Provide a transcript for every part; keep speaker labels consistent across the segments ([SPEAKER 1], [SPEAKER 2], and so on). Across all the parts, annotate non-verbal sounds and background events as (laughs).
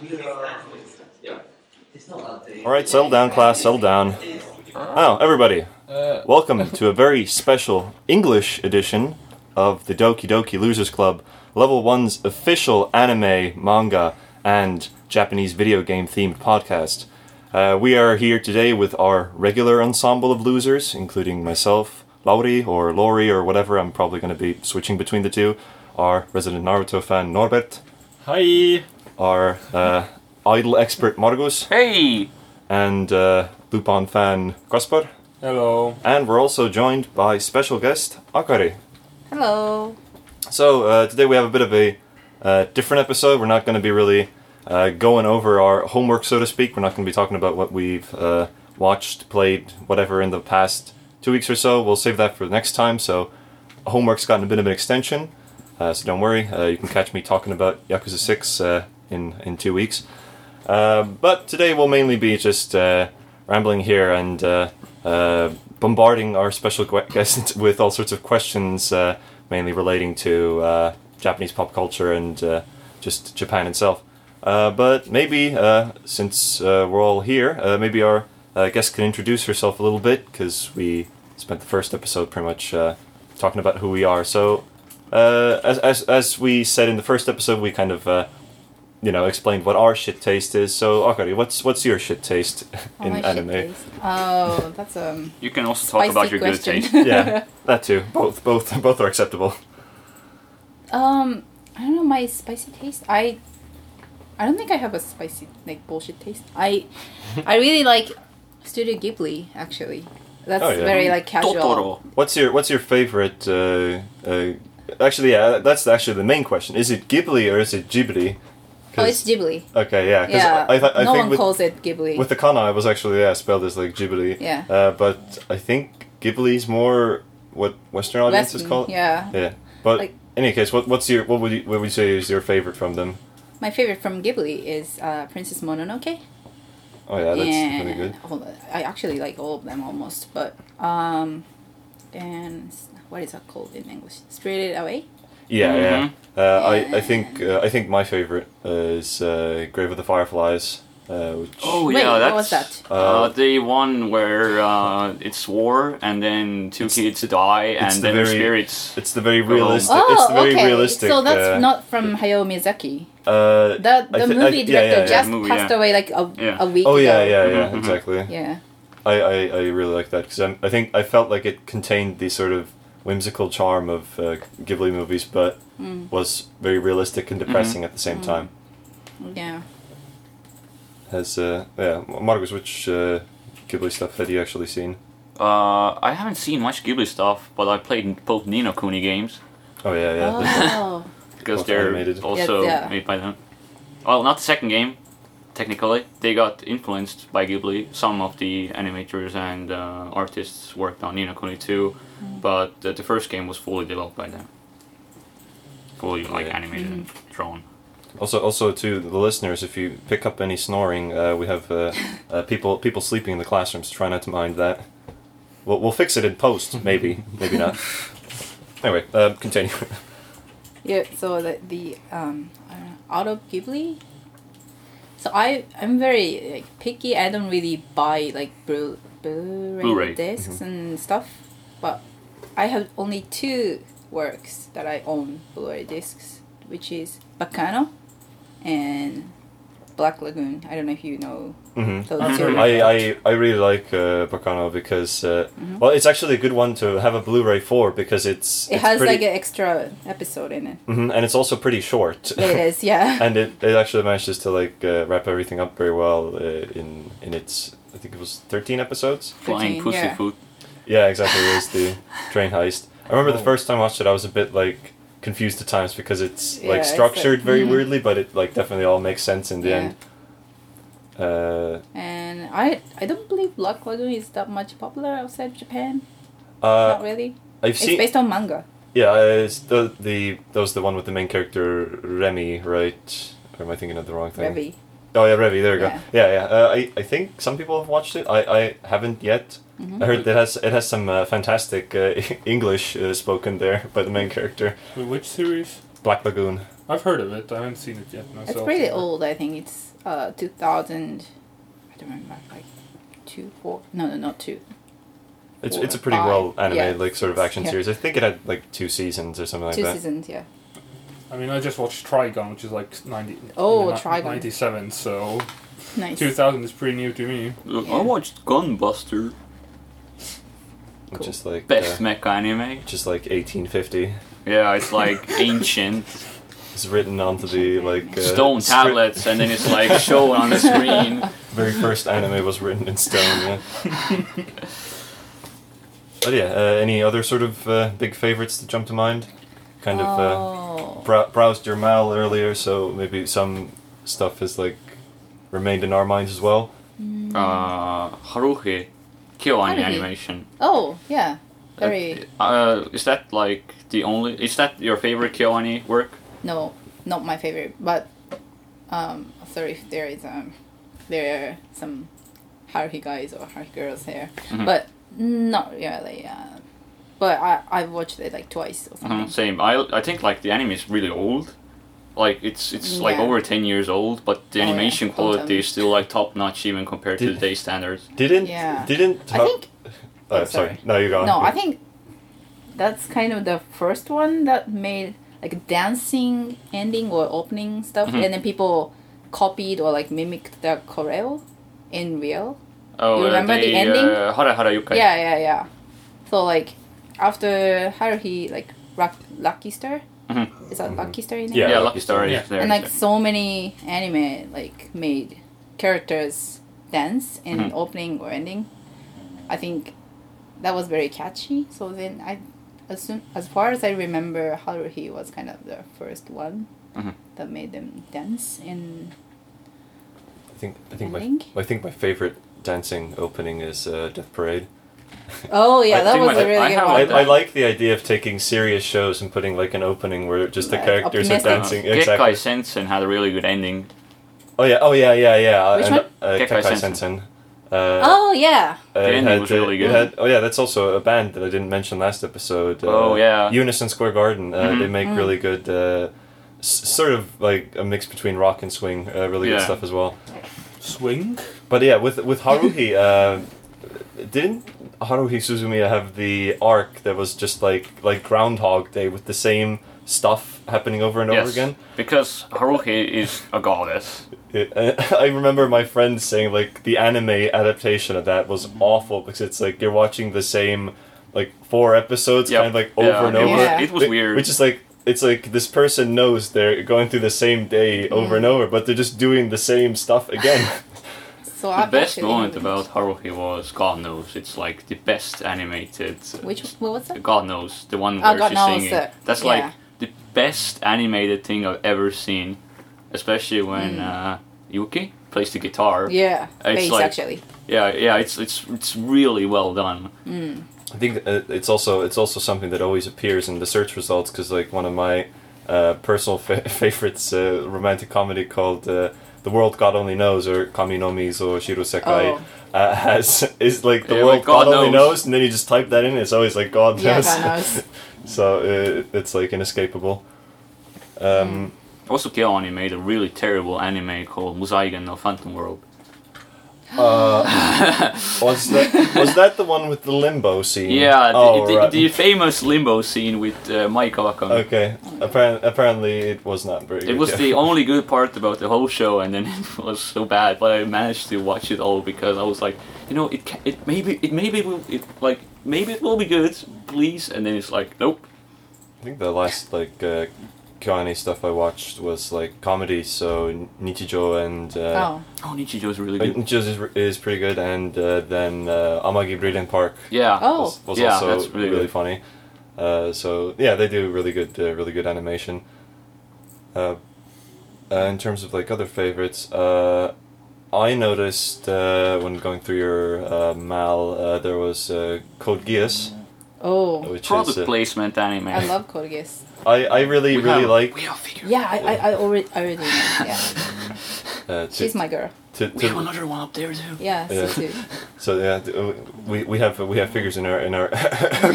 [SPEAKER 1] We are.
[SPEAKER 2] Yeah.
[SPEAKER 1] It's not that deep.
[SPEAKER 3] All right, settle down, class. Settle down. Oh, everybody, welcome to a very special English edition of the Doki Doki Losers Club, Level One's official anime, manga, and Japanese video game themed podcast. Uh, we are here today with our regular ensemble of losers, including myself, Lauri, or Lori, or whatever. I'm probably going to be switching between the two. Our resident Naruto fan Norbert,
[SPEAKER 4] Hi.
[SPEAKER 3] our uh, idol expert Margus,
[SPEAKER 4] Hey.
[SPEAKER 3] and uh, Lupin fan Gaspar.
[SPEAKER 4] Hello.
[SPEAKER 3] And we're also joined by special guest Akari.
[SPEAKER 5] Hello.
[SPEAKER 3] So uh, today we have a bit of a uh, different episode. We're not going to be really uh, going over our homework, so to speak. We're not going to be talking about what we've uh, watched, played, whatever in the past two weeks or so. We'll save that for the next time. So homework's gotten a bit of an extension, uh, so don't worry. Uh, you can catch me talking about Yakuza Six uh, in in two weeks. Uh, but today will mainly be just uh, rambling here and uh, uh, bombarding our special gue- guest (laughs) with all sorts of questions, uh, mainly relating to uh, Japanese pop culture and uh, just Japan itself. Uh, but maybe uh, since uh, we're all here, uh, maybe our uh, guest can introduce herself a little bit because we spent the first episode pretty much uh, talking about who we are. So, uh, as, as, as we said in the first episode, we kind of uh, you know, explained what our shit taste is. So, Akari, what's what's your shit taste (laughs) in anime?
[SPEAKER 5] Oh, that's um.
[SPEAKER 4] (laughs) You can also talk
[SPEAKER 5] Spicy
[SPEAKER 4] about your
[SPEAKER 5] question.
[SPEAKER 4] good
[SPEAKER 3] (laughs)
[SPEAKER 4] taste.
[SPEAKER 5] (laughs)
[SPEAKER 3] yeah, that too. Both both (laughs) both are acceptable.
[SPEAKER 5] Um, I don't know my spicy taste. I, I don't think I have a spicy like bullshit taste. I, I really like Studio Ghibli actually. That's
[SPEAKER 3] Oh, yeah.
[SPEAKER 5] very like casual.
[SPEAKER 4] Mm. Totoro.
[SPEAKER 3] What's your what's your favorite? Uh, uh, actually, yeah, that's actually the main question. Is it Ghibli or is it Ghibli? 'Cause-
[SPEAKER 5] Oh, it's Ghibli.
[SPEAKER 3] okay, yeah. 'cause
[SPEAKER 5] Yeah.
[SPEAKER 3] I, I, th- I
[SPEAKER 5] no
[SPEAKER 3] think
[SPEAKER 5] one
[SPEAKER 3] with,
[SPEAKER 5] calls it Ghibli.
[SPEAKER 3] with the kana, it was actually yeah spelled as like Ghibli.
[SPEAKER 5] Yeah.
[SPEAKER 3] Uh, but I think Ghibli's more what Western audiences
[SPEAKER 5] Western,
[SPEAKER 3] call it.
[SPEAKER 5] Yeah.
[SPEAKER 3] Yeah. But
[SPEAKER 5] Like-
[SPEAKER 3] in any case, what what's your what would you what would you say is your favorite from them?
[SPEAKER 5] My favorite from Ghibli is uh, Princess Mononoke.
[SPEAKER 3] Oh yeah, that's
[SPEAKER 5] and
[SPEAKER 3] really good.
[SPEAKER 5] all- I actually like all of them almost, but um, and s- what is that called in English? Spirited Away.
[SPEAKER 3] Yeah,
[SPEAKER 4] Mhm.
[SPEAKER 5] Mm-hmm.
[SPEAKER 3] yeah. Uh, I, I think uh, I think my favorite uh, is uh, Grave of the Fireflies, uh, which
[SPEAKER 4] Oh
[SPEAKER 5] Wait,
[SPEAKER 4] yeah,
[SPEAKER 5] what
[SPEAKER 4] that's
[SPEAKER 5] was that?
[SPEAKER 3] Uh,
[SPEAKER 4] Uh, the one where uh, it's war and then two kids die and
[SPEAKER 3] the
[SPEAKER 4] then
[SPEAKER 3] very-
[SPEAKER 4] spirits.
[SPEAKER 3] it's the very realistic.
[SPEAKER 5] Oh,
[SPEAKER 3] it's the very
[SPEAKER 5] okay.
[SPEAKER 3] realistic.
[SPEAKER 5] So that's
[SPEAKER 3] uh,
[SPEAKER 5] not from Hayao Miyazaki.
[SPEAKER 3] uh,
[SPEAKER 5] The,
[SPEAKER 3] I
[SPEAKER 5] the
[SPEAKER 3] thi- I-
[SPEAKER 5] movie
[SPEAKER 3] yeah, yeah,
[SPEAKER 5] director
[SPEAKER 3] yeah,
[SPEAKER 5] just
[SPEAKER 4] movie,
[SPEAKER 5] passed
[SPEAKER 4] yeah.
[SPEAKER 5] away like a,
[SPEAKER 4] Yeah.
[SPEAKER 5] a week
[SPEAKER 3] oh yeah,
[SPEAKER 5] ago.
[SPEAKER 3] yeah, yeah,
[SPEAKER 4] Mhm.
[SPEAKER 3] exactly.
[SPEAKER 5] Yeah.
[SPEAKER 3] I, I, I really like that because I think I felt like it contained the sort of whimsical charm of uh, Ghibli movies, but
[SPEAKER 5] Mm.
[SPEAKER 3] was very realistic and depressing at the same
[SPEAKER 5] Mm.
[SPEAKER 3] time.
[SPEAKER 5] Yeah.
[SPEAKER 3] Has uh, yeah, Marcus, which uh, Ghibli stuff had you actually seen?
[SPEAKER 4] Uh, I haven't seen much Ghibli stuff, but I played both Nino Kuni games
[SPEAKER 3] Oh yeah, yeah. (laughs)
[SPEAKER 5] Oh.
[SPEAKER 4] because
[SPEAKER 3] Both
[SPEAKER 4] they're
[SPEAKER 3] animated.
[SPEAKER 4] also
[SPEAKER 5] Yeah, yeah.
[SPEAKER 4] made by them. Well, not the second game, technically. They got influenced by Ghibli. Some of the animators and uh, artists worked on Nino Kuni too,
[SPEAKER 5] Mm.
[SPEAKER 4] but the, the first game was fully developed by them. Fully like
[SPEAKER 3] Yeah.
[SPEAKER 4] animated
[SPEAKER 5] Mm.
[SPEAKER 4] and drawn.
[SPEAKER 3] Also, also to the listeners, if you pick up any snoring, uh, we have uh, uh, people people sleeping in the classrooms. Try not to mind that. We'll, we'll fix it in post, maybe, maybe not. Anyway, um, continue. (laughs)
[SPEAKER 5] Yeah. So the the um I don't know, out of Ghibli. So I I'm very like, picky. I don't really buy like Blu Blu-ray,
[SPEAKER 4] Blu-ray.
[SPEAKER 5] discs
[SPEAKER 3] Mm-hmm.
[SPEAKER 5] and stuff, but I have only two works that I own Blu-ray discs, which is Bacano and Black Lagoon. I don't know if you know
[SPEAKER 3] hmm
[SPEAKER 5] those two.
[SPEAKER 3] I, I I really like uh, Bacano because uh, well, it's actually a good one to have a Blu-ray for because it's
[SPEAKER 5] Mm-hmm. It
[SPEAKER 3] it's
[SPEAKER 5] has
[SPEAKER 3] pretty,
[SPEAKER 5] like an extra episode in
[SPEAKER 3] (laughs)
[SPEAKER 5] it.
[SPEAKER 3] Mhm, and it's also pretty short.
[SPEAKER 5] It is, yeah.
[SPEAKER 3] (laughs) and it, it actually manages to like uh, wrap everything up very well uh, in in its I think it was thirteen episodes.
[SPEAKER 4] Flying
[SPEAKER 5] Routine, yeah.
[SPEAKER 4] Pussyfoot.
[SPEAKER 3] Yeah, exactly. It was
[SPEAKER 5] (laughs)
[SPEAKER 3] the train heist. I remember the
[SPEAKER 2] Oh.
[SPEAKER 3] first time I watched it, I was a bit like confused at times because it's
[SPEAKER 5] Yeah,
[SPEAKER 3] like
[SPEAKER 5] it's like-
[SPEAKER 3] structured very
[SPEAKER 5] Mhm.
[SPEAKER 3] weirdly, but it like definitely all makes sense in the
[SPEAKER 5] Yeah.
[SPEAKER 3] end. Uh,
[SPEAKER 5] And I I don't believe Black Lagoon is that much popular outside Japan.
[SPEAKER 3] uh,
[SPEAKER 5] Not really.
[SPEAKER 3] I've
[SPEAKER 5] It's
[SPEAKER 3] seen.
[SPEAKER 5] based on manga.
[SPEAKER 3] yeah, uh, it's the the that was the one with the main character Remy, right? Or am I thinking of the wrong thing?
[SPEAKER 5] Revi.
[SPEAKER 3] Oh yeah, Revy. There we go.
[SPEAKER 5] Yeah.
[SPEAKER 3] Yeah, yeah. Uh, I I think some people have watched it. I I haven't yet.
[SPEAKER 5] Mhm.
[SPEAKER 3] I heard that has it has some uh, (laughs) fantastic uh, English uh, spoken there by the main character,
[SPEAKER 6] Wait, which series?
[SPEAKER 3] Black Lagoon.
[SPEAKER 1] I've heard of it. I haven't seen it yet myself.
[SPEAKER 5] It's pretty old. I think it's uh 2000. I don't remember. Like two, four. No, no, not two.
[SPEAKER 3] It's,
[SPEAKER 5] Four,
[SPEAKER 3] it's a pretty
[SPEAKER 5] five,
[SPEAKER 3] well animated
[SPEAKER 5] yeah,
[SPEAKER 3] like sort of
[SPEAKER 5] six,
[SPEAKER 3] action
[SPEAKER 5] yeah.
[SPEAKER 3] series. I think it had like two seasons or something like
[SPEAKER 5] two
[SPEAKER 3] that.
[SPEAKER 5] seasons. Yeah.
[SPEAKER 1] I mean, I just watched Trigon, which is like 90,
[SPEAKER 5] Oh,
[SPEAKER 1] ni-
[SPEAKER 5] Trigon.
[SPEAKER 1] 97, so
[SPEAKER 5] Nice.
[SPEAKER 1] 2000 is pretty new to me.
[SPEAKER 4] Look,
[SPEAKER 5] Yeah.
[SPEAKER 4] I watched Gunbuster,
[SPEAKER 3] Which is like
[SPEAKER 4] best
[SPEAKER 3] uh,
[SPEAKER 4] mecha anime.
[SPEAKER 3] which is like 1850.
[SPEAKER 4] Yeah, it's
[SPEAKER 5] (laughs)
[SPEAKER 4] like ancient
[SPEAKER 3] It's written onto the like uh,
[SPEAKER 4] stone
[SPEAKER 3] script-
[SPEAKER 4] tablets, and then it's
[SPEAKER 3] (laughs)
[SPEAKER 4] like shown
[SPEAKER 5] (laughs)
[SPEAKER 4] on the screen.
[SPEAKER 3] Very first anime was written in stone. Yeah.
[SPEAKER 5] (laughs)
[SPEAKER 3] but yeah, uh, any other sort of uh, big favorites that jump to mind? Kind of. Uh,
[SPEAKER 5] Oh.
[SPEAKER 3] brou- browsed your mail earlier, so maybe some stuff has like remained in our minds as well.
[SPEAKER 5] Mm.
[SPEAKER 4] Uh, Haruhi, KyoAni
[SPEAKER 5] Haruhi.
[SPEAKER 4] animation.
[SPEAKER 5] oh yeah. Very.
[SPEAKER 4] Uh, is that like the only? Is that your favorite KyoAni E work?
[SPEAKER 5] no, not my favorite, but um, sorry if there is um, there are some haruhi guys or haruhi girls here,
[SPEAKER 4] Mhm.
[SPEAKER 5] but not really. Uh, but I I've watched it like twice or something.
[SPEAKER 4] Mhm, same. I I think like the anime is really old. Like it's it's like
[SPEAKER 5] Yeah.
[SPEAKER 4] over ten years old, but the
[SPEAKER 5] Oh, yeah.
[SPEAKER 4] animation quality
[SPEAKER 5] Content.
[SPEAKER 4] is still like top notch even compared to
[SPEAKER 3] Did-
[SPEAKER 4] today's standards.
[SPEAKER 3] Didn't
[SPEAKER 5] Yeah.
[SPEAKER 3] didn't
[SPEAKER 5] I
[SPEAKER 3] Ho-
[SPEAKER 5] think
[SPEAKER 3] (laughs) Oh,
[SPEAKER 5] oh,
[SPEAKER 3] sorry.
[SPEAKER 5] sorry.
[SPEAKER 3] No, you go on.
[SPEAKER 5] no, I think that's kind of the first one that made like dancing ending or opening stuff,
[SPEAKER 4] Mhm.
[SPEAKER 5] and then people copied or like mimicked the choreo in real.
[SPEAKER 4] Oh,
[SPEAKER 5] You
[SPEAKER 4] uh,
[SPEAKER 5] remember the
[SPEAKER 4] they,
[SPEAKER 5] ending?
[SPEAKER 4] Uh, Hara Hara Yukai.
[SPEAKER 5] Yeah, yeah, yeah. So like after Haruhi, like Rock, Lucky Star,
[SPEAKER 4] Mhm.
[SPEAKER 5] is that
[SPEAKER 3] Mhm.
[SPEAKER 5] Lucky Star? in
[SPEAKER 3] Yeah,
[SPEAKER 4] Yeah,
[SPEAKER 5] it?
[SPEAKER 4] Lucky Star is
[SPEAKER 1] Yeah.
[SPEAKER 4] there.
[SPEAKER 5] And like so many anime like made characters dance in
[SPEAKER 4] Mhm.
[SPEAKER 5] opening or ending. I think that was very catchy. So then I, as soon as far as I remember, Haruhi was kind of the first one
[SPEAKER 4] Mhm.
[SPEAKER 5] that made them dance
[SPEAKER 4] (laughs)
[SPEAKER 5] in
[SPEAKER 3] I think I think my
[SPEAKER 5] ending.
[SPEAKER 3] I think my favorite dancing opening is uh, Death Parade.
[SPEAKER 5] Oh yeah,
[SPEAKER 4] I
[SPEAKER 5] that
[SPEAKER 4] think
[SPEAKER 5] was
[SPEAKER 4] my-
[SPEAKER 5] a really
[SPEAKER 4] I
[SPEAKER 5] good
[SPEAKER 4] have
[SPEAKER 5] one.
[SPEAKER 3] I,
[SPEAKER 4] like
[SPEAKER 3] I like the idea of taking serious shows and putting like an opening where just the
[SPEAKER 5] Like,
[SPEAKER 3] characters are
[SPEAKER 5] optimistic.
[SPEAKER 3] dancing.
[SPEAKER 4] Uh,
[SPEAKER 3] exactly.
[SPEAKER 4] Gekkai Sensen had a really good ending.
[SPEAKER 3] Oh yeah. Oh yeah. Yeah. Yeah.
[SPEAKER 5] Which
[SPEAKER 3] and,
[SPEAKER 5] one?
[SPEAKER 3] Uh,
[SPEAKER 4] Gekkai
[SPEAKER 3] Gekkai
[SPEAKER 4] Sensen.
[SPEAKER 3] Sensen. Uh,
[SPEAKER 5] oh yeah.
[SPEAKER 3] uh,
[SPEAKER 4] The
[SPEAKER 3] it
[SPEAKER 4] ending
[SPEAKER 3] had,
[SPEAKER 4] was
[SPEAKER 3] uh,
[SPEAKER 4] really
[SPEAKER 3] it
[SPEAKER 4] good.
[SPEAKER 3] had- oh yeah, that's also a band that I didn't mention last episode. Uh,
[SPEAKER 4] Oh, yeah.
[SPEAKER 3] Unison Square Garden. Uh, They
[SPEAKER 4] Mhm.
[SPEAKER 3] make
[SPEAKER 5] Mm.
[SPEAKER 3] really good, uh, s- sort of like a mix between rock and swing. Uh, really good
[SPEAKER 4] Yeah.
[SPEAKER 3] stuff as well.
[SPEAKER 1] Swing?
[SPEAKER 3] But yeah, with with Haruhi, (laughs) uh, didn't Haruhi Suzumiya have the arc that was just like like Groundhog Day with the same stuff happening over and over
[SPEAKER 4] yes,
[SPEAKER 3] again?
[SPEAKER 4] because Haruhi is a goddess.
[SPEAKER 3] It, (laughs) I remember my friend saying like the anime adaptation of that
[SPEAKER 4] Mm-hmm.
[SPEAKER 3] was awful because it's like you're watching the same like four episodes
[SPEAKER 4] Yep.
[SPEAKER 3] kind of like
[SPEAKER 4] Yeah,
[SPEAKER 3] over and
[SPEAKER 4] it
[SPEAKER 3] over.
[SPEAKER 4] Was,
[SPEAKER 5] Yeah.
[SPEAKER 4] It was
[SPEAKER 3] Wh-
[SPEAKER 4] weird.
[SPEAKER 3] Which is like it's like this person knows they're going through the same day
[SPEAKER 4] Mm-hmm.
[SPEAKER 3] over and over, but they're just doing the same stuff again.
[SPEAKER 4] (laughs)
[SPEAKER 5] So
[SPEAKER 4] the
[SPEAKER 5] I've
[SPEAKER 4] best
[SPEAKER 5] actually
[SPEAKER 4] moment
[SPEAKER 5] haven't-
[SPEAKER 4] about Haruhi was God knows. It's like the best animated. uh,
[SPEAKER 5] Which what was that?
[SPEAKER 4] God knows the one
[SPEAKER 5] Oh,
[SPEAKER 4] where
[SPEAKER 5] God
[SPEAKER 4] she's
[SPEAKER 5] knows
[SPEAKER 4] singing.
[SPEAKER 5] that,
[SPEAKER 4] That's
[SPEAKER 5] yeah.
[SPEAKER 4] like the best animated thing I've ever seen, especially when uh, Yuki plays the guitar.
[SPEAKER 5] Hmm. Yeah,
[SPEAKER 4] It's
[SPEAKER 5] face
[SPEAKER 4] like-
[SPEAKER 3] (laughs)
[SPEAKER 5] actually.
[SPEAKER 4] yeah, yeah, It's it's it's really well done.
[SPEAKER 3] I think uh, it's also it's also something that always appears in the search results because like one of my uh, personal fa- (laughs) favorites, uh, romantic comedy called uh, "The World God Only Knows" or "Kaminomi's" or "Shirosekai."
[SPEAKER 5] Oh.
[SPEAKER 3] Uh, has (laughs) is like the
[SPEAKER 4] Yeah,
[SPEAKER 3] world
[SPEAKER 4] like, God
[SPEAKER 3] God, only
[SPEAKER 4] knows.
[SPEAKER 3] knows, and then you just type that in. and It's always like God
[SPEAKER 5] Yeah,
[SPEAKER 3] knows.
[SPEAKER 5] God knows.
[SPEAKER 3] (laughs) so uh, it's like inescapable. Um,
[SPEAKER 4] Also, Keone made a really terrible anime called Musaigen no Phantom World.
[SPEAKER 3] uh, was that was that the one with the limbo scene?
[SPEAKER 4] Yeah, the,
[SPEAKER 3] Oh,
[SPEAKER 4] the,
[SPEAKER 3] right. Oh,
[SPEAKER 4] the famous limbo scene with uh, Mai Kawakami.
[SPEAKER 3] okay. Apparently, apparently it was not very.
[SPEAKER 4] It was
[SPEAKER 3] good,
[SPEAKER 4] the
[SPEAKER 3] yeah.
[SPEAKER 4] only good part about the whole show, and then (laughs) it was so bad. But I managed to watch it all because I was like, you know, it ca it maybe it maybe will it like maybe it will be good, please. And then it's like, nope.
[SPEAKER 3] I think the last like uh, Kiani stuff I watched was like comedy, so Nichijo and uh,
[SPEAKER 5] oh,
[SPEAKER 4] Oh, Nichijou is really
[SPEAKER 3] uh,
[SPEAKER 4] good.
[SPEAKER 3] Nichijo is, is pretty good, and uh, then uh, Amagi Breeden Park
[SPEAKER 4] Yeah.
[SPEAKER 5] Oh.
[SPEAKER 3] was, was
[SPEAKER 4] Yeah,
[SPEAKER 3] also
[SPEAKER 4] that's really
[SPEAKER 3] really
[SPEAKER 4] good.
[SPEAKER 3] funny. Uh, so yeah, they do really good, uh, really good animation. Uh, uh, in terms of like other favorites, uh, I noticed uh, when going through your uh, mal, uh, there was uh, Code Geass,
[SPEAKER 5] oh,
[SPEAKER 3] which
[SPEAKER 4] Product
[SPEAKER 3] is uh,
[SPEAKER 4] placement anime.
[SPEAKER 5] I love Code Geass.
[SPEAKER 3] (laughs) I I really
[SPEAKER 4] We
[SPEAKER 3] really
[SPEAKER 4] have-
[SPEAKER 3] like.
[SPEAKER 4] We have figure.
[SPEAKER 5] Yeah, I, I, I already, I already know.
[SPEAKER 3] (laughs)
[SPEAKER 5] Yeah,
[SPEAKER 3] Uh, to,
[SPEAKER 5] she's my girl.
[SPEAKER 3] to-
[SPEAKER 4] We
[SPEAKER 3] to-
[SPEAKER 4] have another one up there too.
[SPEAKER 5] Yeah,
[SPEAKER 3] Yeah.
[SPEAKER 5] she too.
[SPEAKER 3] So yeah, th- (laughs) uh, we, we have we have figures in our in our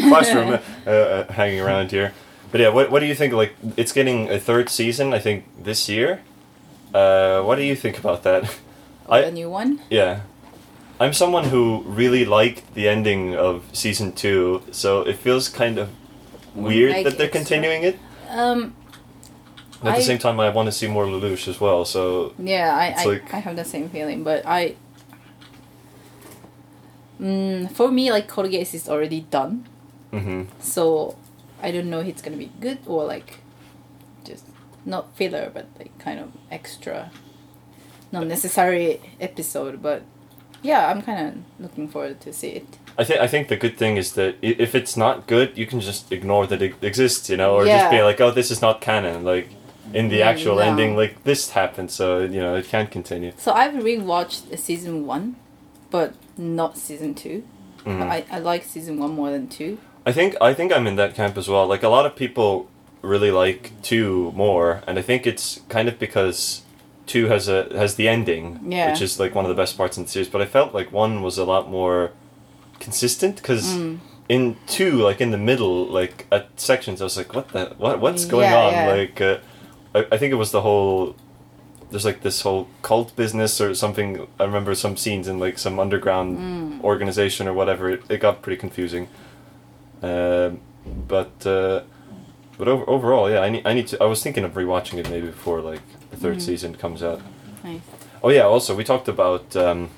[SPEAKER 3] classroom uh, uh, hanging around here. But yeah, what, what do you think? Like, it's getting a third season, I think, this year. Uh, what do you think about that? (laughs) (laughs)
[SPEAKER 5] the
[SPEAKER 3] I
[SPEAKER 5] new one.
[SPEAKER 3] yeah, I'm someone who really liked the ending of season two, so it feels kind of weird
[SPEAKER 5] Like,
[SPEAKER 3] that they're
[SPEAKER 5] it's not-
[SPEAKER 3] continuing it.
[SPEAKER 5] Um,
[SPEAKER 3] At
[SPEAKER 5] I-
[SPEAKER 3] the same time, I want to see more Lelouch as well. So
[SPEAKER 5] Yeah, I,
[SPEAKER 3] It's
[SPEAKER 5] I,
[SPEAKER 3] like-
[SPEAKER 5] I have the same feeling, but I. Mm, for me, like Code Geass is already done,
[SPEAKER 3] hmm
[SPEAKER 5] so I don't know if it's gonna be good or like, just not filler, but like kind of extra, not necessary episode. But yeah, I'm kind of looking forward to see it.
[SPEAKER 3] I think I think the good thing is that i- if it's not good, you can just ignore that it exists, you know, or just be
[SPEAKER 5] Yeah.
[SPEAKER 3] like, oh, this is not canon. Like in the
[SPEAKER 5] Yeah,
[SPEAKER 3] actual
[SPEAKER 5] no.
[SPEAKER 3] ending, like this happened, so you know it can't continue.
[SPEAKER 5] So I've rewatched season one, but not season 2
[SPEAKER 3] Mhm.
[SPEAKER 5] I, I like season one more than two.
[SPEAKER 3] I think I think I'm in that camp as well. Like a lot of people really like two more, and I think it's kind of because two has a has the ending,
[SPEAKER 5] Yeah.
[SPEAKER 3] which is like one of the best parts in the series. But I felt like one was a lot more consistent because
[SPEAKER 5] Mm.
[SPEAKER 3] in two, like in the middle, like at sections, I was like, what the what what's going
[SPEAKER 5] Yeah,
[SPEAKER 3] on?
[SPEAKER 5] yeah.
[SPEAKER 3] Like uh, I, I think it was the whole. There's like this whole cult business or something. I remember some scenes in like some underground
[SPEAKER 5] Mm.
[SPEAKER 3] organization or whatever. It, it got pretty confusing. Um, but uh, but over, overall, yeah, I need I need to. I was thinking of rewatching it maybe before like the third
[SPEAKER 5] Mm.
[SPEAKER 3] season comes out.
[SPEAKER 5] (laughs) Nice.
[SPEAKER 3] Oh yeah, also we talked about um,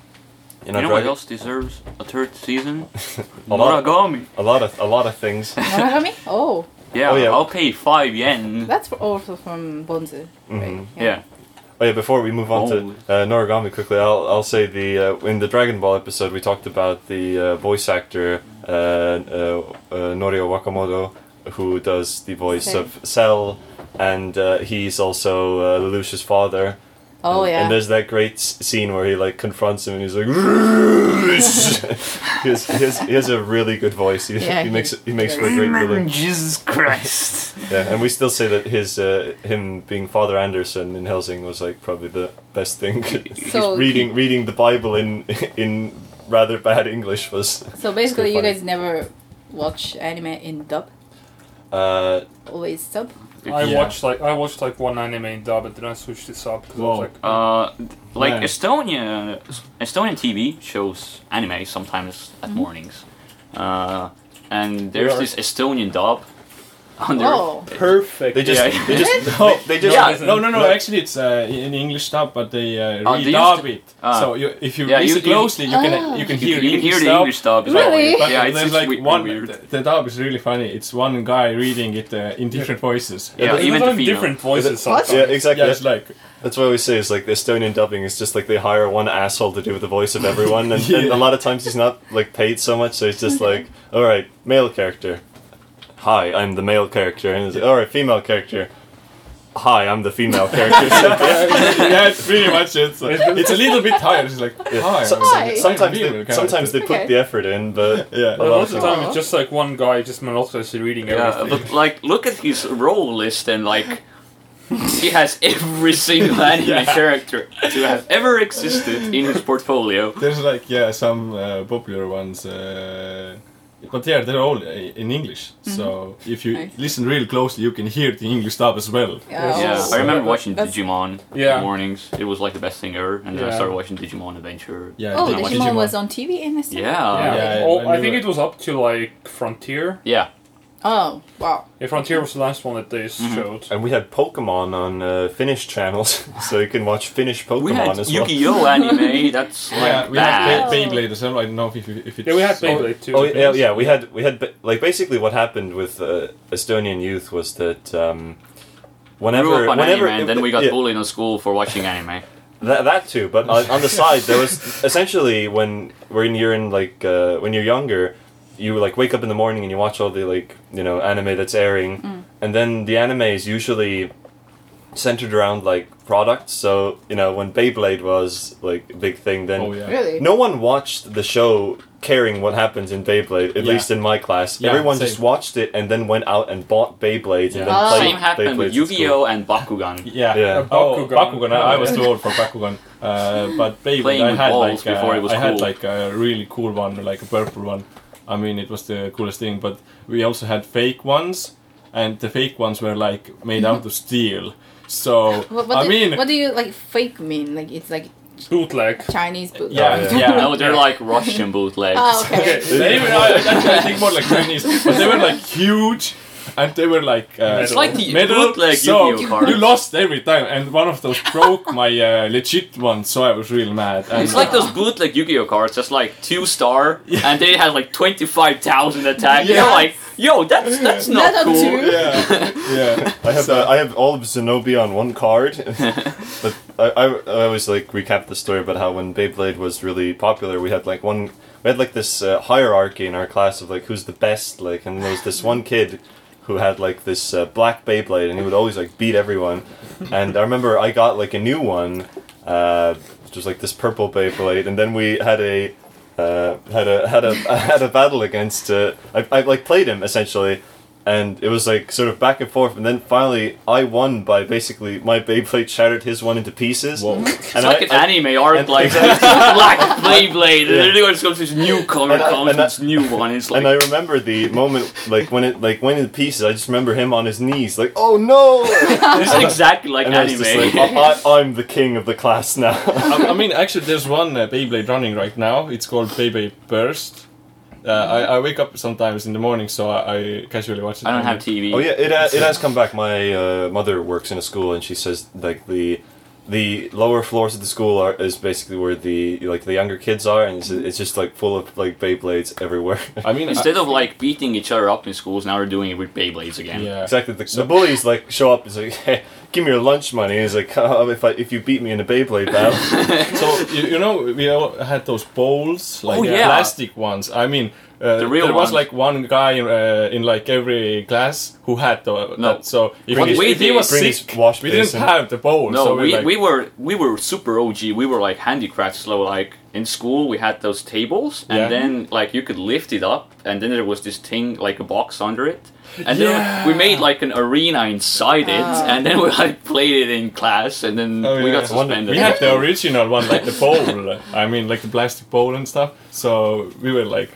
[SPEAKER 3] you know,
[SPEAKER 4] you know what
[SPEAKER 3] Dragon-
[SPEAKER 4] else deserves a third season?
[SPEAKER 3] (laughs) a lot of,
[SPEAKER 4] Noragami.
[SPEAKER 3] a lot of a lot of things.
[SPEAKER 5] Monogamy? Oh,
[SPEAKER 4] Yeah,
[SPEAKER 3] Oh, yeah.
[SPEAKER 4] I'll pay five yen.
[SPEAKER 5] that's for, also from Bonzu, right?
[SPEAKER 3] Mhm.
[SPEAKER 4] yeah.
[SPEAKER 3] Oh yeah, before we move on to uh, Noragami quickly, I'll, I'll say the uh, in the Dragon Ball episode we talked about the uh, voice actor uh, uh, uh, Norio Wakamoto who does the voice
[SPEAKER 5] Cell.
[SPEAKER 3] of Cell, and uh, he's also uh, Lelouch's father.
[SPEAKER 5] Oh
[SPEAKER 3] and,
[SPEAKER 5] yeah.
[SPEAKER 3] And there's that great s- scene where he like confronts him and he's like, (laughs) he, has, he, has, he has a really good voice. He,
[SPEAKER 5] Yeah,
[SPEAKER 3] he
[SPEAKER 5] he-
[SPEAKER 3] makes he makes for a great villain.
[SPEAKER 4] Amen, Jesus Christ.
[SPEAKER 3] (laughs) Yeah, and we still say that his uh, him being Father Anderson in Helsing was like probably the best thing. (laughs)
[SPEAKER 5] So-
[SPEAKER 3] reading reading the Bible in (laughs) in rather bad English was.
[SPEAKER 5] So basically,
[SPEAKER 3] It's
[SPEAKER 5] you
[SPEAKER 3] quite funny.
[SPEAKER 5] guys never watch anime in dub,
[SPEAKER 3] Uh,
[SPEAKER 5] always sub.
[SPEAKER 1] I
[SPEAKER 4] Yeah.
[SPEAKER 1] watched like I watched like one anime in dub, and then I switched this up because I was
[SPEAKER 3] Whoa.
[SPEAKER 1] like,
[SPEAKER 4] Uh, th- like
[SPEAKER 3] Man.
[SPEAKER 4] Estonia, Estonian TV shows anime sometimes at
[SPEAKER 5] Mm-hmm.
[SPEAKER 4] mornings, uh, and there's
[SPEAKER 1] Yeah.
[SPEAKER 4] this Estonian dub. On their,
[SPEAKER 5] Oh,
[SPEAKER 2] Perfect.
[SPEAKER 3] they just
[SPEAKER 4] Yeah. Oh,
[SPEAKER 3] they
[SPEAKER 5] (laughs)
[SPEAKER 3] just
[SPEAKER 2] No.
[SPEAKER 3] they, they just
[SPEAKER 1] Yeah.
[SPEAKER 2] no, no, no,
[SPEAKER 3] No.
[SPEAKER 2] Actually, it's uh, in English dub, but they uh,
[SPEAKER 4] Oh, they
[SPEAKER 2] redub
[SPEAKER 4] used
[SPEAKER 2] it.
[SPEAKER 4] ah.
[SPEAKER 2] so you, if you
[SPEAKER 4] Yeah, you-
[SPEAKER 2] listen
[SPEAKER 4] you-
[SPEAKER 2] closely, you
[SPEAKER 5] Ah.
[SPEAKER 2] can you can
[SPEAKER 4] you,
[SPEAKER 2] hear
[SPEAKER 4] can- you can hear the
[SPEAKER 2] dub,
[SPEAKER 4] English dub. as
[SPEAKER 5] Really?
[SPEAKER 4] Well.
[SPEAKER 2] But
[SPEAKER 4] Yeah, it's,
[SPEAKER 2] there's
[SPEAKER 4] it's
[SPEAKER 2] like
[SPEAKER 4] we-
[SPEAKER 2] one.
[SPEAKER 4] weird.
[SPEAKER 2] The, the dub is really funny. It's one guy reading it uh, in different voices.
[SPEAKER 4] Yeah,
[SPEAKER 1] yeah,
[SPEAKER 4] even
[SPEAKER 1] even
[SPEAKER 4] the female.
[SPEAKER 1] different voices.
[SPEAKER 5] What?
[SPEAKER 1] Sometimes.
[SPEAKER 3] yeah exactly.
[SPEAKER 2] Yeah, it's
[SPEAKER 4] (laughs)
[SPEAKER 2] like
[SPEAKER 3] That's why we say is like the Estonian dubbing is just like they hire one asshole to do the voice of everyone, and, and a
[SPEAKER 2] Yeah.
[SPEAKER 3] lot of times he's not like paid so much, so he's just like, all right, male character, hi, I'm the male character, and he's like, all right, female character, hi, I'm the female character.
[SPEAKER 2] yeah, it's pretty much it. So it's a little bit tired. It's like
[SPEAKER 3] Yeah.
[SPEAKER 2] hi.
[SPEAKER 3] So-
[SPEAKER 2] I'm
[SPEAKER 5] Hi.
[SPEAKER 2] the-
[SPEAKER 3] sometimes
[SPEAKER 2] I'm the
[SPEAKER 3] they,
[SPEAKER 2] guy.
[SPEAKER 3] sometimes they put
[SPEAKER 5] Okay.
[SPEAKER 3] the effort in, but
[SPEAKER 2] Yeah.
[SPEAKER 1] But a lot of the
[SPEAKER 5] Aw.
[SPEAKER 1] time, it's just like one guy just monotonously reading
[SPEAKER 4] Yeah,
[SPEAKER 1] everything.
[SPEAKER 4] but like, look at his role list and like, he has every
[SPEAKER 2] (laughs)
[SPEAKER 4] single anime character to have ever existed in his portfolio.
[SPEAKER 2] There's like yeah some uh, popular ones, uh, but yeah they're all uh, in English. So if you
[SPEAKER 5] Mm-hmm. Nice.
[SPEAKER 2] listen real closely, you can hear the English dub as well.
[SPEAKER 5] Yeah.
[SPEAKER 4] Yeah,
[SPEAKER 5] Oh.
[SPEAKER 4] I remember watching
[SPEAKER 5] That's-
[SPEAKER 4] Digimon
[SPEAKER 1] Yeah.
[SPEAKER 4] in the mornings. It was like the best thing ever, and then I
[SPEAKER 1] Yeah.
[SPEAKER 4] started watching Digimon Adventure.
[SPEAKER 2] Yeah.
[SPEAKER 5] oh,
[SPEAKER 4] I
[SPEAKER 5] Digimon,
[SPEAKER 4] watched
[SPEAKER 5] was on TV in this.
[SPEAKER 4] uh, Yeah.
[SPEAKER 1] yeah.
[SPEAKER 2] Yeah, yeah,
[SPEAKER 1] Oh,
[SPEAKER 2] when
[SPEAKER 1] I
[SPEAKER 2] you
[SPEAKER 1] think
[SPEAKER 2] were-
[SPEAKER 1] it was up to like Frontier.
[SPEAKER 4] Yeah.
[SPEAKER 5] Oh wow.
[SPEAKER 1] Yeah, Frontier was the last one that they showed.
[SPEAKER 3] and we had Pokemon on uh, Finnish channels, (laughs) so you can watch Finnish Pokemon
[SPEAKER 4] We had
[SPEAKER 3] as well.
[SPEAKER 4] Yu-Gi-Oh anime. That's
[SPEAKER 3] (laughs)
[SPEAKER 4] like
[SPEAKER 2] Yeah, we
[SPEAKER 4] that.
[SPEAKER 2] had
[SPEAKER 5] Oh.
[SPEAKER 2] Bey- Beyblade as well. I don't know if it- if it's
[SPEAKER 1] Yeah, we had Beyblade too.
[SPEAKER 3] Oh yeah, yeah. We had we had ba- like basically what happened with uh, Estonian youth was that um, whenever
[SPEAKER 4] Grew up on
[SPEAKER 3] whenever
[SPEAKER 4] anime, and then we got
[SPEAKER 3] yeah,
[SPEAKER 4] bullied in school for watching anime.
[SPEAKER 3] That, that too, but on, on the side there
[SPEAKER 4] (laughs)
[SPEAKER 3] was essentially when when you're in like uh, when you're younger, you like wake up in the morning and you watch all the like you know anime that's airing, and then the anime is usually centered around like products. So you know when Beyblade was like a big thing, then
[SPEAKER 2] Oh yeah.
[SPEAKER 5] Really?
[SPEAKER 3] no one watched the show caring what happens in Beyblade, at
[SPEAKER 2] Yeah.
[SPEAKER 3] least in my class.
[SPEAKER 2] Yeah,
[SPEAKER 3] Everyone
[SPEAKER 2] same.
[SPEAKER 3] just watched it and then went out and bought Beyblades
[SPEAKER 2] Yeah.
[SPEAKER 3] and then
[SPEAKER 5] Oh.
[SPEAKER 3] played
[SPEAKER 4] Same happened with
[SPEAKER 3] Beyblades at school.
[SPEAKER 4] Yu-Gi-Oh and
[SPEAKER 3] (laughs)
[SPEAKER 4] Bakugan.
[SPEAKER 2] Yeah.
[SPEAKER 3] Yeah.
[SPEAKER 2] Oh,
[SPEAKER 1] Bakugan.
[SPEAKER 2] Bakugan. I, I was too old for Bakugan. Uh, but
[SPEAKER 4] (laughs)
[SPEAKER 2] Beyblade,
[SPEAKER 4] Playing
[SPEAKER 2] I
[SPEAKER 4] with
[SPEAKER 2] had
[SPEAKER 4] balls
[SPEAKER 2] like uh,
[SPEAKER 4] before it was
[SPEAKER 2] I had
[SPEAKER 4] cool.
[SPEAKER 2] like a really cool one, like a purple one. I mean, it was the coolest thing. But we also had fake ones. and the fake ones were like made out of steel. So
[SPEAKER 5] (laughs) What, what
[SPEAKER 2] I
[SPEAKER 5] do,
[SPEAKER 2] mean,
[SPEAKER 5] what do you like fake mean? Like it's like
[SPEAKER 1] Bootleg.
[SPEAKER 5] Chinese boot.
[SPEAKER 2] yeah,
[SPEAKER 3] Yeah.
[SPEAKER 2] yeah.
[SPEAKER 1] Oh,
[SPEAKER 2] Ah,
[SPEAKER 4] No, they're like Russian bootlegs.
[SPEAKER 5] Oh, okay.
[SPEAKER 1] Okay.
[SPEAKER 2] They were I, actually, (laughs) I think more like Chinese, but they were like huge, and they were like uh,
[SPEAKER 1] It's like
[SPEAKER 4] the
[SPEAKER 2] metal.
[SPEAKER 4] bootleg
[SPEAKER 2] so
[SPEAKER 4] Yu-Gi-Oh cards.
[SPEAKER 2] you lost every time, and one of those broke my uh, legit one, so I was real mad. And uh,
[SPEAKER 4] It's like those bootleg Yu-Gi-Oh cards, that's like two star, and they had like twenty five thousand attack.
[SPEAKER 2] Yeah.
[SPEAKER 4] You're like, yo, that's that's not
[SPEAKER 5] Not a
[SPEAKER 4] cool.
[SPEAKER 5] two.
[SPEAKER 2] yeah,
[SPEAKER 4] (laughs)
[SPEAKER 2] yeah.
[SPEAKER 3] I have
[SPEAKER 2] So-
[SPEAKER 3] uh, I have all of Zenobia on one card. but I, I, I always like recap the story about how when Beyblade was really popular, we had like one we had like this uh, hierarchy in our class of like who's the best like, and there was this one kid who had like this uh, black Beyblade, and he would always like beat everyone. And I remember I got like a new one, uh, which was like this purple Beyblade, and then we had a uh, had a had a (laughs) had a battle against. Uh, I, I like played him essentially, and it was like sort of back and forth, and then finally I won by basically my Beyblade shattered his one into pieces.
[SPEAKER 2] Whoa.
[SPEAKER 4] It's
[SPEAKER 3] And
[SPEAKER 4] like
[SPEAKER 3] I-
[SPEAKER 4] an
[SPEAKER 3] I-
[SPEAKER 4] anime art,
[SPEAKER 3] and-
[SPEAKER 4] like
[SPEAKER 3] (laughs)
[SPEAKER 4] (laughs) black Beyblade,
[SPEAKER 3] Yeah.
[SPEAKER 4] and then it just comes this new color
[SPEAKER 3] And I-
[SPEAKER 4] comes,
[SPEAKER 3] and I-
[SPEAKER 4] this new one. It's like
[SPEAKER 3] and I remember the moment, like when it like went into pieces. I just remember him on his knees, like, "Oh
[SPEAKER 4] (laughs)
[SPEAKER 3] no!"
[SPEAKER 4] it's exactly like
[SPEAKER 3] and I was
[SPEAKER 4] anime.
[SPEAKER 3] just like, I, I, "I'm the king of the class now." (laughs)
[SPEAKER 2] I, I mean, actually, there's one uh, Beyblade running right now. It's called Beyblade Burst. Uh, I, I wake up sometimes in the morning, so I, I casually watch it.
[SPEAKER 4] (laughs) I
[SPEAKER 2] (laughs)
[SPEAKER 4] don't have TV.
[SPEAKER 3] Oh yeah, it ha- it has come back. My uh, mother works in a school, and she says like the the lower floors of the school are is basically where the like the younger kids are, and it's, it's just like full of like Beyblades everywhere. (laughs)
[SPEAKER 2] I mean, I,
[SPEAKER 4] Instead of like beating each other up in schools, now we're doing it with Beyblades again.
[SPEAKER 2] yeah.
[SPEAKER 3] exactly, the, the bullies like show up. It's like, hey, give me your lunch money. And it's like, (laughs) "Oh, if I, if you beat me in a Beyblade battle,
[SPEAKER 2] So you, you know we all had those bowls, like
[SPEAKER 4] Oh,
[SPEAKER 2] uh,
[SPEAKER 4] yeah.
[SPEAKER 2] plastic ones. I mean, uh,
[SPEAKER 4] The real
[SPEAKER 2] there
[SPEAKER 4] ones.
[SPEAKER 2] was like one guy uh, in like every class who had the,
[SPEAKER 4] No.
[SPEAKER 2] that. So if,
[SPEAKER 3] Bring
[SPEAKER 2] he,
[SPEAKER 3] his-
[SPEAKER 2] if he
[SPEAKER 4] we
[SPEAKER 2] was
[SPEAKER 3] bring his
[SPEAKER 2] sick,
[SPEAKER 3] wash
[SPEAKER 2] we didn't
[SPEAKER 3] basin.
[SPEAKER 2] have the bowl.
[SPEAKER 4] No,
[SPEAKER 2] so
[SPEAKER 4] we,
[SPEAKER 2] like,
[SPEAKER 4] we were we were super OG. We were like handicrafts. So like in school, we had those tables, and
[SPEAKER 2] Yeah.
[SPEAKER 4] then like you could lift it up, and then there was this thing like a box under it, and
[SPEAKER 2] Yeah.
[SPEAKER 4] then we made like an arena inside
[SPEAKER 5] Ah.
[SPEAKER 4] it, and then we like played it in class, and then
[SPEAKER 2] Oh,
[SPEAKER 4] we
[SPEAKER 2] yeah.
[SPEAKER 4] got
[SPEAKER 3] Wonder-
[SPEAKER 4] suspended.
[SPEAKER 2] we had the original one, like the
[SPEAKER 4] (laughs)
[SPEAKER 2] bowl. I mean, like the plastic bowl and stuff. So we were like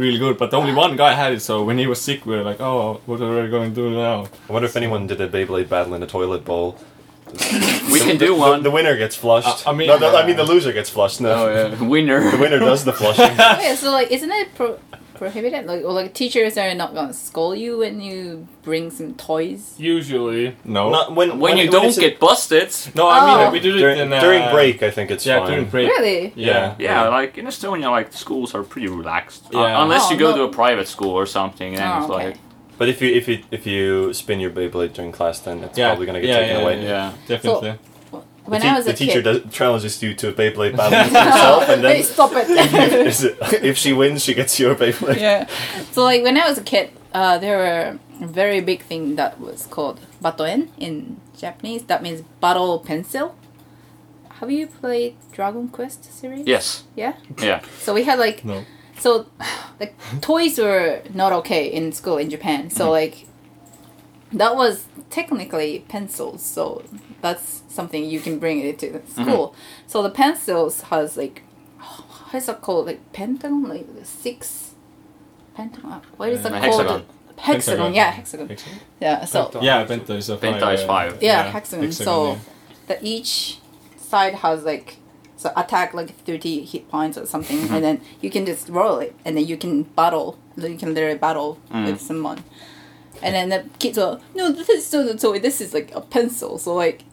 [SPEAKER 2] really good, but only one guy had it. So when he was sick, we were like, oh, what are we going to do now?
[SPEAKER 3] I wonder if anyone did a Beyblade battle in a toilet bowl.
[SPEAKER 4] we can
[SPEAKER 3] (laughs)
[SPEAKER 4] do
[SPEAKER 3] The,
[SPEAKER 4] one.
[SPEAKER 3] the winner gets flushed.
[SPEAKER 2] I- I mean- Oh,
[SPEAKER 3] no, the, I mean the loser gets flushed. No,
[SPEAKER 4] Oh, winner.
[SPEAKER 3] the winner does the flushing.
[SPEAKER 5] Oh, yeah, so like, isn't it pro- prohibited? Like, or like teachers are not gonna scold you when you bring some toys.
[SPEAKER 1] Usually.
[SPEAKER 2] (laughs) No.
[SPEAKER 3] Not when,
[SPEAKER 4] When you
[SPEAKER 3] it's
[SPEAKER 4] don't
[SPEAKER 3] a-
[SPEAKER 4] get busted,
[SPEAKER 2] no, I mean,
[SPEAKER 5] Oh.
[SPEAKER 2] we did it
[SPEAKER 3] during,
[SPEAKER 2] in, uh,
[SPEAKER 3] during break, I think it's
[SPEAKER 2] Yeah,
[SPEAKER 3] fine.
[SPEAKER 2] during break.
[SPEAKER 5] Really?
[SPEAKER 2] Yeah.
[SPEAKER 4] yeah, like in Estonia, like schools are pretty relaxed. Uh,
[SPEAKER 2] Yeah.
[SPEAKER 4] unless you go
[SPEAKER 5] Oh, no.
[SPEAKER 4] to a private school or something, and
[SPEAKER 5] Oh,
[SPEAKER 4] it's
[SPEAKER 5] okay.
[SPEAKER 4] like
[SPEAKER 3] But if you if you if you spin your Beyblade during class, then it's
[SPEAKER 2] Yeah,
[SPEAKER 3] probably gonna get
[SPEAKER 2] yeah,
[SPEAKER 3] taken
[SPEAKER 2] yeah,
[SPEAKER 3] away.
[SPEAKER 2] yeah.
[SPEAKER 4] yeah.
[SPEAKER 2] Definitely.
[SPEAKER 5] When
[SPEAKER 3] the
[SPEAKER 5] I
[SPEAKER 3] te-
[SPEAKER 5] was
[SPEAKER 3] the
[SPEAKER 5] a
[SPEAKER 3] teacher
[SPEAKER 5] kid.
[SPEAKER 3] does, challenges you to a Beyblade battle
[SPEAKER 5] (laughs)
[SPEAKER 3] with yourself, and
[SPEAKER 5] Wait,
[SPEAKER 3] then
[SPEAKER 5] stop it.
[SPEAKER 3] (laughs)
[SPEAKER 5] (laughs)
[SPEAKER 3] is it- if she wins, she gets your (laughs) Beyblade.
[SPEAKER 5] yeah. So like when I was a kid, uh, there were a very big thing that was called batoen in Japanese. That means bottle pencil. Have you played Dragon Quest series?
[SPEAKER 4] Yes.
[SPEAKER 5] Yeah.
[SPEAKER 4] Yeah.
[SPEAKER 5] So we had like
[SPEAKER 2] No.
[SPEAKER 5] so (sighs) like toys were not okay in school in Japan.
[SPEAKER 4] Mm-hmm.
[SPEAKER 5] So like that was technically pencils. So that's something you can bring it to
[SPEAKER 4] Mm-hmm.
[SPEAKER 5] school. So the pencils has like (sighs) how is it called like pentagon like six pentagon what is it
[SPEAKER 4] Uh,
[SPEAKER 5] called
[SPEAKER 4] hexagon.
[SPEAKER 5] hexagon, yeah hexagon
[SPEAKER 2] Hexagon.
[SPEAKER 5] yeah so
[SPEAKER 2] Yeah, Penta is a five.
[SPEAKER 4] Penta is
[SPEAKER 2] yeah.
[SPEAKER 4] five.
[SPEAKER 5] yeah, hexagon. so
[SPEAKER 2] yeah.
[SPEAKER 5] the each side has like so attack like 30 hit points or something and then you can just roll it and then you can battle you can literally battle with someone and then the kids were no this is not a toy this is like a pencil so like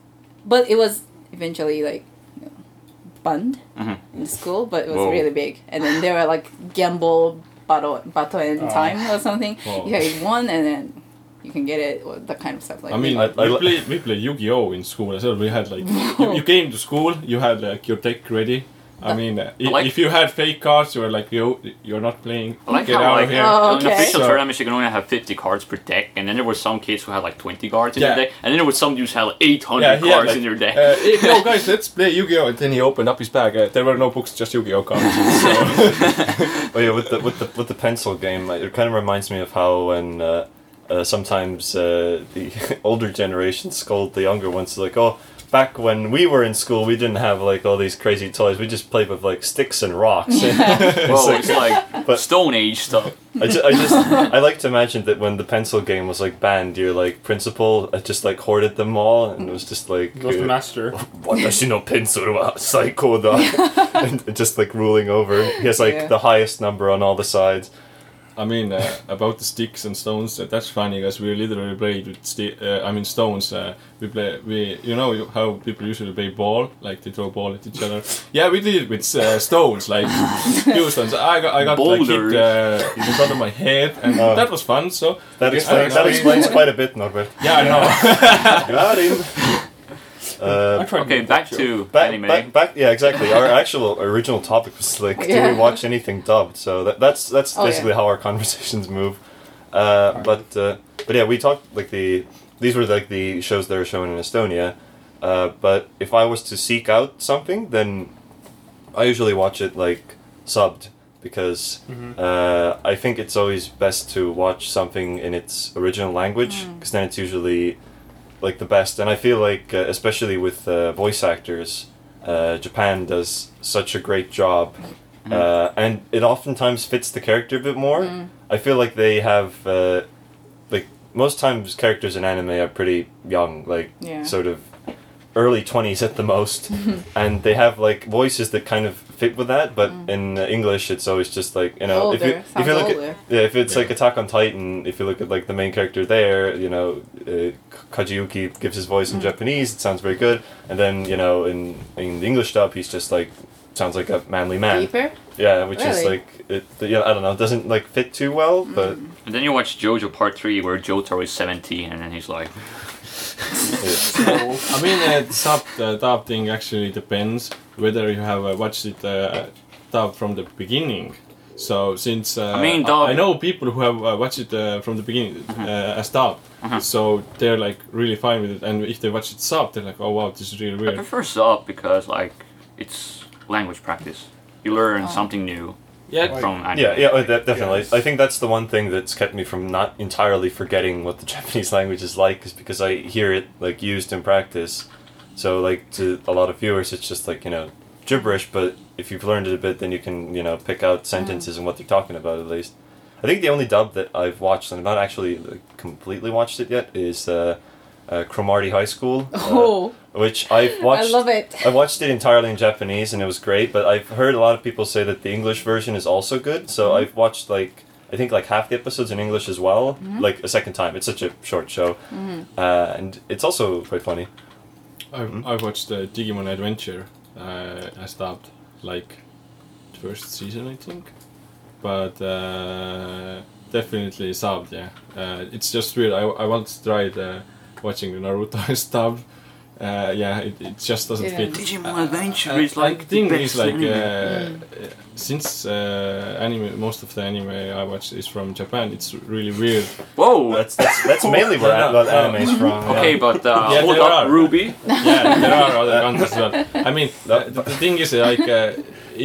[SPEAKER 5] but it was eventually like you know, banned
[SPEAKER 4] Mhm.
[SPEAKER 5] in school but it was
[SPEAKER 4] Whoa.
[SPEAKER 5] really big and then there were like gamble battle battle in
[SPEAKER 1] Oh.
[SPEAKER 5] time or something
[SPEAKER 2] Whoa.
[SPEAKER 5] you had one and then you can get it or that kind of stuff like
[SPEAKER 2] I mean,
[SPEAKER 3] I- I
[SPEAKER 2] we,
[SPEAKER 3] li-
[SPEAKER 2] played, we played Yu-Gi-Oh in school as well. We had like you,
[SPEAKER 5] (laughs)
[SPEAKER 2] you came to school, you had like your deck ready. I mean, uh, i-
[SPEAKER 4] like-
[SPEAKER 2] if you had fake cards, you were like, "Yo, you're not playing.
[SPEAKER 4] I like
[SPEAKER 2] Get
[SPEAKER 4] how
[SPEAKER 2] out
[SPEAKER 4] like
[SPEAKER 2] of here."
[SPEAKER 5] Oh,
[SPEAKER 4] in
[SPEAKER 5] okay.
[SPEAKER 4] official
[SPEAKER 2] So-
[SPEAKER 4] tournaments you can only have 50 cards per deck, and then there were some kids who had like 20 cards in
[SPEAKER 2] Yeah.
[SPEAKER 4] their deck, and then there were some dudes who had like 800
[SPEAKER 2] Yeah, he
[SPEAKER 4] cards
[SPEAKER 2] had, like,
[SPEAKER 4] in their deck. (laughs)
[SPEAKER 2] Uh, hey, no, guys, let's play Yu-Gi-Oh! And then he opened up his bag. Uh, there were no books, just Yu-Gi-Oh cards. So,
[SPEAKER 3] Oh yeah, with the with the with the pencil game, it kind of reminds me of how when (laughs) uh, uh, sometimes uh, the older generation scold the younger ones, like, "Oh, back when we were in school, we didn't have like all these crazy toys. We just played with like sticks and rocks. (laughs) It's
[SPEAKER 4] Well,
[SPEAKER 3] like-
[SPEAKER 4] it's
[SPEAKER 2] (laughs)
[SPEAKER 4] like
[SPEAKER 3] But-
[SPEAKER 4] Stone Age stuff.
[SPEAKER 3] I just, I just (laughs) I like to imagine that when the pencil game was like banned, your like principal uh, just like hoarded them all, and it was just like
[SPEAKER 1] It was the
[SPEAKER 3] uh,
[SPEAKER 1] master.
[SPEAKER 3] "Watashi no pencil wa psycho da," (laughs) and just like ruling over. He has like
[SPEAKER 5] Yeah.
[SPEAKER 3] the highest number on all the sides.
[SPEAKER 2] I mean, uh, about the sticks and stones. Uh, that's funny because we literally played with sti- uh, I mean stones. Uh, we play. We you know you- how people usually play ball, like they throw ball at each other. Yeah, we did it with uh, stones, like few stones. I got I got like, hit
[SPEAKER 4] Boulders.
[SPEAKER 2] uh, in front of my head, and
[SPEAKER 3] Oh.
[SPEAKER 2] that was fun. So
[SPEAKER 3] That
[SPEAKER 2] Yeah,
[SPEAKER 3] explains that
[SPEAKER 2] I-
[SPEAKER 3] explains quite a bit, Norbert.
[SPEAKER 2] yeah, I know.
[SPEAKER 3] Got him. Uh,
[SPEAKER 2] (laughs) I tried
[SPEAKER 4] Okay,
[SPEAKER 2] to-
[SPEAKER 4] back to
[SPEAKER 3] Back,
[SPEAKER 4] anime.
[SPEAKER 3] back, back, yeah, exactly. Our actual original topic was like, do
[SPEAKER 5] Yeah.
[SPEAKER 3] we watch anything dubbed? So that, that's that's
[SPEAKER 5] Oh, yeah.
[SPEAKER 3] basically how our (laughs) conversations move. Uh, but uh, but yeah, we talked like the these were like the shows that are shown in Estonia. Uh, but if I was to seek out something, then I usually watch it like subbed because uh, I think it's always best to watch something in its original language
[SPEAKER 5] Mm.
[SPEAKER 3] because then it's usually like the best. And I feel like, uh, especially with uh, voice actors, uh, Japan does such a great job,
[SPEAKER 5] Mm-hmm.
[SPEAKER 3] uh, and it oftentimes fits the character a bit more. I feel like they have uh, like most times characters in anime are pretty young, like
[SPEAKER 5] Yeah.
[SPEAKER 3] sort of early 20s at the
[SPEAKER 5] (laughs)
[SPEAKER 3] most and they have like voices that kind of fit with that but in uh, english it's always just like you know if
[SPEAKER 5] Mm. Older,
[SPEAKER 3] you if you
[SPEAKER 5] sounds
[SPEAKER 3] look
[SPEAKER 5] older.
[SPEAKER 3] at yeah if it's
[SPEAKER 2] Yeah.
[SPEAKER 3] like attack on titan if you look at like the main character there you know uh, kajiyuki gives his voice in japanese it sounds very good and then you know in in the english dub he's just like sounds like a manly man
[SPEAKER 5] Deeper?
[SPEAKER 3] yeah which is
[SPEAKER 5] Really?
[SPEAKER 3] like it yeah i don't know it doesn't like fit too well but
[SPEAKER 4] And then you watch JoJo Part 3 where Jotaro is 17 and then he's like,
[SPEAKER 3] yeah.
[SPEAKER 2] I mean, uh, the sub uh, dub thing actually depends whether you have uh, watched it uh, dub from the beginning. So since uh,
[SPEAKER 4] I mean, dub-
[SPEAKER 2] I, I know people who have uh, watched it uh, from the beginning
[SPEAKER 4] Uh-huh.
[SPEAKER 2] uh, as dub, so they're like really fine with it. And if they watch it sub, they're like, oh wow, this is really
[SPEAKER 4] I
[SPEAKER 2] weird.
[SPEAKER 4] prefer sub because like it's language practice. You learn
[SPEAKER 5] Oh.
[SPEAKER 4] something new
[SPEAKER 2] Yeah,
[SPEAKER 4] from anime.
[SPEAKER 3] Yeah, yeah, oh, de- definitely.
[SPEAKER 1] Yes.
[SPEAKER 3] I think that's the one thing that's kept me from not entirely forgetting what the (laughs) Japanese language is like, is because I hear it like used in practice. So, like to a lot of viewers, it's just like you know gibberish. But if you've learned it a bit, then you can you know pick
[SPEAKER 5] Mm.
[SPEAKER 3] out sentences and what they're talking about at least. I think the only dub that I've watched, and I've not actually like, completely watched it yet, is uh, uh, Cromarty High School, uh,
[SPEAKER 5] (laughs) Oh,
[SPEAKER 3] which I've
[SPEAKER 5] I
[SPEAKER 3] watched.
[SPEAKER 5] love it.
[SPEAKER 3] I watched it entirely in Japanese and it was great, but I've heard a lot of people say that the English version is also good. So
[SPEAKER 4] Mm-hmm.
[SPEAKER 3] I've watched like I think like half the episodes in English as well,
[SPEAKER 4] Mm-hmm.
[SPEAKER 3] like a second time. It's such a short show, uh, and it's also quite funny.
[SPEAKER 2] I, I watched uh, Digimon Adventure uh, as dubbed, like the first season, I think. But uh, definitely subbed, yeah. Uh, it's just weird. I, I once tried uh, watching Naruto (laughs) as dubbed. Uh, yeah, it, it just doesn't
[SPEAKER 5] Yeah.
[SPEAKER 2] fit.
[SPEAKER 4] Digimon Adventure
[SPEAKER 2] Uh,
[SPEAKER 4] is like
[SPEAKER 2] the thing
[SPEAKER 4] the best
[SPEAKER 2] is like uh,
[SPEAKER 4] anime.
[SPEAKER 2] uh, since uh, anime, most of the anime I watch is from Japan. It's really weird.
[SPEAKER 4] Whoa.
[SPEAKER 3] (laughs) That's that's, that's mainly where
[SPEAKER 2] Yeah,
[SPEAKER 3] a- that
[SPEAKER 2] yeah.
[SPEAKER 3] anime's (laughs) from. yeah.
[SPEAKER 4] okay, but uh,
[SPEAKER 2] Yeah,
[SPEAKER 4] hold
[SPEAKER 2] there
[SPEAKER 4] up,
[SPEAKER 2] are.
[SPEAKER 4] Ruby.
[SPEAKER 2] yeah, there are other countries as well. I mean,
[SPEAKER 3] That-
[SPEAKER 2] th- the, thing is, like, uh,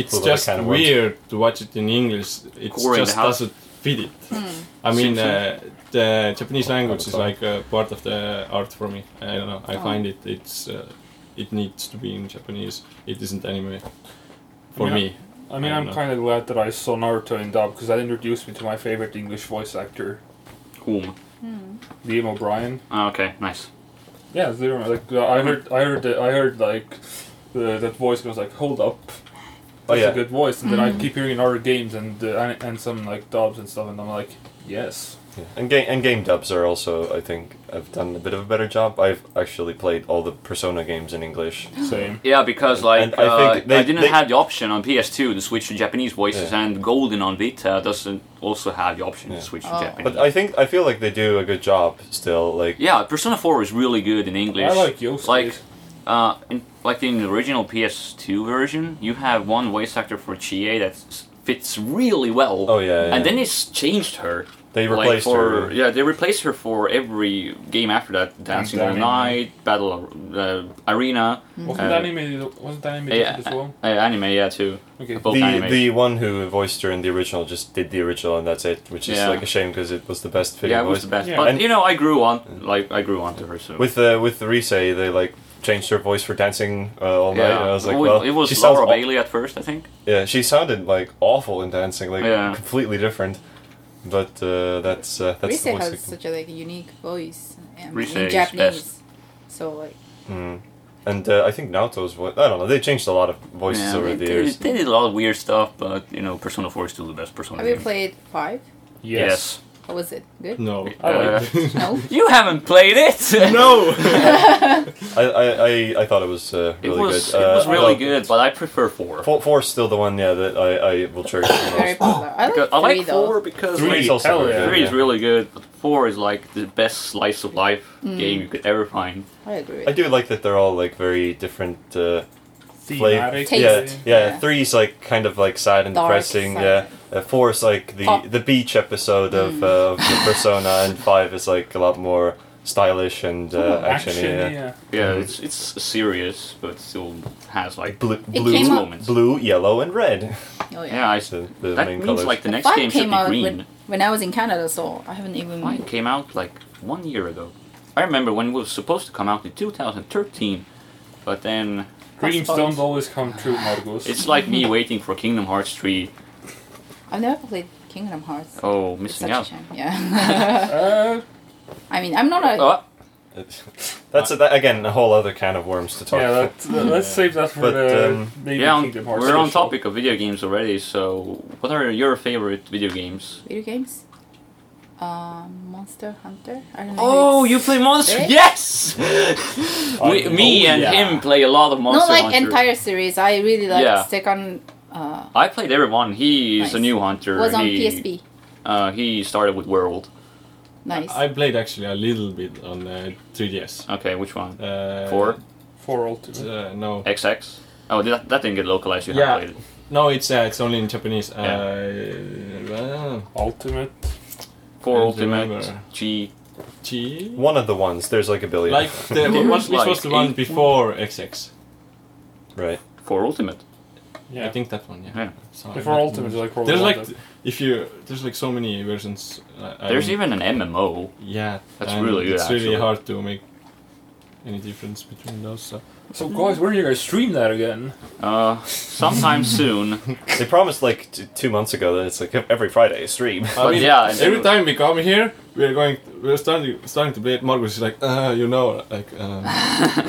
[SPEAKER 2] it's
[SPEAKER 3] Well, that
[SPEAKER 2] just
[SPEAKER 3] kind of works.
[SPEAKER 2] weird to watch it in English. It
[SPEAKER 4] Core in the
[SPEAKER 2] just
[SPEAKER 4] house.
[SPEAKER 2] doesn't fit it.
[SPEAKER 5] Hmm.
[SPEAKER 2] I mean, uh, the Japanese language is like uh, part of the art for me. I don't know. I
[SPEAKER 5] Oh.
[SPEAKER 2] find it. It's uh, it needs to be in Japanese. It isn't anime for
[SPEAKER 1] Yeah.
[SPEAKER 2] me.
[SPEAKER 1] I mean,
[SPEAKER 2] I
[SPEAKER 1] I'm
[SPEAKER 2] know.
[SPEAKER 1] kind of glad that I saw Naruto in dub because that introduced me to my favorite English voice actor,
[SPEAKER 4] Whom?
[SPEAKER 1] Liam O'Brien.
[SPEAKER 4] Ah, okay, nice.
[SPEAKER 1] Yeah, they were like uh, I heard, I heard, the, I heard like the, that voice and I was like, "Hold up, that's
[SPEAKER 3] Oh, yeah.
[SPEAKER 1] a good voice." And then I keep hearing in other games and uh, and, and some like dubs and stuff, and I'm like, "Yes,
[SPEAKER 3] Yeah. And game and game dubs are also I think I've done a bit of a better job. I've actually played all the Persona games in English.
[SPEAKER 1] same."
[SPEAKER 4] Yeah, because like
[SPEAKER 3] And I
[SPEAKER 4] uh,
[SPEAKER 3] think they-
[SPEAKER 4] I didn't
[SPEAKER 3] they-
[SPEAKER 4] have the option on PS2 to switch to Japanese voices,
[SPEAKER 3] Yeah.
[SPEAKER 4] and Golden on Vita doesn't also have the option
[SPEAKER 3] Yeah.
[SPEAKER 4] to switch to
[SPEAKER 5] Oh.
[SPEAKER 4] Japanese.
[SPEAKER 3] But I think I feel like they do a good job still. Like
[SPEAKER 4] yeah, Persona 4 is really good in English.
[SPEAKER 1] I like Yosuke.
[SPEAKER 4] Like, uh, in, like in the original PS2 version, you have one voice actor for Chie that s- fits really well.
[SPEAKER 3] Oh, yeah, yeah.
[SPEAKER 4] And then it's changed her.
[SPEAKER 3] they
[SPEAKER 4] Like,
[SPEAKER 3] replaced
[SPEAKER 4] for,
[SPEAKER 3] her.
[SPEAKER 4] Yeah, they replaced her for every game after that. Dancing All
[SPEAKER 1] Anime.
[SPEAKER 4] Night, Battle uh, Arena,
[SPEAKER 1] wasn't that anime? Wasn't that anime
[SPEAKER 4] yeah,
[SPEAKER 1] as well?
[SPEAKER 4] uh, anime, yeah, too.
[SPEAKER 1] Okay.
[SPEAKER 4] Both
[SPEAKER 3] the,
[SPEAKER 4] animes.
[SPEAKER 3] the one who voiced her in the original just did the original and that's it, which is
[SPEAKER 4] Yeah.
[SPEAKER 3] like a shame because it was the best fitting
[SPEAKER 4] yeah, it
[SPEAKER 3] voice.
[SPEAKER 4] was the best.
[SPEAKER 1] Yeah.
[SPEAKER 4] But
[SPEAKER 3] And-
[SPEAKER 4] you know, I grew on like I grew on to her. So
[SPEAKER 3] With uh, with Risei, they like changed her voice for dancing uh, all night.
[SPEAKER 4] yeah.
[SPEAKER 3] And I was like,
[SPEAKER 4] Well,
[SPEAKER 3] well,
[SPEAKER 4] it was
[SPEAKER 3] she sounds
[SPEAKER 4] Laura
[SPEAKER 3] aw-
[SPEAKER 4] Bailey at first, I think.
[SPEAKER 3] Yeah, she sounded like awful in dancing, like
[SPEAKER 4] Yeah.
[SPEAKER 3] completely different. But uh, that's uh, that's
[SPEAKER 5] Rise
[SPEAKER 3] the voice.
[SPEAKER 5] has
[SPEAKER 3] acting.
[SPEAKER 5] such a like unique voice um,
[SPEAKER 4] Rise
[SPEAKER 5] in
[SPEAKER 4] is
[SPEAKER 5] Japanese.
[SPEAKER 4] best.
[SPEAKER 5] So like
[SPEAKER 3] Mm. And uh, I think Naoto's voice. I don't know. They changed a lot of voices
[SPEAKER 4] yeah,
[SPEAKER 3] over
[SPEAKER 4] they,
[SPEAKER 3] the
[SPEAKER 4] did-
[SPEAKER 3] years.
[SPEAKER 4] they did a lot of weird stuff, but you know, Persona 4 is still the best Persona
[SPEAKER 5] have
[SPEAKER 4] game.
[SPEAKER 5] you played five?
[SPEAKER 4] Yes.
[SPEAKER 5] How was it? Good?
[SPEAKER 2] No.
[SPEAKER 1] I
[SPEAKER 4] Uh,
[SPEAKER 1] like
[SPEAKER 2] (laughs)
[SPEAKER 1] it.
[SPEAKER 5] (laughs)
[SPEAKER 4] (laughs)
[SPEAKER 5] No?
[SPEAKER 4] You haven't played it.
[SPEAKER 2] no!
[SPEAKER 3] I, I, I, I thought it was uh,
[SPEAKER 4] (laughs) it
[SPEAKER 3] really
[SPEAKER 4] was
[SPEAKER 3] good.
[SPEAKER 4] it
[SPEAKER 3] Uh,
[SPEAKER 4] was really
[SPEAKER 3] I-
[SPEAKER 4] good, but I prefer four.
[SPEAKER 3] Four, four's still the one, yeah, that I, I will cherish the
[SPEAKER 5] Very
[SPEAKER 3] most.
[SPEAKER 5] popular. I
[SPEAKER 4] Oh,
[SPEAKER 5] like
[SPEAKER 4] Because- I
[SPEAKER 5] three
[SPEAKER 4] like
[SPEAKER 5] though.
[SPEAKER 4] four because
[SPEAKER 1] Three.
[SPEAKER 4] like,
[SPEAKER 3] Three's also
[SPEAKER 1] hell
[SPEAKER 3] very
[SPEAKER 1] yeah.
[SPEAKER 3] good,
[SPEAKER 4] three is
[SPEAKER 3] yeah.
[SPEAKER 4] really good, but four is like the best slice of life
[SPEAKER 5] Mm.
[SPEAKER 4] game you could ever find.
[SPEAKER 5] I agree with
[SPEAKER 3] I do like that they're all like very different. Uh,
[SPEAKER 1] Thematic.
[SPEAKER 5] Taste.
[SPEAKER 3] Yeah, yeah,
[SPEAKER 5] Yeah.
[SPEAKER 3] Three's like kind of like sad and
[SPEAKER 5] Dark
[SPEAKER 3] depressing.
[SPEAKER 5] side.
[SPEAKER 3] Yeah. Uh, four is like the
[SPEAKER 5] Pop. Mm.
[SPEAKER 3] the beach episode of, uh, of the Persona,
[SPEAKER 5] (laughs)
[SPEAKER 3] and five is like a lot more stylish and uh, action.
[SPEAKER 1] Action,
[SPEAKER 3] Yeah.
[SPEAKER 1] Oh, yeah.
[SPEAKER 4] Yeah, it's it's serious, but still has like
[SPEAKER 3] Blue,
[SPEAKER 5] It
[SPEAKER 3] blue,
[SPEAKER 5] came
[SPEAKER 4] blue
[SPEAKER 5] out-
[SPEAKER 4] moments.
[SPEAKER 3] blue, yellow, and red. (laughs)
[SPEAKER 5] Oh
[SPEAKER 4] Yeah, I,
[SPEAKER 3] So the
[SPEAKER 4] that
[SPEAKER 3] main
[SPEAKER 4] means
[SPEAKER 3] colours.
[SPEAKER 4] like the
[SPEAKER 5] And
[SPEAKER 4] next
[SPEAKER 5] five
[SPEAKER 4] game should
[SPEAKER 5] came
[SPEAKER 4] be
[SPEAKER 5] out
[SPEAKER 4] green.
[SPEAKER 5] When, when I was in Canada, so I haven't even
[SPEAKER 4] Mine came out like one year ago. I remember when it was supposed to come out in 2013, but then
[SPEAKER 1] Dreams
[SPEAKER 5] That's
[SPEAKER 1] don't
[SPEAKER 5] fine.
[SPEAKER 1] always come true, Margus. Uh,
[SPEAKER 4] it's like
[SPEAKER 5] (laughs)
[SPEAKER 4] me waiting for Kingdom Hearts 3.
[SPEAKER 5] I've never played Kingdom Hearts.
[SPEAKER 4] Oh,
[SPEAKER 5] It's
[SPEAKER 4] missing
[SPEAKER 5] such a
[SPEAKER 4] out.
[SPEAKER 5] shame. Yeah. (laughs)
[SPEAKER 1] uh,
[SPEAKER 5] I mean, I'm not a.
[SPEAKER 4] Oh,
[SPEAKER 3] That's a, that, again a whole other can of worms to talk.
[SPEAKER 1] yeah,
[SPEAKER 3] about.
[SPEAKER 1] that, that- let's save that for
[SPEAKER 3] But,
[SPEAKER 1] the
[SPEAKER 3] um,
[SPEAKER 1] maybe
[SPEAKER 4] yeah, on,
[SPEAKER 1] Kingdom Hearts.
[SPEAKER 4] we're on
[SPEAKER 1] special.
[SPEAKER 4] topic of video games already. So, what are your favorite video games?
[SPEAKER 5] Video games? Um, Monster Hunter? I don't know.
[SPEAKER 4] Oh,
[SPEAKER 5] if
[SPEAKER 4] you
[SPEAKER 5] it's-
[SPEAKER 4] play Monster?
[SPEAKER 5] Eh?
[SPEAKER 2] (laughs)
[SPEAKER 4] Yes. we, me
[SPEAKER 1] oh,
[SPEAKER 4] and
[SPEAKER 1] yeah.
[SPEAKER 4] him play a lot of Monster
[SPEAKER 5] Not like
[SPEAKER 4] Hunter.
[SPEAKER 5] entire series. I really like
[SPEAKER 4] Yeah.
[SPEAKER 5] second. Uh,
[SPEAKER 4] I played everyone. He is a
[SPEAKER 5] Nice.
[SPEAKER 4] new hunter.
[SPEAKER 5] was on
[SPEAKER 4] he,
[SPEAKER 5] PSP.
[SPEAKER 4] Uh, he started with World.
[SPEAKER 5] Nice. (laughs)
[SPEAKER 2] I played actually a little bit on uh, 3DS.
[SPEAKER 4] Okay, which one?
[SPEAKER 2] Uh,
[SPEAKER 4] Four.
[SPEAKER 1] for all two.
[SPEAKER 2] Uh, no.
[SPEAKER 4] XX. Oh, that, that didn't get localized. You
[SPEAKER 2] Yeah.
[SPEAKER 4] haven't played it.
[SPEAKER 2] No, it's uh, it's only in Japanese. Uh, uh,
[SPEAKER 1] Ultimate.
[SPEAKER 4] Four
[SPEAKER 2] I
[SPEAKER 4] Ultimate
[SPEAKER 2] remember.
[SPEAKER 4] G.
[SPEAKER 2] G.
[SPEAKER 3] One of the ones. There's like a billion.
[SPEAKER 2] Like the
[SPEAKER 4] There
[SPEAKER 2] one,
[SPEAKER 4] was
[SPEAKER 2] which was
[SPEAKER 4] like
[SPEAKER 2] the one
[SPEAKER 4] eight-
[SPEAKER 2] before XX.
[SPEAKER 3] (laughs) right.
[SPEAKER 4] Four Ultimate.
[SPEAKER 1] Yeah.
[SPEAKER 2] I think that one. Yeah.
[SPEAKER 4] Yeah.
[SPEAKER 2] So
[SPEAKER 1] Before
[SPEAKER 2] I-
[SPEAKER 1] Ultimate is like probably
[SPEAKER 2] There's
[SPEAKER 1] one
[SPEAKER 2] like
[SPEAKER 1] that-
[SPEAKER 2] if you there's like so many versions. Uh, I
[SPEAKER 4] There's
[SPEAKER 2] don't-
[SPEAKER 4] even an MMO.
[SPEAKER 2] yeah.
[SPEAKER 4] That's
[SPEAKER 2] and
[SPEAKER 4] really good,
[SPEAKER 2] It's
[SPEAKER 4] actually.
[SPEAKER 2] really hard to make any difference between those. So.
[SPEAKER 1] So guys, when are you gonna stream that
[SPEAKER 3] (laughs)
[SPEAKER 1] again?
[SPEAKER 4] Uh,
[SPEAKER 2] (laughs)
[SPEAKER 4] sometime soon.
[SPEAKER 3] They promised like t- two months ago that it's like every Friday stream.
[SPEAKER 2] I
[SPEAKER 4] But
[SPEAKER 2] mean,
[SPEAKER 4] yeah, and
[SPEAKER 2] every
[SPEAKER 4] then-
[SPEAKER 2] time we come here, we're going, we're starting, starting to play it. Marcus is like, uh, you know, like,
[SPEAKER 4] (laughs)
[SPEAKER 2] um,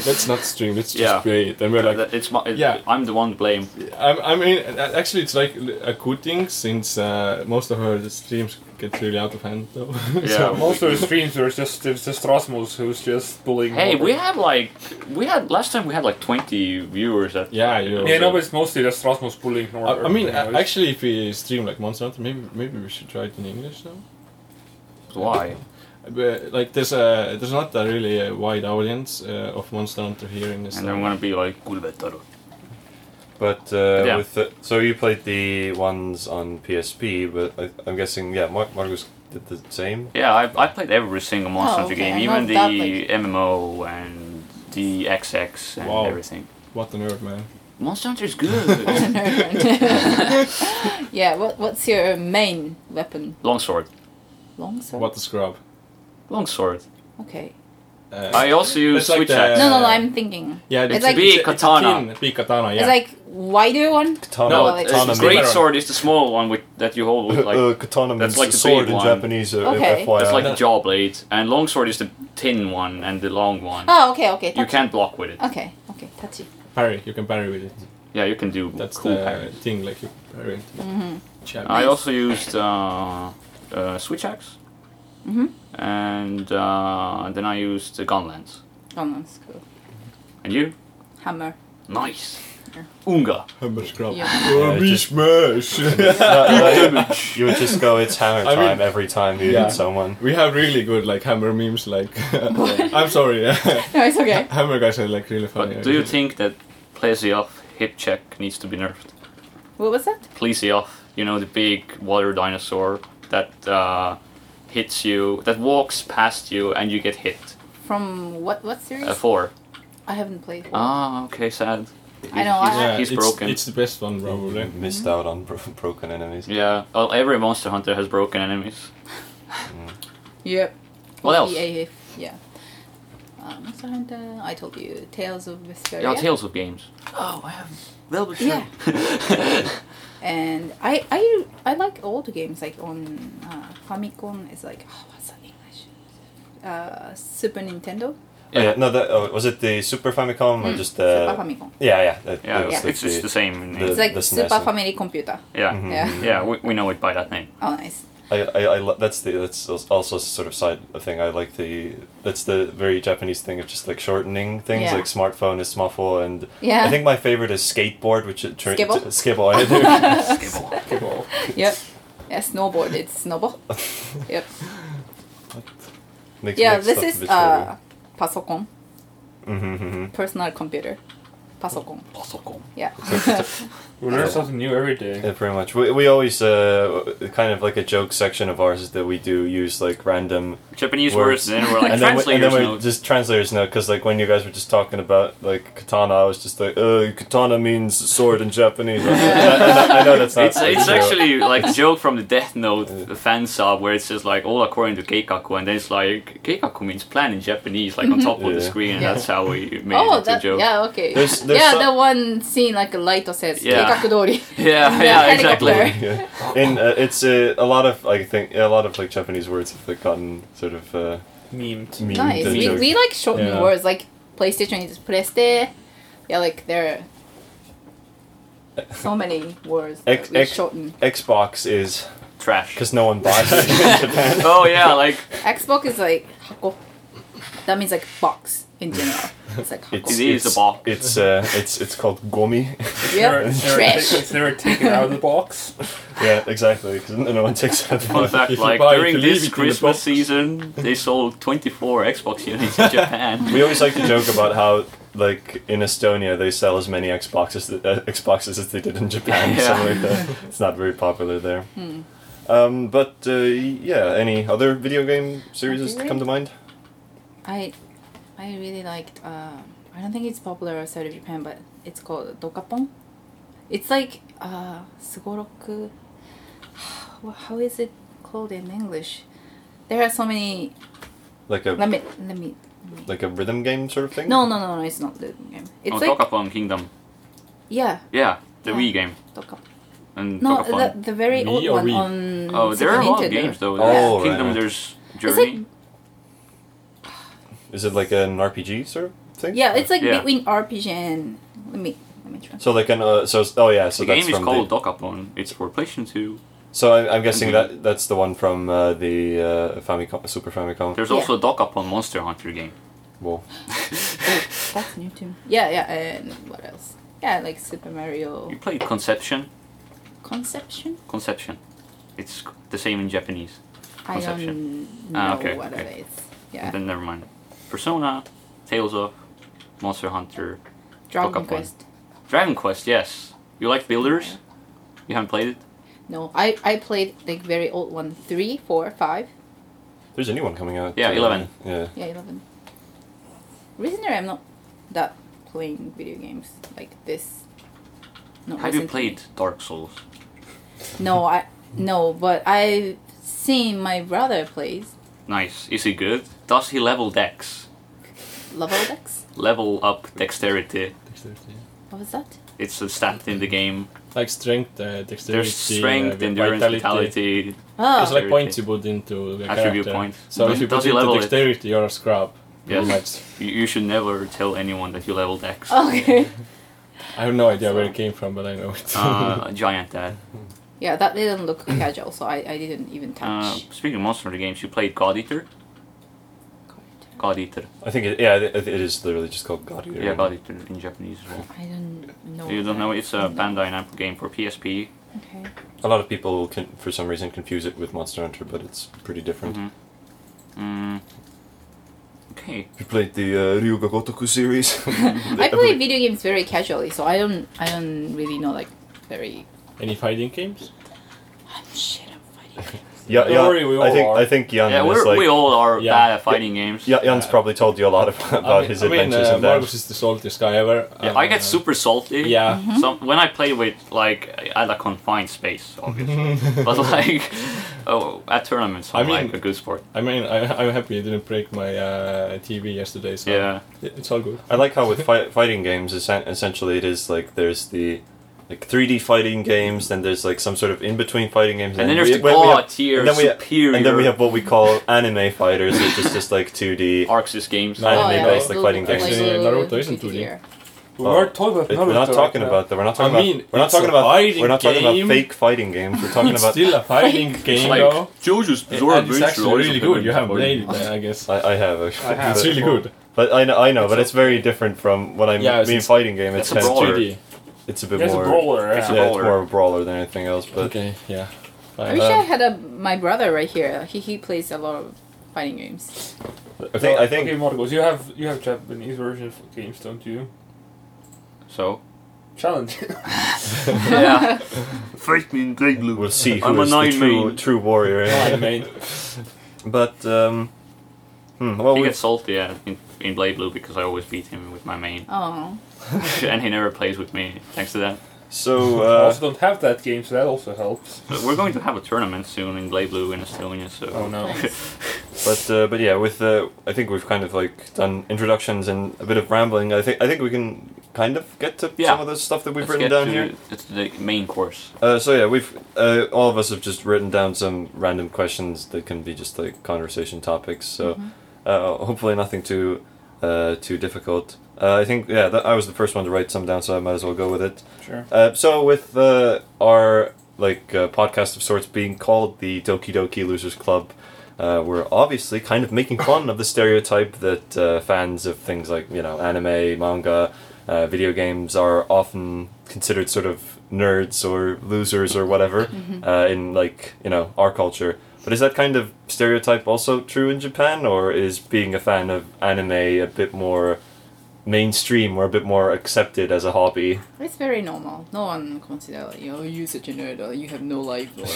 [SPEAKER 2] let's not stream, let's just
[SPEAKER 4] Yeah.
[SPEAKER 2] play it. And we're like,
[SPEAKER 4] That- it's my, it-
[SPEAKER 2] uh, Yeah.
[SPEAKER 4] I'm the one to blame.
[SPEAKER 2] I'm, I mean, a- actually, it's like a good thing since uh, most of her streams get really out of hand, though. (laughs)
[SPEAKER 4] Yeah.
[SPEAKER 1] Most of the streams are just it's just Rasmus who's just bullying.
[SPEAKER 4] Hey,
[SPEAKER 1] Robert.
[SPEAKER 4] we had like we had last time we had like 20 viewers at
[SPEAKER 2] yeah, you.
[SPEAKER 1] Yeah, no, but it's mostly just Rasmus bullying Norbert.
[SPEAKER 2] I, I mean,
[SPEAKER 1] you know,
[SPEAKER 2] a-
[SPEAKER 1] it's-
[SPEAKER 2] actually, if we stream like Monster Hunter, maybe maybe we should try it in English now.
[SPEAKER 4] why?
[SPEAKER 2] But like, there's a there's not a really uh wide audience uh, of Monster Hunter here in this. uh,
[SPEAKER 4] And I'm gonna be like Kulvetaro.
[SPEAKER 3] But uh,
[SPEAKER 4] Yeah.
[SPEAKER 3] with the, so you played the ones on PSP, but I, I'm guessing yeah, Mar- Marcus did the same.
[SPEAKER 4] Yeah, I, I played every single Monster
[SPEAKER 5] Oh,
[SPEAKER 4] Hunter
[SPEAKER 5] okay,
[SPEAKER 4] game,
[SPEAKER 5] I
[SPEAKER 4] even
[SPEAKER 5] know
[SPEAKER 4] the
[SPEAKER 5] that, like-
[SPEAKER 4] MMO and the XX and
[SPEAKER 2] Wow.
[SPEAKER 4] everything.
[SPEAKER 2] What on earth, man?
[SPEAKER 4] Monster Hunter is good.
[SPEAKER 5] (laughs) yeah, what, what's your main weapon?
[SPEAKER 4] (laughs) Long sword.
[SPEAKER 5] Longsword?
[SPEAKER 2] What a scrub.
[SPEAKER 4] Long sword.
[SPEAKER 5] Okay.
[SPEAKER 2] Uh,
[SPEAKER 4] I also use
[SPEAKER 2] It's like
[SPEAKER 4] switch
[SPEAKER 2] the-
[SPEAKER 4] axe.
[SPEAKER 5] No, no, no,
[SPEAKER 2] Uh,
[SPEAKER 5] I'm thinking.
[SPEAKER 2] Yeah,
[SPEAKER 5] It's like-
[SPEAKER 4] Big
[SPEAKER 2] a- a
[SPEAKER 4] katana.
[SPEAKER 2] thin Big katana, yeah.
[SPEAKER 5] It's like wider one?
[SPEAKER 3] Katana,
[SPEAKER 5] No,
[SPEAKER 4] No,
[SPEAKER 5] Oh, it's-
[SPEAKER 4] uh,
[SPEAKER 3] katana,
[SPEAKER 2] it's
[SPEAKER 4] great
[SPEAKER 2] means-
[SPEAKER 4] sword is the small one with that you hold with
[SPEAKER 3] means-
[SPEAKER 2] (laughs)
[SPEAKER 4] like
[SPEAKER 2] Oh,
[SPEAKER 3] uh, katana
[SPEAKER 4] that's
[SPEAKER 3] means
[SPEAKER 4] like
[SPEAKER 3] a
[SPEAKER 4] the
[SPEAKER 3] sword
[SPEAKER 4] big
[SPEAKER 3] in
[SPEAKER 4] one.
[SPEAKER 3] Japanese. Uh,
[SPEAKER 5] Okay.
[SPEAKER 3] FYI.
[SPEAKER 4] that's like
[SPEAKER 3] (laughs)
[SPEAKER 2] no.
[SPEAKER 4] the jaw blade, and long sword is the thin one and the long one.
[SPEAKER 5] Oh, okay, okay.
[SPEAKER 4] you
[SPEAKER 5] Tachi.
[SPEAKER 4] can't block with it.
[SPEAKER 5] Okay, okay, touchy.
[SPEAKER 2] parry. You can parry with it.
[SPEAKER 4] Yeah, you can do
[SPEAKER 2] That's
[SPEAKER 4] cool
[SPEAKER 2] the
[SPEAKER 4] parries.
[SPEAKER 2] thing, like you parry it.
[SPEAKER 5] Mm-hmm.
[SPEAKER 2] Jab.
[SPEAKER 4] I also used uh, uh, switch axe,
[SPEAKER 5] Mm-hmm.
[SPEAKER 4] and uh, then I used the gun lance.
[SPEAKER 5] Oh, no, it's cool.
[SPEAKER 4] And you?
[SPEAKER 5] Hammer. (laughs)
[SPEAKER 4] Nice.
[SPEAKER 5] Yeah.
[SPEAKER 4] Unga.
[SPEAKER 2] Hammer scrub.
[SPEAKER 5] Yeah.
[SPEAKER 2] Oh,
[SPEAKER 3] Yeah,
[SPEAKER 2] me
[SPEAKER 3] just-
[SPEAKER 2] (laughs) smash.
[SPEAKER 3] No, no, you would just go. It's hammer
[SPEAKER 2] I
[SPEAKER 3] time
[SPEAKER 2] mean-
[SPEAKER 3] every time you
[SPEAKER 2] Yeah.
[SPEAKER 3] hit someone.
[SPEAKER 2] we have really good like hammer memes. Like, (laughs) I'm sorry. Yeah. (laughs)
[SPEAKER 5] No, it's okay.
[SPEAKER 2] hammer guys are like really funny.
[SPEAKER 4] But do you think that Plesioff hip check needs to be nerfed?
[SPEAKER 5] What was that?
[SPEAKER 4] Plesioff, you know the big water dinosaur that uh, hits you, that walks past you, and you get hit.
[SPEAKER 5] From what what series?
[SPEAKER 4] Uh, four.
[SPEAKER 5] I haven't played.
[SPEAKER 4] Ah, okay, sad.
[SPEAKER 5] I know,
[SPEAKER 4] He's,
[SPEAKER 5] I-
[SPEAKER 2] Yeah,
[SPEAKER 4] he's
[SPEAKER 2] it's,
[SPEAKER 4] broken.
[SPEAKER 2] It's the best one probably.
[SPEAKER 3] Missed out on bro- broken enemies.
[SPEAKER 4] Yeah, well, every monster hunter has broken enemies.
[SPEAKER 5] Yep. E
[SPEAKER 4] What else?
[SPEAKER 5] EAF, yeah. uh, Monster Hunter. I told you Tales of Vesperia.
[SPEAKER 4] Yeah, Tales of Games.
[SPEAKER 5] Oh, I have
[SPEAKER 4] Velvet (laughs)
[SPEAKER 5] Yeah. And I I I like old games like on uh, Famicom. It's like oh, what's that English? Uh, Super Nintendo.
[SPEAKER 3] Yeah.
[SPEAKER 4] Yeah.
[SPEAKER 3] yeah, no, that, oh, was it the Super Famicom or
[SPEAKER 5] Mm,
[SPEAKER 3] just the?
[SPEAKER 5] Super Famicom.
[SPEAKER 3] yeah, yeah, that-
[SPEAKER 4] yeah,
[SPEAKER 3] that was
[SPEAKER 5] Yeah.
[SPEAKER 3] like
[SPEAKER 4] it's, it's the same. in
[SPEAKER 3] the- E
[SPEAKER 5] It's
[SPEAKER 4] name.
[SPEAKER 5] like
[SPEAKER 3] this and
[SPEAKER 5] Super
[SPEAKER 3] that, so-
[SPEAKER 5] Family Computer.
[SPEAKER 4] yeah,
[SPEAKER 3] Mhm.
[SPEAKER 5] Yeah.
[SPEAKER 4] yeah, we, we know it by that name.
[SPEAKER 5] Oh, nice.
[SPEAKER 3] I, I, I lo- that's the that's also sort of side thing I like the that's the very Japanese thing of just like shortening things
[SPEAKER 5] Yeah.
[SPEAKER 3] like smartphone is smuffle and
[SPEAKER 5] Yeah.
[SPEAKER 3] I think my favorite is skateboard which it turns
[SPEAKER 5] Skibble?
[SPEAKER 3] skibble I do.
[SPEAKER 2] (laughs)
[SPEAKER 1] Well,
[SPEAKER 5] (laughs)
[SPEAKER 3] Mm-hmm.
[SPEAKER 5] Yep. Yeah, snowboard. It's snowboard. (laughs) Yep.
[SPEAKER 3] (laughs) Makes-
[SPEAKER 5] Yeah,
[SPEAKER 3] makes
[SPEAKER 5] this
[SPEAKER 3] stuff a
[SPEAKER 5] is
[SPEAKER 3] bit
[SPEAKER 5] uh, pasokon,
[SPEAKER 3] shorter. Mhm,
[SPEAKER 5] personal computer, pasokon.
[SPEAKER 4] Bottle
[SPEAKER 3] (laughs)
[SPEAKER 5] Yeah.
[SPEAKER 1] we learn something new every day.
[SPEAKER 3] mhm. yeah pretty much we we always uh, kind of like a joke section of ours is that we do use like random
[SPEAKER 4] Japanese
[SPEAKER 3] Words.
[SPEAKER 4] words, and then we're like
[SPEAKER 3] (laughs) and then, we, and
[SPEAKER 4] translators.
[SPEAKER 3] then we
[SPEAKER 4] note.
[SPEAKER 3] just translators note because like when you guys were just talking about like katana, I was just like, uh, katana means sword in Japanese. I, I- I know that's not.
[SPEAKER 4] It's, it's
[SPEAKER 3] true.
[SPEAKER 4] actually like a joke from the Death Note fan sub where it says like all according to Keikaku and then it's like Keikaku means plan in Japanese like on top of the
[SPEAKER 3] Yeah.
[SPEAKER 4] screen and
[SPEAKER 5] Mm-hmm. Yeah.
[SPEAKER 4] that's how we made
[SPEAKER 5] (laughs) oh,
[SPEAKER 4] it a
[SPEAKER 5] that,
[SPEAKER 4] joke.
[SPEAKER 5] yeah. Okay.
[SPEAKER 3] There's- there's
[SPEAKER 5] yeah,
[SPEAKER 3] some-
[SPEAKER 5] the one scene like Light says,
[SPEAKER 3] (laughs)
[SPEAKER 4] Yeah.
[SPEAKER 5] "Keikakudori."
[SPEAKER 4] yeah,
[SPEAKER 5] Yeah,
[SPEAKER 4] yeah,
[SPEAKER 5] helicopter.
[SPEAKER 4] exactly.
[SPEAKER 3] (laughs) yeah. And uh, it's uh, a lot of I think a lot of like Japanese words have like, gotten sort of uh,
[SPEAKER 1] Memed.
[SPEAKER 3] memed
[SPEAKER 5] Nice.
[SPEAKER 3] and
[SPEAKER 5] We,
[SPEAKER 3] joked.
[SPEAKER 5] we like shortening
[SPEAKER 2] Yeah.
[SPEAKER 5] words like PlayStation is preste. Yeah, like there are so many words that
[SPEAKER 3] X-
[SPEAKER 5] we
[SPEAKER 3] X-
[SPEAKER 5] shorten.
[SPEAKER 3] Xbox is
[SPEAKER 4] Trash.
[SPEAKER 3] (laughs) because no one buys it in Japan.
[SPEAKER 4] (laughs) Oh yeah, like
[SPEAKER 5] Xbox is like hako. That means like box in general. It's like hako.
[SPEAKER 4] It is a box.
[SPEAKER 3] It's uh, it's it's called gomi.
[SPEAKER 5] yeah,
[SPEAKER 1] It's never, never,
[SPEAKER 5] trash.
[SPEAKER 1] ta- it's never taken out of the box.
[SPEAKER 3] (laughs) yeah, exactly. Because no one takes it. (laughs)
[SPEAKER 4] fun fact
[SPEAKER 2] If you
[SPEAKER 4] like
[SPEAKER 2] buy it,
[SPEAKER 4] during
[SPEAKER 2] you leave it
[SPEAKER 4] this
[SPEAKER 2] in the
[SPEAKER 4] Christmas
[SPEAKER 2] box.
[SPEAKER 4] season they sold 24 Xbox
[SPEAKER 3] (laughs)
[SPEAKER 4] units in Japan.
[SPEAKER 3] We always like to joke about how, like in Estonia, they sell as many Xboxes th- uh, Xboxes as they did in Japan.
[SPEAKER 4] Yeah.
[SPEAKER 3] something like
[SPEAKER 4] (laughs)
[SPEAKER 3] that. It's not very popular there.
[SPEAKER 5] Hmm.
[SPEAKER 3] Um, but uh, yeah, any other video game series
[SPEAKER 5] Okay.
[SPEAKER 3] come to mind?
[SPEAKER 5] I I really liked. Um, I don't think it's popular outside of Japan, but it's called dokapon. It's like uh, sugoroku. (sighs) Wha- How is it called in English? There are so many.
[SPEAKER 3] Like a
[SPEAKER 5] Let me let me. Let me
[SPEAKER 3] like a rhythm game sort of thing?
[SPEAKER 5] No, no, no, no, it's not the game. It's
[SPEAKER 4] oh,
[SPEAKER 5] like
[SPEAKER 4] Dokapon Kingdom.
[SPEAKER 5] yeah,
[SPEAKER 4] Yeah, the
[SPEAKER 5] Yeah.
[SPEAKER 4] Wii game
[SPEAKER 5] Dokkan.
[SPEAKER 4] and
[SPEAKER 5] No, the,
[SPEAKER 4] Dokapon.
[SPEAKER 5] the very
[SPEAKER 2] Wii
[SPEAKER 5] old
[SPEAKER 2] or
[SPEAKER 5] one
[SPEAKER 2] Wii?
[SPEAKER 5] on.
[SPEAKER 4] Oh, there
[SPEAKER 5] Super
[SPEAKER 4] are a lot
[SPEAKER 5] Nintendo.
[SPEAKER 4] of games though.
[SPEAKER 3] Oh,
[SPEAKER 4] There's
[SPEAKER 3] right,
[SPEAKER 4] Kingdom,
[SPEAKER 3] right.
[SPEAKER 4] there's
[SPEAKER 5] like-
[SPEAKER 4] Journey.
[SPEAKER 3] Is it like an RPG sort of thing?
[SPEAKER 5] Yeah, it's like
[SPEAKER 4] Yeah.
[SPEAKER 5] between RPG and let me let me try.
[SPEAKER 3] So like an uh, so oh yeah so
[SPEAKER 4] the
[SPEAKER 3] that's
[SPEAKER 4] game is
[SPEAKER 3] from
[SPEAKER 4] called
[SPEAKER 3] the,
[SPEAKER 4] Dokapon. It's for PlayStation 2.
[SPEAKER 3] so I, I'm guessing
[SPEAKER 4] Mhm.
[SPEAKER 3] that that's the one from uh, the uh, Famicom Super Famicom.
[SPEAKER 4] There's
[SPEAKER 5] Yeah.
[SPEAKER 4] also a Dokapon Monster Hunter game. (laughs)
[SPEAKER 3] Whoa.
[SPEAKER 5] That's new to me. Yeah, yeah, and what else? Yeah, like Super Mario
[SPEAKER 4] You played Conception?
[SPEAKER 5] Conception.
[SPEAKER 4] Conception. It's c- the same in Japanese.
[SPEAKER 5] I don't
[SPEAKER 4] Conception.
[SPEAKER 5] know
[SPEAKER 4] Ah, okay,
[SPEAKER 5] what
[SPEAKER 4] okay.
[SPEAKER 5] it is. Yeah,
[SPEAKER 4] Then never mind. Persona, Tales of, Monster Hunter,
[SPEAKER 5] Dragon
[SPEAKER 4] Dokkan.
[SPEAKER 5] Quest.
[SPEAKER 4] Dragon Quest. Yes. You like Builders? You haven't played it?
[SPEAKER 5] No, I I played like very old one, three, four, five.
[SPEAKER 3] There's a new one coming out.
[SPEAKER 4] Yeah,
[SPEAKER 3] uh,
[SPEAKER 4] 11.
[SPEAKER 3] Yeah.
[SPEAKER 5] Yeah, eleven. Recently, I'm not that playing video games like this. Not
[SPEAKER 4] Have you
[SPEAKER 5] recently.
[SPEAKER 4] played Dark Souls?
[SPEAKER 5] No, I no, but I've seen my brother plays
[SPEAKER 4] Nice. Is he good? Does he level Dex?
[SPEAKER 5] level decks.
[SPEAKER 4] Level up dexterity.
[SPEAKER 2] Dexterity.
[SPEAKER 5] What was that?
[SPEAKER 4] It's a stat in the game.
[SPEAKER 2] Like strength, uh, dexterity,
[SPEAKER 4] There's strength,
[SPEAKER 2] uh,
[SPEAKER 4] endurance, vitality.
[SPEAKER 5] Oh,
[SPEAKER 2] There's like
[SPEAKER 4] Dexterity.
[SPEAKER 2] points you put into the
[SPEAKER 4] Attribute
[SPEAKER 2] character.
[SPEAKER 4] points.
[SPEAKER 2] So
[SPEAKER 4] Mhm.
[SPEAKER 2] if you
[SPEAKER 4] Does
[SPEAKER 2] put
[SPEAKER 4] he
[SPEAKER 2] into
[SPEAKER 4] level it?
[SPEAKER 2] dexterity, you're a scrub.
[SPEAKER 4] Yes.
[SPEAKER 2] Pretty much.
[SPEAKER 4] You, you should never tell anyone that you level Dex.
[SPEAKER 5] okay.
[SPEAKER 2] I have no idea where it came from, but I know it. (laughs)
[SPEAKER 4] uh, (laughs) giant dad.
[SPEAKER 5] Yeah, that didn't look casual, so I, I didn't even
[SPEAKER 4] Uh,
[SPEAKER 5] touch.
[SPEAKER 4] speaking of Monster Hunter games, you played God Eater. God Eater.
[SPEAKER 3] I think it, yeah it, it is literally just called God Eater.
[SPEAKER 4] Yeah, God Eater in Japanese as well.
[SPEAKER 5] I don't know.
[SPEAKER 4] You don't
[SPEAKER 5] that.
[SPEAKER 4] know? It's a
[SPEAKER 5] No.
[SPEAKER 4] Bandai Namco game for PSP. (laughs)
[SPEAKER 5] Okay. (laughs)
[SPEAKER 3] A lot of people can, for some reason, confuse it with Monster Hunter, but it's pretty different.
[SPEAKER 4] Mhm. Mm. Okay.
[SPEAKER 3] You played the uh, Ryuga Gotoku series.
[SPEAKER 4] (laughs)
[SPEAKER 3] (laughs)
[SPEAKER 5] I play video games very casually, so I don't I don't really know like very.
[SPEAKER 2] Any fighting games?
[SPEAKER 5] I'm shit. I'm fighting.
[SPEAKER 3] Yeah,
[SPEAKER 1] Don't
[SPEAKER 3] yeah,
[SPEAKER 1] worry, we all
[SPEAKER 3] I think
[SPEAKER 1] are.
[SPEAKER 3] I think Jan
[SPEAKER 4] yeah,
[SPEAKER 3] is
[SPEAKER 4] we're,
[SPEAKER 3] like
[SPEAKER 4] we all are
[SPEAKER 2] Yeah.
[SPEAKER 4] bad at fighting games.
[SPEAKER 3] Ja- Jan's
[SPEAKER 2] Yeah.
[SPEAKER 3] probably told you a lot about, about
[SPEAKER 2] I mean,
[SPEAKER 3] his
[SPEAKER 2] I mean,
[SPEAKER 3] adventures
[SPEAKER 2] uh,
[SPEAKER 3] and that.
[SPEAKER 2] Marcus is the saltiest guy ever.
[SPEAKER 4] Yeah,
[SPEAKER 2] and,
[SPEAKER 4] I get
[SPEAKER 2] uh,
[SPEAKER 4] super salty.
[SPEAKER 2] Yeah.
[SPEAKER 4] So when I play with like at a confined space, obviously,
[SPEAKER 2] (laughs)
[SPEAKER 4] but like (laughs) oh, at tournaments, I'm
[SPEAKER 2] Mm-hmm. I mean-
[SPEAKER 4] like a good sport.
[SPEAKER 2] I mean, I, I'm happy you didn't break my uh, TV yesterday, so
[SPEAKER 4] Yeah,
[SPEAKER 2] it- it's all good.
[SPEAKER 3] I like how with fi- fighting games, essen- essentially it is like there's the like 3D fighting games, then there's like some sort of in between fighting games,
[SPEAKER 4] and then there's
[SPEAKER 3] we-
[SPEAKER 4] the
[SPEAKER 3] when we have-
[SPEAKER 4] god tier
[SPEAKER 3] and then we have-
[SPEAKER 4] superior
[SPEAKER 3] and then we have what we call anime fighters, which is just like 2D.
[SPEAKER 4] Arxis games.
[SPEAKER 2] No, Anime
[SPEAKER 3] like,
[SPEAKER 2] based,
[SPEAKER 5] Google
[SPEAKER 3] fighting games.
[SPEAKER 5] Oh, Play-
[SPEAKER 2] Actually, Naruto isn't
[SPEAKER 5] Google
[SPEAKER 2] 2D.
[SPEAKER 5] here.
[SPEAKER 1] We weren't talking about
[SPEAKER 3] It-
[SPEAKER 1] Naruto
[SPEAKER 3] Oh. we're not
[SPEAKER 1] right
[SPEAKER 3] talking
[SPEAKER 1] now.
[SPEAKER 3] about that. We're not talking
[SPEAKER 2] I mean,
[SPEAKER 3] about. We're not
[SPEAKER 2] it's a
[SPEAKER 3] talking about.
[SPEAKER 2] fighting
[SPEAKER 3] We're not talking about
[SPEAKER 2] game.
[SPEAKER 3] fake fighting games. We're talking
[SPEAKER 2] it's
[SPEAKER 3] about.
[SPEAKER 2] still a fighting game,
[SPEAKER 4] like
[SPEAKER 2] though.
[SPEAKER 4] JoJo's
[SPEAKER 2] And
[SPEAKER 4] Bizarre
[SPEAKER 2] it's
[SPEAKER 4] Adventure.
[SPEAKER 2] actually
[SPEAKER 4] Horizon
[SPEAKER 2] really good. You
[SPEAKER 4] Forbidden
[SPEAKER 2] haven't
[SPEAKER 4] West.
[SPEAKER 2] played it, I
[SPEAKER 3] (laughs)
[SPEAKER 2] guess.
[SPEAKER 3] I, I have actually.
[SPEAKER 1] I have.
[SPEAKER 2] It's really good.
[SPEAKER 3] But I know, I know, but it's very different from what I
[SPEAKER 2] Yeah, it's-
[SPEAKER 3] mean.
[SPEAKER 2] it's-
[SPEAKER 3] Fighting game. It's
[SPEAKER 4] it's a
[SPEAKER 3] kind of
[SPEAKER 4] brawler.
[SPEAKER 3] more.
[SPEAKER 2] 2D.
[SPEAKER 3] It's a bit
[SPEAKER 1] It's a
[SPEAKER 3] more.
[SPEAKER 1] brawler.
[SPEAKER 4] It's
[SPEAKER 1] Yeah.
[SPEAKER 4] a
[SPEAKER 3] Yeah, it's
[SPEAKER 4] brawler.
[SPEAKER 3] more of a brawler than anything else. But
[SPEAKER 2] Okay, yeah.
[SPEAKER 5] I
[SPEAKER 2] Fine. Uh,
[SPEAKER 5] wish
[SPEAKER 3] Um,
[SPEAKER 5] I had a my brother right here. He he plays a lot of fighting games.
[SPEAKER 3] I think I
[SPEAKER 1] Okay,
[SPEAKER 3] think
[SPEAKER 1] Marcos, you have you have Japanese version of games, don't you?
[SPEAKER 4] So
[SPEAKER 1] Challenge. (laughs)
[SPEAKER 5] (laughs)
[SPEAKER 4] yeah, fight me in Great Blue.
[SPEAKER 3] we'll see
[SPEAKER 4] I'm
[SPEAKER 3] who
[SPEAKER 4] a
[SPEAKER 3] is the
[SPEAKER 4] nine
[SPEAKER 3] true,
[SPEAKER 4] main.
[SPEAKER 3] true warrior.
[SPEAKER 2] (laughs)
[SPEAKER 1] I mean,
[SPEAKER 3] (laughs) But um, hmm, well,
[SPEAKER 4] He
[SPEAKER 3] we
[SPEAKER 4] gets salty yeah, in, in Blade Blue because I always beat him with my main,
[SPEAKER 5] Oh,
[SPEAKER 4] and he never plays with me. Thanks to that,
[SPEAKER 3] so
[SPEAKER 1] I
[SPEAKER 3] uh,
[SPEAKER 1] also don't have that game, so that also helps.
[SPEAKER 4] but we're going to have a tournament soon in Blade Blue in Estonia. So
[SPEAKER 1] Oh no.
[SPEAKER 3] but uh, but yeah, with uh, I think we've kind of like done introductions and a bit of rambling. I think I think we can kind of get to
[SPEAKER 4] Yeah.
[SPEAKER 3] some of the stuff that we've
[SPEAKER 4] Let's
[SPEAKER 3] written
[SPEAKER 4] get
[SPEAKER 3] down
[SPEAKER 4] to-
[SPEAKER 3] here.
[SPEAKER 4] It's the main course.
[SPEAKER 3] Uh, so yeah, we've uh, all of us have just written down some random questions that can be just like conversation topics. So uh, hopefully nothing too uh, too difficult. Uh, I think yeah, that, I was the first one to write some down, so I might as well go with it.
[SPEAKER 1] Sure.
[SPEAKER 3] Uh, so with uh, our like uh, podcast of sorts being called the Doki Doki Losers Club, uh, we're obviously kind of making fun of the stereotype that uh, fans of things like you know anime, manga, uh, video games are often considered sort of nerds or losers or whatever uh, in like you know our culture. But is that kind of stereotype also true in Japan, or is being a fan of anime a bit more mainstream or a bit more accepted as a hobby?
[SPEAKER 5] it's very normal. No one consider like, you know you such a nerd or you have no life or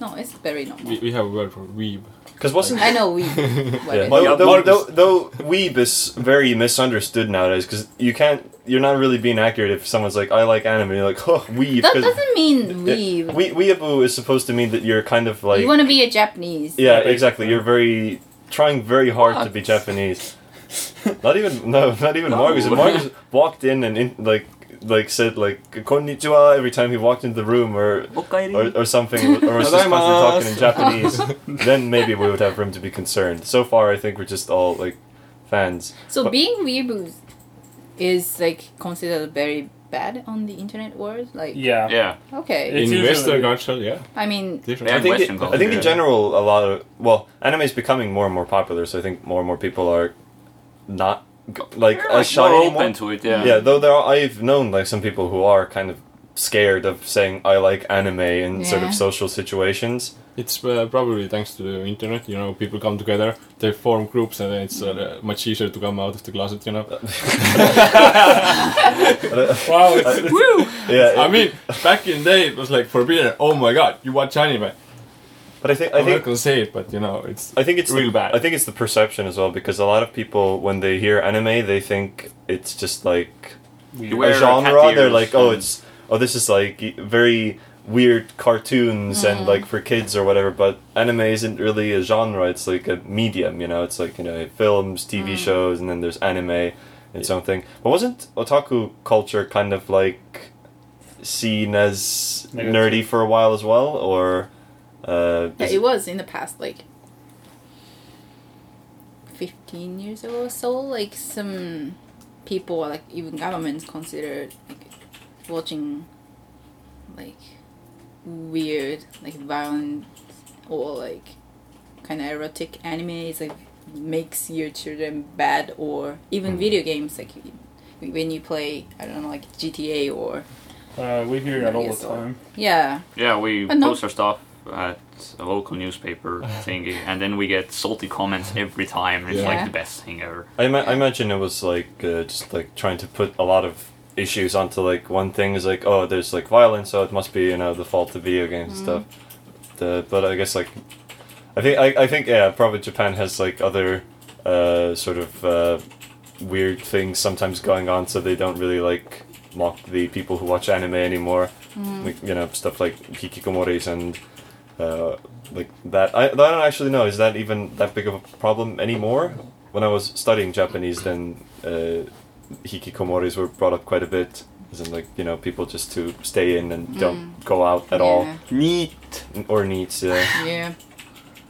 [SPEAKER 5] no. No, it's very
[SPEAKER 2] We,
[SPEAKER 5] normal.
[SPEAKER 2] we have a word for weeb.
[SPEAKER 3] Because wasn't
[SPEAKER 5] I know we.
[SPEAKER 3] Yeah.
[SPEAKER 5] What
[SPEAKER 3] Though,
[SPEAKER 5] is-
[SPEAKER 4] Yeah,
[SPEAKER 3] though,
[SPEAKER 4] Marcus-
[SPEAKER 3] though, though weeb is very misunderstood nowadays because you can't, you're not really being accurate if someone's like, I like anime, you're like, oh, weeb.
[SPEAKER 5] That
[SPEAKER 3] 'cause
[SPEAKER 5] doesn't mean
[SPEAKER 3] it-
[SPEAKER 5] we.
[SPEAKER 3] we. Weeaboo is supposed to mean that you're kind of like,
[SPEAKER 5] you want to be a Japanese.
[SPEAKER 3] yeah,
[SPEAKER 1] Yeah,
[SPEAKER 3] exactly. You're very, trying very hard to be
[SPEAKER 5] Fuck.
[SPEAKER 3] Japanese. Not even, no, not even
[SPEAKER 4] No.
[SPEAKER 5] (laughs)
[SPEAKER 3] Marcus. If Marcus walked in and in, like, like said like konnichiwa every time he walked into the room or or, or something, or was just constantly talking in Japanese, then maybe we would have room to be concerned. So far, I think we're just all like fans.
[SPEAKER 5] So
[SPEAKER 3] But-
[SPEAKER 5] being weeaboo is like considered very bad on the internet world. Like
[SPEAKER 1] Yeah.
[SPEAKER 4] (laughs) Yeah,
[SPEAKER 5] okay,
[SPEAKER 1] It- It's
[SPEAKER 2] in
[SPEAKER 1] usually-
[SPEAKER 2] Western culture, yeah.
[SPEAKER 5] I mean
[SPEAKER 2] Different.
[SPEAKER 4] Yeah,
[SPEAKER 3] I think, it-
[SPEAKER 4] Western
[SPEAKER 3] I think
[SPEAKER 4] culture.
[SPEAKER 3] in general, a lot of well, anime is becoming more and more popular. So I think more and more people are not g- like
[SPEAKER 4] We're,
[SPEAKER 3] as shy
[SPEAKER 4] more
[SPEAKER 3] anymore.
[SPEAKER 4] open to it. Yeah,
[SPEAKER 3] yeah, though there are, I've known like some people who are kind of scared of saying I like anime in sort
[SPEAKER 5] Yeah.
[SPEAKER 3] of social situations.
[SPEAKER 2] It's uh, probably thanks to the internet, you know, people come together, they form groups, and then it's uh, much easier to come out of the closet, you know. (laughs)
[SPEAKER 1] Wow. It's, it's,
[SPEAKER 3] Yeah,
[SPEAKER 2] I mean,
[SPEAKER 3] (laughs)
[SPEAKER 2] back in the day, it was like forbidden. Oh my god, you watch anime.
[SPEAKER 3] but I think I
[SPEAKER 2] I'm
[SPEAKER 3] think
[SPEAKER 2] not gonna say it, but you know, it's.
[SPEAKER 3] I think it's
[SPEAKER 2] Real
[SPEAKER 3] the,
[SPEAKER 2] bad.
[SPEAKER 3] I think it's the perception as well because a lot of people when they hear anime, they think it's just like
[SPEAKER 1] weird.
[SPEAKER 4] You wear
[SPEAKER 3] a
[SPEAKER 4] cat
[SPEAKER 3] genre. They're
[SPEAKER 4] ears
[SPEAKER 3] like, oh,
[SPEAKER 4] and-
[SPEAKER 3] it's oh, this is like y- very weird cartoons
[SPEAKER 5] Mm.
[SPEAKER 3] and like for kids or whatever. But anime isn't really a genre. It's like a medium. You know, it's like you know films, TV
[SPEAKER 5] Mm.
[SPEAKER 3] shows, and then there's anime. It's own thing. But wasn't otaku culture kind of like seen as
[SPEAKER 1] Negative.
[SPEAKER 3] nerdy for a while as well, or? Uh,
[SPEAKER 5] Yeah,
[SPEAKER 3] is
[SPEAKER 5] it was in the past, like fifteen years ago or so. Like some people, like even governments, considered like watching like weird, like violent or like kind of erotic anime. It's like makes your children bad, or even video games. Like when you play, I don't know, like GTA or
[SPEAKER 1] Uh, we hear that all the
[SPEAKER 5] Yes.
[SPEAKER 1] time.
[SPEAKER 5] yeah.
[SPEAKER 4] yeah. We
[SPEAKER 5] But no-
[SPEAKER 4] post our stuff at a local
[SPEAKER 3] (laughs)
[SPEAKER 4] newspaper thingy, and then we get salty comments every time. And it's
[SPEAKER 2] Yeah.
[SPEAKER 4] like the best thing ever.
[SPEAKER 3] I, ima- I imagine it was like uh, just like trying to put a lot of issues onto like one thing is like oh there's like violence so it must be you know the fault of video games and stuff The, but I guess like, I think I, I think yeah, probably Japan has like other uh, sort of uh, weird things sometimes going on, so they don't really like mock the people who watch anime anymore. Like you know stuff like hikikomoris and uh, like that. I, I don't actually know. Is that even that big of a problem anymore? When I was studying Japanese, then uh, hikikomoris were brought up quite a bit. As in, like you know, people just to stay in and don't go out at all.
[SPEAKER 5] Yeah.
[SPEAKER 3] Neat or neat. Yeah.
[SPEAKER 5] Yeah.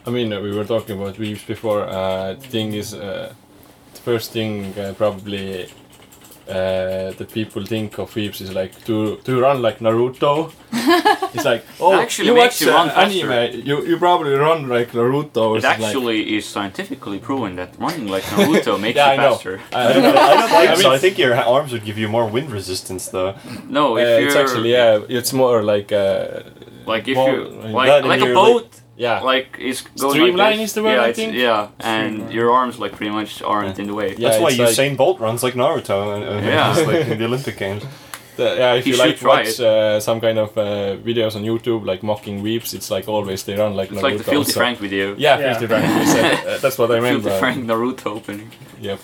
[SPEAKER 2] I mean, uh, we were talking about weaves before. Uh, thing is, uh, the first thing uh, probably uh, that people think of weaves is like to to run like Naruto. it's like oh,
[SPEAKER 4] Actually
[SPEAKER 2] you
[SPEAKER 4] makes
[SPEAKER 2] watch
[SPEAKER 4] you run
[SPEAKER 2] uh,
[SPEAKER 4] faster.
[SPEAKER 2] anime, you you probably run like Naruto. or
[SPEAKER 4] It
[SPEAKER 2] something like,
[SPEAKER 4] actually is scientifically proven that running
[SPEAKER 2] (laughs)
[SPEAKER 4] like Naruto makes
[SPEAKER 2] yeah,
[SPEAKER 4] you
[SPEAKER 2] I know.
[SPEAKER 4] faster.
[SPEAKER 2] I,
[SPEAKER 3] I don't, know. I don't think
[SPEAKER 2] I mean-
[SPEAKER 3] so. I think your arms would give you more wind resistance, though.
[SPEAKER 4] No,
[SPEAKER 2] Uh,
[SPEAKER 4] if you're
[SPEAKER 2] it's actually yeah, it's more like uh,
[SPEAKER 4] like if
[SPEAKER 2] more-
[SPEAKER 4] you
[SPEAKER 3] that
[SPEAKER 4] like
[SPEAKER 3] and
[SPEAKER 4] like a
[SPEAKER 3] you're,
[SPEAKER 4] boat
[SPEAKER 2] yeah.
[SPEAKER 4] like is going like
[SPEAKER 2] Streamline
[SPEAKER 4] this.
[SPEAKER 2] is the word,
[SPEAKER 4] yeah,
[SPEAKER 2] I
[SPEAKER 4] it's-
[SPEAKER 2] think.
[SPEAKER 4] Yeah, and
[SPEAKER 2] Streamline.
[SPEAKER 4] your arms like pretty much aren't in the way.
[SPEAKER 2] Yeah,
[SPEAKER 3] That's why
[SPEAKER 2] it's like-
[SPEAKER 3] Usain Bolt runs like Naruto, and, and
[SPEAKER 4] Yeah.
[SPEAKER 3] just like in the Olympic Games.
[SPEAKER 2] The- yeah, if
[SPEAKER 4] He
[SPEAKER 2] you
[SPEAKER 4] should
[SPEAKER 2] like
[SPEAKER 4] try
[SPEAKER 2] watch
[SPEAKER 4] it.
[SPEAKER 2] uh, some kind of uh, videos on YouTube, like mocking weeps, it's like always they run like
[SPEAKER 4] It's
[SPEAKER 2] Naruto.
[SPEAKER 4] like the Filthy
[SPEAKER 2] so-
[SPEAKER 4] Frank video.
[SPEAKER 2] Yeah,
[SPEAKER 6] Yeah.
[SPEAKER 2] Filthy Frank. you said, uh, that's what I meant.
[SPEAKER 4] Filthy Frank Naruto opening.
[SPEAKER 2] Yep.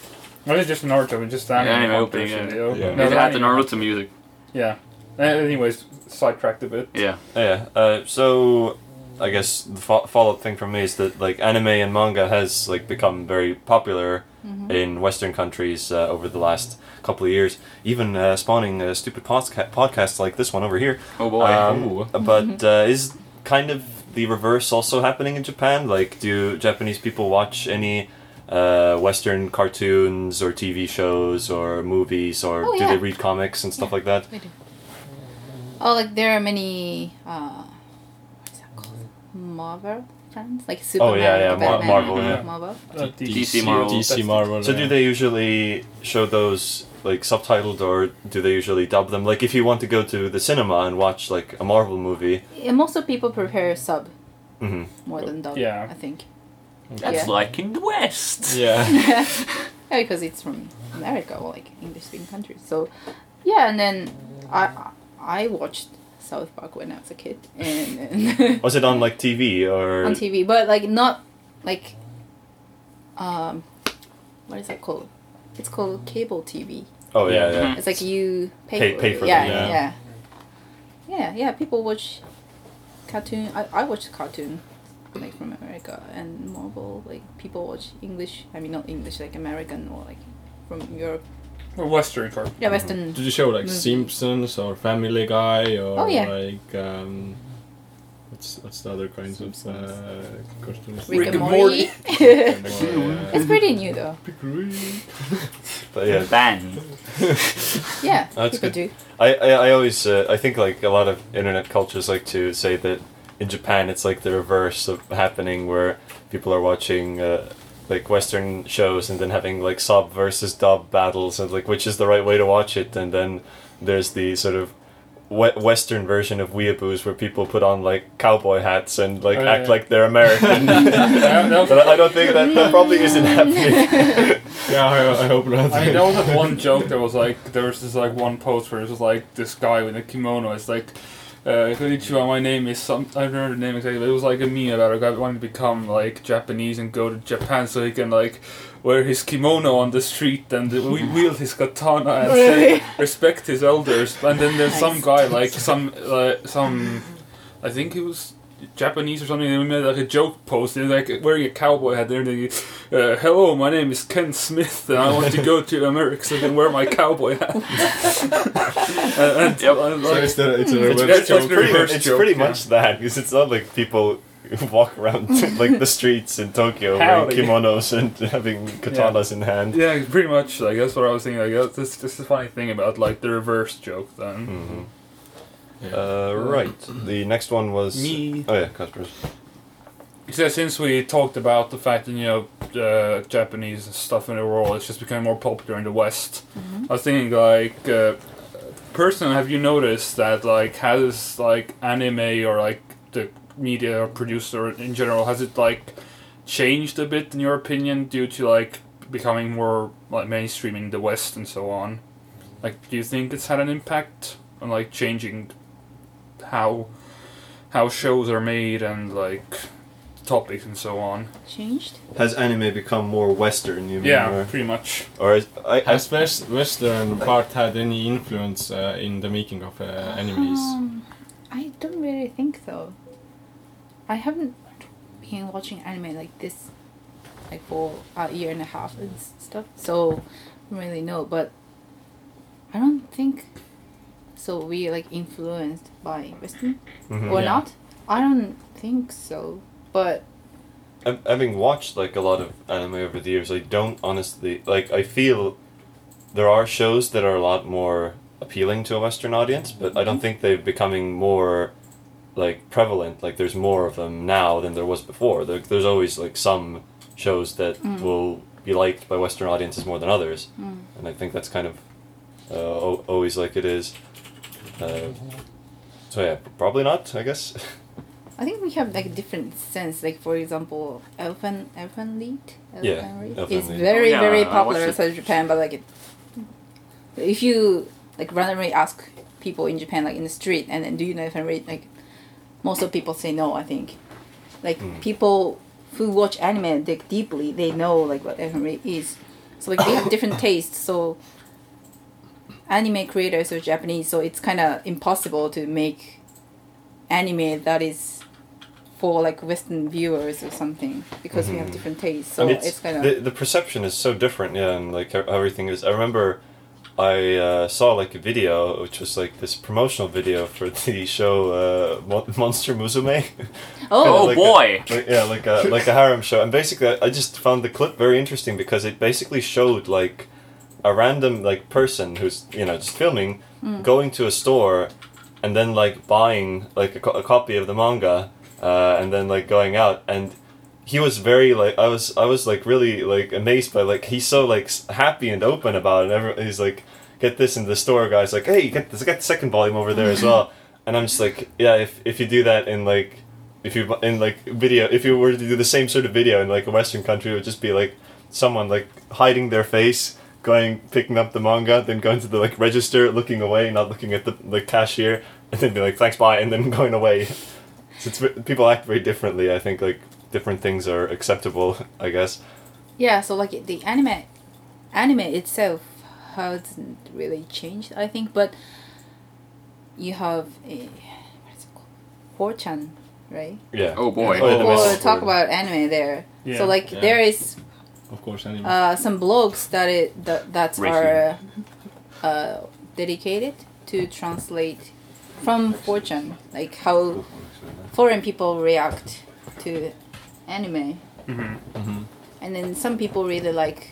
[SPEAKER 6] Well, it's just Naruto, it's just anime.
[SPEAKER 4] Yeah, anime
[SPEAKER 6] hunters,
[SPEAKER 4] opening, yeah.
[SPEAKER 6] you know?
[SPEAKER 2] Yeah.
[SPEAKER 6] No,
[SPEAKER 4] it had
[SPEAKER 6] anime-
[SPEAKER 4] the Naruto music.
[SPEAKER 6] Yeah. Uh, Anyways, sidetracked a bit.
[SPEAKER 4] Yeah.
[SPEAKER 3] Yeah. Uh, so, I guess the fo- follow-up thing from me is that like anime and manga has like become very popular
[SPEAKER 2] Mm-hmm.
[SPEAKER 3] in Western countries uh, over the last couple of years, even uh, spawning uh, stupid podca- podcasts like this one over here.
[SPEAKER 4] Oh boy.
[SPEAKER 3] Um,
[SPEAKER 2] Ooh.
[SPEAKER 3] but uh, is kind of the reverse also happening in Japan? Like, do Japanese people watch any uh, Western cartoons or TV shows or movies, or
[SPEAKER 5] Oh,
[SPEAKER 3] do they
[SPEAKER 5] yeah.
[SPEAKER 3] read comics and stuff
[SPEAKER 5] Yeah.
[SPEAKER 3] like that?
[SPEAKER 5] We do. Oh, like there are many. Uh, what's that called? Marvel fans, like
[SPEAKER 3] Oh,
[SPEAKER 5] Superman,
[SPEAKER 3] yeah, yeah, Mar-
[SPEAKER 5] Batman,
[SPEAKER 3] Marvel,
[SPEAKER 6] yeah.
[SPEAKER 5] Marvel.
[SPEAKER 1] Oh,
[SPEAKER 6] Uh,
[SPEAKER 4] (laughs) DC Marvel.
[SPEAKER 2] DC Marvel.
[SPEAKER 3] So, do
[SPEAKER 2] yeah.
[SPEAKER 3] they usually show those like subtitled, or do they usually dub them? Like, if you want to go to the cinema and watch like a Marvel movie,
[SPEAKER 5] And most of people prefer sub
[SPEAKER 3] mhm.
[SPEAKER 5] more than dub.
[SPEAKER 6] Yeah.
[SPEAKER 5] I think.
[SPEAKER 4] That's
[SPEAKER 5] yeah.
[SPEAKER 4] like in the West.
[SPEAKER 5] (laughs)
[SPEAKER 2] Yeah.
[SPEAKER 5] yeah, because it's from America or like English speaking countries. So, yeah, and then I I watched South Park when I was a kid and, and
[SPEAKER 3] was it on like TV or
[SPEAKER 5] on TV, but like not like um what is that called? It's called cable TV.
[SPEAKER 3] Oh yeah, yeah.
[SPEAKER 5] It's like you pay,
[SPEAKER 3] Pay-
[SPEAKER 5] for,
[SPEAKER 3] pay
[SPEAKER 5] it.
[SPEAKER 3] for
[SPEAKER 5] yeah,
[SPEAKER 2] them,
[SPEAKER 5] yeah,
[SPEAKER 2] yeah.
[SPEAKER 5] yeah, yeah, People watch cartoon. I I watch cartoon like from America and Marvel. Like people watch English. I mean, not English, like American or like from Europe.
[SPEAKER 6] Or Western card.
[SPEAKER 3] Mm-hmm.
[SPEAKER 5] Yeah, Western.
[SPEAKER 2] Did you show like
[SPEAKER 5] Movie.
[SPEAKER 2] Simpsons or Family Guy or
[SPEAKER 5] Oh, yeah.
[SPEAKER 2] like um, what's what's the other kinds of uh, cartoons?
[SPEAKER 5] Rick, and
[SPEAKER 6] and
[SPEAKER 5] Morty.
[SPEAKER 2] Rick and Morty,
[SPEAKER 5] (laughs) it's pretty new though.
[SPEAKER 3] But yeah,
[SPEAKER 4] Ban.
[SPEAKER 5] Yeah,
[SPEAKER 3] That's
[SPEAKER 5] people
[SPEAKER 3] good.
[SPEAKER 5] do.
[SPEAKER 3] I, I, I always uh, I think like a lot of internet cultures like to say that in Japan it's like the reverse of happening where people are watching uh, like Western shows and then having like sub versus dub battles and like which is the right way to watch it and then there's the sort of we- Western version of weeaboos where people put on like cowboy hats and like
[SPEAKER 6] Oh, yeah,
[SPEAKER 3] act
[SPEAKER 6] yeah.
[SPEAKER 3] like they're
[SPEAKER 6] (laughs)
[SPEAKER 3] American.
[SPEAKER 6] that, that was,
[SPEAKER 3] (laughs) but I don't think that, that probably isn't happening.
[SPEAKER 2] yeah, I, I hope not.
[SPEAKER 1] I
[SPEAKER 5] (laughs)
[SPEAKER 1] mean, there was that one joke that was like, there was this like one post where it was like this guy with a kimono. It's like, uh, Konnichiwa, my name is some. I don't remember the name exactly, but it was like a meme about a guy wanting to become like Japanese and go to Japan so he can like wear his kimono on the street and
[SPEAKER 5] (laughs)
[SPEAKER 1] we- wield his katana and
[SPEAKER 5] Really?
[SPEAKER 1] say, respect his elders. And then there's some
[SPEAKER 5] Nice.
[SPEAKER 1] guy like some uh, some, I think he was Japanese or something. They made like a joke post. They're like wearing a cowboy hat. They're like, uh, "Hello, my name is Ken Smith, and I want to go to America so I can wear my cowboy hat." (laughs) and, and,
[SPEAKER 4] Yep.
[SPEAKER 1] and,
[SPEAKER 2] (laughs) so
[SPEAKER 1] like,
[SPEAKER 2] it's the it's
[SPEAKER 1] It's-
[SPEAKER 2] a reverse
[SPEAKER 1] it's like
[SPEAKER 2] joke.
[SPEAKER 1] the
[SPEAKER 3] pretty,
[SPEAKER 1] reverse
[SPEAKER 3] it's
[SPEAKER 1] joke,
[SPEAKER 3] pretty
[SPEAKER 1] yeah.
[SPEAKER 3] much that because it's not like people (laughs) walk around (laughs) like the streets in Tokyo wearing
[SPEAKER 1] Howdy.
[SPEAKER 3] kimonos and (laughs) having katanas in hand.
[SPEAKER 1] yeah, pretty much. Like that's what I was thinking. Like that's that's just the funny thing about like the reverse joke. Then
[SPEAKER 3] Mhm.
[SPEAKER 2] Yeah.
[SPEAKER 3] Uh, right. The next one was
[SPEAKER 1] me.
[SPEAKER 3] Oh yeah, Casper's.
[SPEAKER 1] So since we talked about the fact that you know uh, Japanese stuff in the world is just becoming more popular in the West, I was thinking like, uh, personally, have you noticed that like has like anime or like the media or producer in general has it like changed a bit in your opinion due to like becoming more like mainstream in the West and so on? Like, do you think it's had an impact on like changing how how shows are made and like topics and so on.
[SPEAKER 5] Changed?
[SPEAKER 3] Has anime become more Western? You mean,
[SPEAKER 1] Yeah,
[SPEAKER 3] Or,
[SPEAKER 1] pretty much.
[SPEAKER 3] or is, I, I,
[SPEAKER 2] Has West, Western part had any influence uh, in the making of uh, animes?
[SPEAKER 5] Um, I don't really think so. I haven't been watching anime like this, like for a year and a half and s- stuff. So, I don't really know. But I don't think so. We like influenced by Western
[SPEAKER 3] Mhm.
[SPEAKER 5] or
[SPEAKER 2] Yeah.
[SPEAKER 5] not? I don't think so. But
[SPEAKER 3] Hav- having watched like a lot of anime over the years, I don't honestly like. I feel there are shows that are a lot more appealing to a Western audience, but I don't think they're becoming more like prevalent. Like there's more of them now than there was before. There, there's always like some shows that will be liked by Western audiences more than others,
[SPEAKER 5] mm.
[SPEAKER 3] and I think that's kind of uh, o- always like it is. Uh, so yeah, probably not. I guess. (laughs)
[SPEAKER 5] I think we have like different sense. Like for example, Elfen Elfen Lied.
[SPEAKER 3] Yeah,
[SPEAKER 5] Elfen Lied
[SPEAKER 3] Elfen
[SPEAKER 5] is
[SPEAKER 3] Lied.
[SPEAKER 5] very
[SPEAKER 4] Oh, Yeah,
[SPEAKER 5] very
[SPEAKER 4] I watched
[SPEAKER 5] popular
[SPEAKER 4] it.
[SPEAKER 5] outside Japan. But like, it, if you like randomly ask people in Japan, like in the street, and then do you know Elfen Lied? Like, most of people say no. I think, like
[SPEAKER 3] Mm.
[SPEAKER 5] people who watch anime like deeply, they know like what Elfen Lied is. So like they have different tastes. So anime creators are Japanese, so it's kind of impossible to make anime that is for like Western viewers or something because we have
[SPEAKER 3] Mhm.
[SPEAKER 5] different tastes.
[SPEAKER 3] I
[SPEAKER 5] So
[SPEAKER 3] mean,
[SPEAKER 5] Oh, it's, kind of
[SPEAKER 3] the, the perception is so different yeah and like how- how everything is i remember i uh, saw like a video which was like this promotional video for (laughs) the show uh, Mo- monster musume (laughs)
[SPEAKER 5] oh,
[SPEAKER 4] Oh,
[SPEAKER 3] like a-
[SPEAKER 4] boy.
[SPEAKER 3] like, yeah like a like a harem show and basically i just found the clip very interesting because it basically showed like a random like person who's you know just filming
[SPEAKER 5] Hmm.
[SPEAKER 3] going to a store and then like buying like a, co- a copy of the manga uh, and then like going out and he was very like I was I was like really like amazed by like he's so like s- happy and open about it. And every, he's like, get this in the store, guys. Like, hey, get this, get the second volume over there as well. And I'm just like, yeah, if if you do that in like, if you bu- in like video, if you were to do the same sort of video in like a Western country, it would just be like someone like hiding their face. Going picking up the manga, then going to the like register, looking away, not looking at the like cashier, and then be like thanks, bye, and then (laughs) going away. So it's, ve- people act very differently. I think like different things are acceptable. (laughs) I guess.
[SPEAKER 5] yeah. So like the anime, anime itself hasn't really changed, I think. But you have a what is it called? 4chan, right?
[SPEAKER 3] Yeah.
[SPEAKER 4] Oh boy.
[SPEAKER 3] Oh, yeah, the
[SPEAKER 5] People
[SPEAKER 3] message
[SPEAKER 5] talk
[SPEAKER 3] board.
[SPEAKER 5] about anime there.
[SPEAKER 1] Yeah.
[SPEAKER 5] So like
[SPEAKER 2] Yeah.
[SPEAKER 5] there is
[SPEAKER 2] Of course, anime.
[SPEAKER 5] uh, some blogs that it that, that
[SPEAKER 4] Right
[SPEAKER 5] are uh, dedicated to translate from fortune like how foreign people react to anime
[SPEAKER 6] Mm-hmm.
[SPEAKER 2] Mhm.
[SPEAKER 5] and then some people really like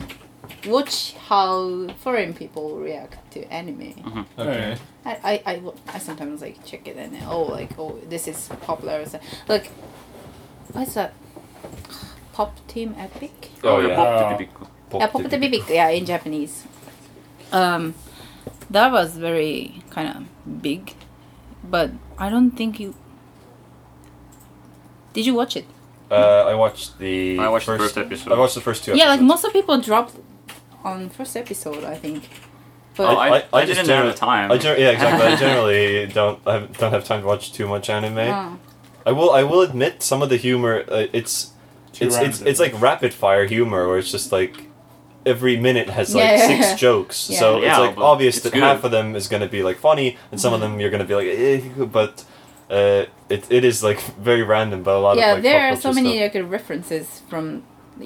[SPEAKER 5] watch how foreign people react to anime
[SPEAKER 2] Okay.
[SPEAKER 5] I, I, I, w- I sometimes like check it and oh like oh this is popular so, like what's that pop team epic
[SPEAKER 4] Oh, yeah.
[SPEAKER 3] yeah.
[SPEAKER 4] Pop to the big-
[SPEAKER 3] Pop
[SPEAKER 5] yeah, Pop the
[SPEAKER 3] TV.
[SPEAKER 5] Bibic, yeah, in Japanese. Um, that was very kind of big, but I don't think you. Did you watch it?
[SPEAKER 3] Uh, I watched the.
[SPEAKER 4] I watched the first episode.
[SPEAKER 3] I watched the first two.
[SPEAKER 5] yeah, like
[SPEAKER 3] episodes.
[SPEAKER 5] most of people dropped on first episode, I think. But
[SPEAKER 4] Oh, I, I,
[SPEAKER 3] I- I just
[SPEAKER 4] didn't have the
[SPEAKER 3] generally-
[SPEAKER 4] time.
[SPEAKER 3] I gen- yeah, exactly.
[SPEAKER 4] (laughs)
[SPEAKER 5] (laughs)
[SPEAKER 3] I generally don't I don't have time to watch too much anime.
[SPEAKER 5] Oh,
[SPEAKER 3] I will I will admit some of the humor. Uh, it's
[SPEAKER 6] Too
[SPEAKER 3] it's, it's
[SPEAKER 6] random.
[SPEAKER 3] it's like rapid fire humor where it's just like every minute has like
[SPEAKER 5] Yeah.
[SPEAKER 3] six jokes.
[SPEAKER 5] Yeah.
[SPEAKER 3] So
[SPEAKER 4] Yeah,
[SPEAKER 3] it's like
[SPEAKER 4] but
[SPEAKER 3] obvious
[SPEAKER 4] it's
[SPEAKER 3] that
[SPEAKER 4] good.
[SPEAKER 3] half of them is gonna be like funny and some of
[SPEAKER 5] Mm-hmm.
[SPEAKER 3] them you're gonna be like, eh, but uh, it it is like very random. But a lot of
[SPEAKER 5] yeah,
[SPEAKER 3] like pop
[SPEAKER 5] there are so
[SPEAKER 3] culture
[SPEAKER 5] many
[SPEAKER 3] stuff.
[SPEAKER 5] like references from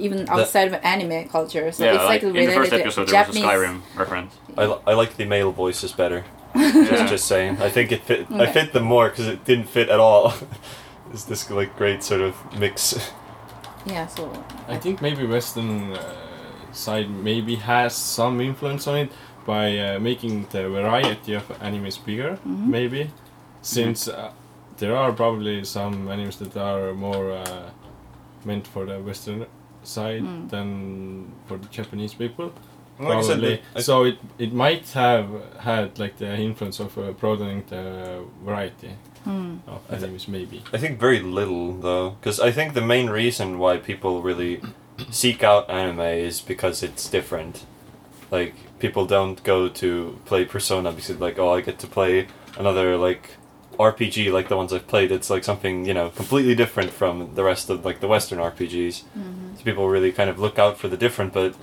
[SPEAKER 5] even outside of anime culture, so
[SPEAKER 4] yeah,
[SPEAKER 5] it's
[SPEAKER 4] like,
[SPEAKER 5] like,
[SPEAKER 4] in
[SPEAKER 5] related
[SPEAKER 4] the first
[SPEAKER 5] to
[SPEAKER 4] episode, there was
[SPEAKER 5] Japanese.
[SPEAKER 4] a Skyrim reference.
[SPEAKER 3] I, li- I like the male voices
[SPEAKER 5] (laughs)
[SPEAKER 3] better.
[SPEAKER 4] Yeah.
[SPEAKER 3] Just, just saying. I think it fit. I
[SPEAKER 5] Okay.
[SPEAKER 3] fit them more because it didn't fit at all. (laughs) Is this like great sort of mix?
[SPEAKER 5] Yeah, so
[SPEAKER 2] I think maybe Western uh, side maybe has some influence on it by uh, making the variety of animes bigger, maybe, since uh, there are probably some animes that are more uh, meant for the Western side than for the Japanese people. Probably. so it, it might have had like the influence of uh, broadening the variety of
[SPEAKER 3] I thi-
[SPEAKER 2] animes, maybe.
[SPEAKER 3] I think very little though, because I think the main reason why people really seek out anime is because it's different. Like people don't go to play Persona because like oh I get to play another like RPG like the ones I've played, it's like something you know completely different from the rest of like the Western RPGs. So people really kind of look out for the different, but